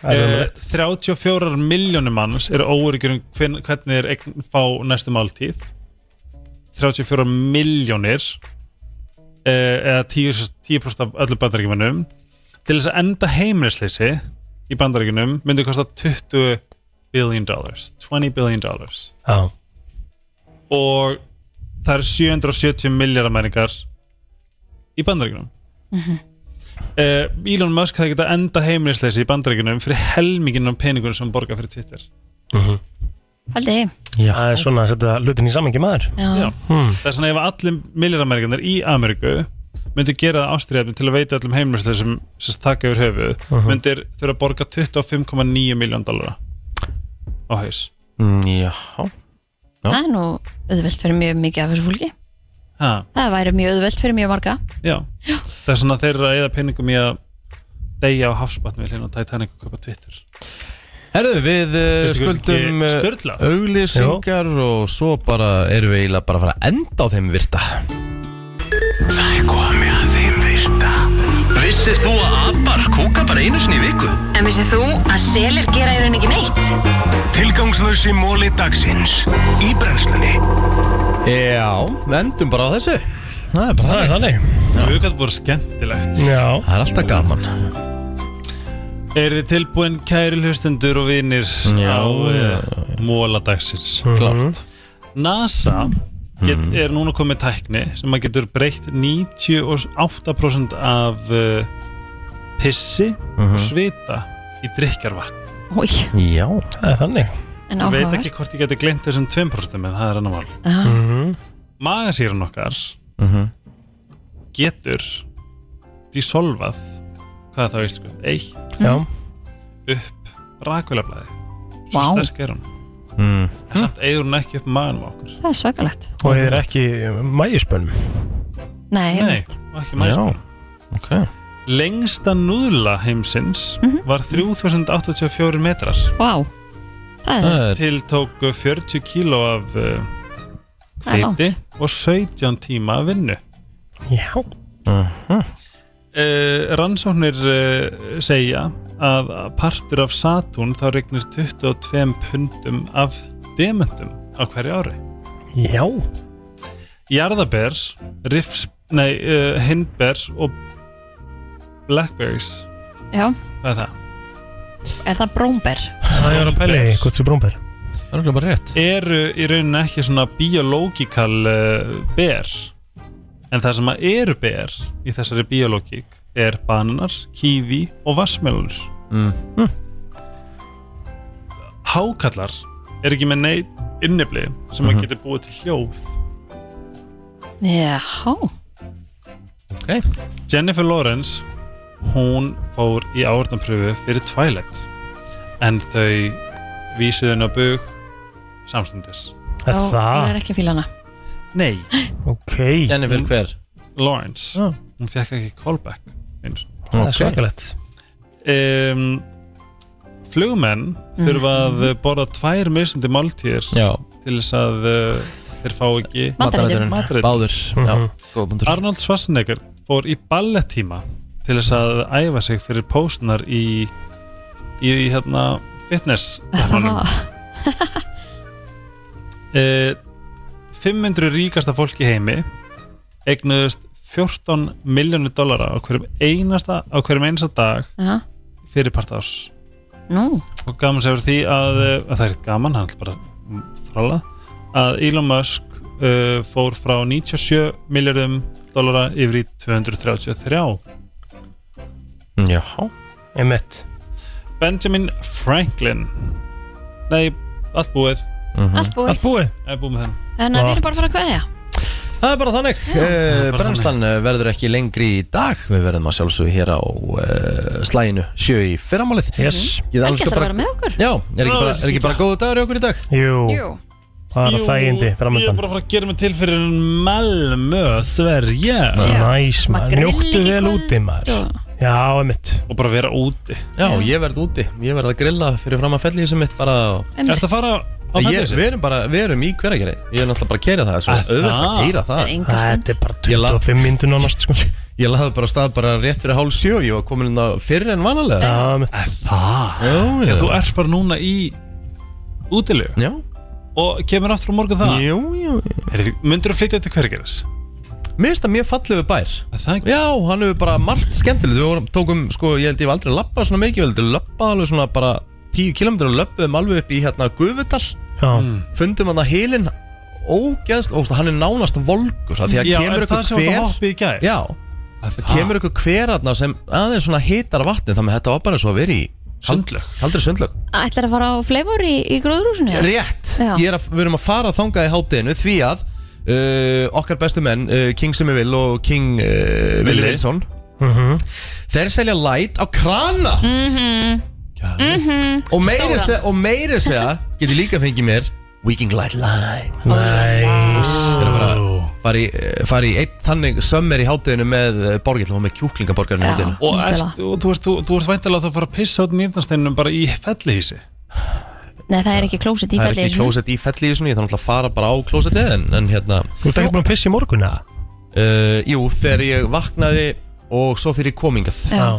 A: Það er
I: Eh,
A: ömurlegt.
I: 34 miljónum manns eru óöryggjur um hvern, hvernig þeir eign, fá næstu máltíð 34 miljónir eh, eða 10%, 10 af öllu bandaríkjumannum til þess að enda heimilisleysi í bandaríkjunum myndi kosta 20 billion dollars 20 billion dollars
C: Já.
I: og það eru 770 miljardamæringar í bandaríkunum
C: Mhm.
I: uh, Elon Musk hefði getað enda heimilisleysi í bandaríkunum fyrir helmingin af peningunum sem hann borgar fyrir Twitter
B: Haldi
C: Já. Það er svona að setja hlutin í samengi maður
B: Já.
C: Hmm.
I: þess vegna ef allir miljardamæringarnir í Ameríku myndu gera það ástriðafnum til að veita öllum heimilisleysim sem taka yfir höfuð
C: Mhm.
I: myndir þurfa að borga 25,9 miljón dollara á haus
A: Mm, Já Já.
B: Það er nú auðvelt fyrir mjög mikið af þessu fólki
I: ha,
B: Það væri mjög auðvelt fyrir mjög marga
I: já. það er svona þeir eru að eða peningum í að deyja á hafsbotnum við hérna á Titanic og köpa Twitter
A: Herðu, við uh,
I: Veistu hvað
A: skuldum
I: ekki
A: eh,
I: sturla?
A: auglýsingar og svo bara erum við eiginlega bara að fara að enda á þeim virta
E: Það er komið að þeim virta Vissir þú að abar kúka bara einu sinni í viku?
D: En vissið þú að selir gera í raun ekki neitt?
E: Tilgangslösi móli dagsins Í brennslunni
A: Já, við endum bara á þessu Það er bara
C: Það er þannig
I: Mjög gæti búið skemmtilegt
C: Já.
A: Það er alltaf gaman
I: Er þið tilbúin kæri hlustendur og vinnir
A: Já,
I: á
A: já, Mhm.
I: uh, móladagsins
A: Klárt.
I: NASA get,
A: Mhm.
I: er núna komið tækni sem maður getur breytt 98% af uh, pissi
A: Mhm.
I: og svita í drikjarvatn
B: Új,
A: Já
C: Það er þannig
B: en
I: Ég veit
B: áhugaverð
I: ekki hvort ég geti gleymt þessum 2% en það er annar mál
B: Aha.
I: Magasýran okkar
A: Mhm.
I: getur dissolvað hvað það veist hvað, eitt
C: Já.
I: upp rakvélablaði svo
B: Vá.
I: sterk er hún
A: mm.
I: en samt eigur hún ekki upp maganum á okkur
B: Það er svakalegt
C: Og þið er ekki mæjuspönum
B: Nei,
I: Nei,
B: einmitt.
I: og ekki magasýran
A: okay.
I: Lengsta núðla heimsins
B: Mhm.
I: var 3084 metrar
B: Vá, það er
I: til tóku 40 kíló af uh,
B: Það er
I: fiti og 17 tíma af vinnu
C: Já
I: uh, rannsóknir uh, segja að partur af Saturn þá regnir 22 pundum af dementum á hverju ári
C: Já
I: jarðaber, rifs, nei, uh, hindber og blackberries
B: Já,
I: hvað er það?
B: er það brómber?
C: Það er að pæli hvort sér brúmber
A: Það er bara rétt
I: eru í rauninni ekki svona biológikal uh, ber en það sem að eru ber í þessari biológik er bananar, kífi og Hm. vassmjölunir
A: Mm.
I: hákallar er ekki með neitt innibli sem að getur búið til hljóð
B: Já,
A: okay.
I: Jennifer Lawrence hún fór í áhörðanpröfu fyrir Twilight en þau vísuðu henni á bug samstundis
B: Já,
C: Það
B: hún
C: það
B: er ekki fíla hana
I: Nei,
C: Ok
A: Jennifer hver?
I: Lawrence
A: Já.
I: hún fekk ekki callback einu sinni
C: Það er svakalegt
I: um, flugmenn þurfa að borða tvær misandi máltíðir
A: Já,
I: til þess að uh, þeir fá ekki
B: Matareitrun.
I: Matareitrun.
A: Báður Já,
C: Mhm.
A: góða bundur
I: Arnold Schwarzenegger fór í ballettíma til þess að æfa sig fyrir póstunar í, í, í hérna fitness
B: Það,
I: uh, 500 ríkasta fólk í heimi eignuðust 14 miljónu dollara á hverjum einasta á hverjum einasta dag
B: aha.
I: fyrir partás
B: nú,
I: og gaman sem er því að, eh, að það er ekkert gaman, hann er bara frala að Elon Musk uh, fór frá 97 miljardum dollara yfir í 233
A: Já
C: Emmett
I: Benjamin Franklin nei, allt búið
B: allt búið
C: Allt búið
I: ég er búið með þennan
B: Þannig að við erum bara að fara að kveðja
A: Það er bara þannig
I: bara
A: Brennstan verður ekki lengri í dag Við verðum að sjálfsögðu hér á uh, slæginu sjö í fyrramálið
C: Yes
A: Ég sko
B: Vel gett að vera með okkur
A: Já, er ekki bara, er ekki bara góðu dagur í okkur í dag?
C: Jú
B: Jú,
C: Bara
I: Jú,
C: þægindi
I: Ég er
C: framöndan
I: bara að fara að gera mig til fyrir Malmö, Sverige
C: Næs maður,
I: grill
C: njóttu
I: ekki
C: vel úti maður Já, emitt
I: Og bara vera úti
A: Já, ég verð úti, ég verð að grilla fyrir fram að fellísum mitt bara
B: Einmitt. Ertu að
I: fara á
A: fellísum?
I: fellihýsi?
A: Við erum bara, við erum í hverjargeri Ég er náttúrulega bara að keira það, svo
C: Að
A: auðvelt að
C: það?
A: keira það
C: Það er enga stund. Þetta er bara
A: 25
C: myndu nánast sko
A: Ég laði bara af stað bara rétt fyrir hálf sjö Ég var komin inn á fyrr en vanalega
C: Já,
I: Það?
A: Já,
I: Já, þú ert bara núna í útilegu
A: Já
I: Og kemur aftur á morgun það?
A: Jú, jú,
I: jú Myndur þú flytja til hvergeris?
A: Mér finnst það mjög fallegu bær
I: Það
A: Já, hann hefur bara margt skemmtilegt Við vorum, tókum, sko, ég held ég var aldrei að lappa svona mikið Við heldum lappa alveg svona bara 10 km og löppuðum alveg upp í hérna Gufudal
C: Já.
A: Fundum hann að hilin ógeðsl Óst, hann er nánast volgur af Því að
I: Já,
A: kemur
I: er það
A: ykkur
I: sem var
A: hver
I: það hoppið í gær?
A: Já, það kemur ykkur hver aðna sem aðeins svona hitar vatni Þannig að þetta var bara svo að vera í
I: Sundlög
A: Kaldri sundlög
B: Ætlar að fara á fleifur í, í gróðrúsinu? eða?
A: Rétt,
B: Já.
A: Ég er að, við erum að fara þangað í hátinu því að uh, okkar bestu menn, uh, King Simivil og King uh, Willi Wilson Þeir selja light á krana
B: Mhm. Mhm.
A: og meiri
B: Stóran.
A: segja, og meiri segja geti líka fengið mér Viking Light Line
C: Næs
A: Þeir eru að fara, fara í, eh, fara í einn þannig sömmer í hátinu með eh, borgill og með kjúklingaborgarinn í hátinu
I: Og, ert, og þú, ert, þú, þú ert væntalega að fara að pissa át nýrnasteinunum bara í fellihýsi
B: Nei, það er ekki klósett í
A: Það er ekki
B: fellið
A: klósett í fellið Ég þarf náttúrulega að fara bara á klósettið en, en hérna
C: Þú ert ekki búin að pissa í morgun eða?
A: Uh, jú, þegar ég vaknaði og svo fyrir komingað
B: Já.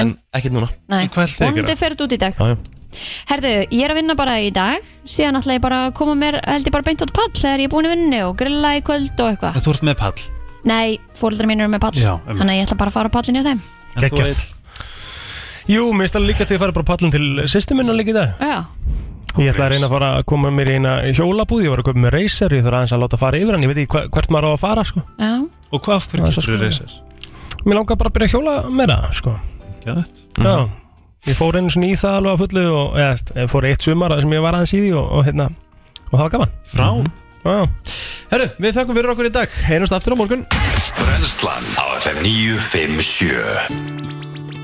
A: En ekkert núna
B: Nei, vonandi
A: fyrir
B: ferð út í dag
A: Já, já.
B: Herðu, ég er að vinna bara í dag Síðan ætla ég bara að koma mér held ég bara beint át pall Þegar ég er búin að vinna og grilla í kvöld og eitthvað
I: Að Þú ert með pall
B: Nei, fóreldrar mín eru með pall
I: Já, einmitt.
B: Þannig að ég ætla bara að fara á pallinu á þeim
I: En þú
C: Geggjað. Jú, mér finnst alveg líklegt að ég fara bara pallin til sýstu minna líka í dag
B: Já,
C: Ég ætla að reyna að fara að koma mér í eina hjólabúð Ég var að köpa með racer, ég þarf aðeins að láta fara yfir hann Ég veit ekki hva- hvert maður á að fara sko
B: já
I: Og hvað af hverju
C: Það er svo
I: getur þú
C: sko.
I: reysir?
C: Mér langar bara að byrja að hjóla meira sko.
I: Gæðt
A: Mhm.
C: Já, ég fór einu svona í það alveg að fullu og eða, þú veist, ég fór eitt sumar þar sem ég var aðeins í því og, og hérna, og það var gaman Mhm.
I: Frá
C: Já,
A: Herru, við þökkum fyrir okkur í dag Heyrjumst aftur á morgun
E: Brennslan á FM 957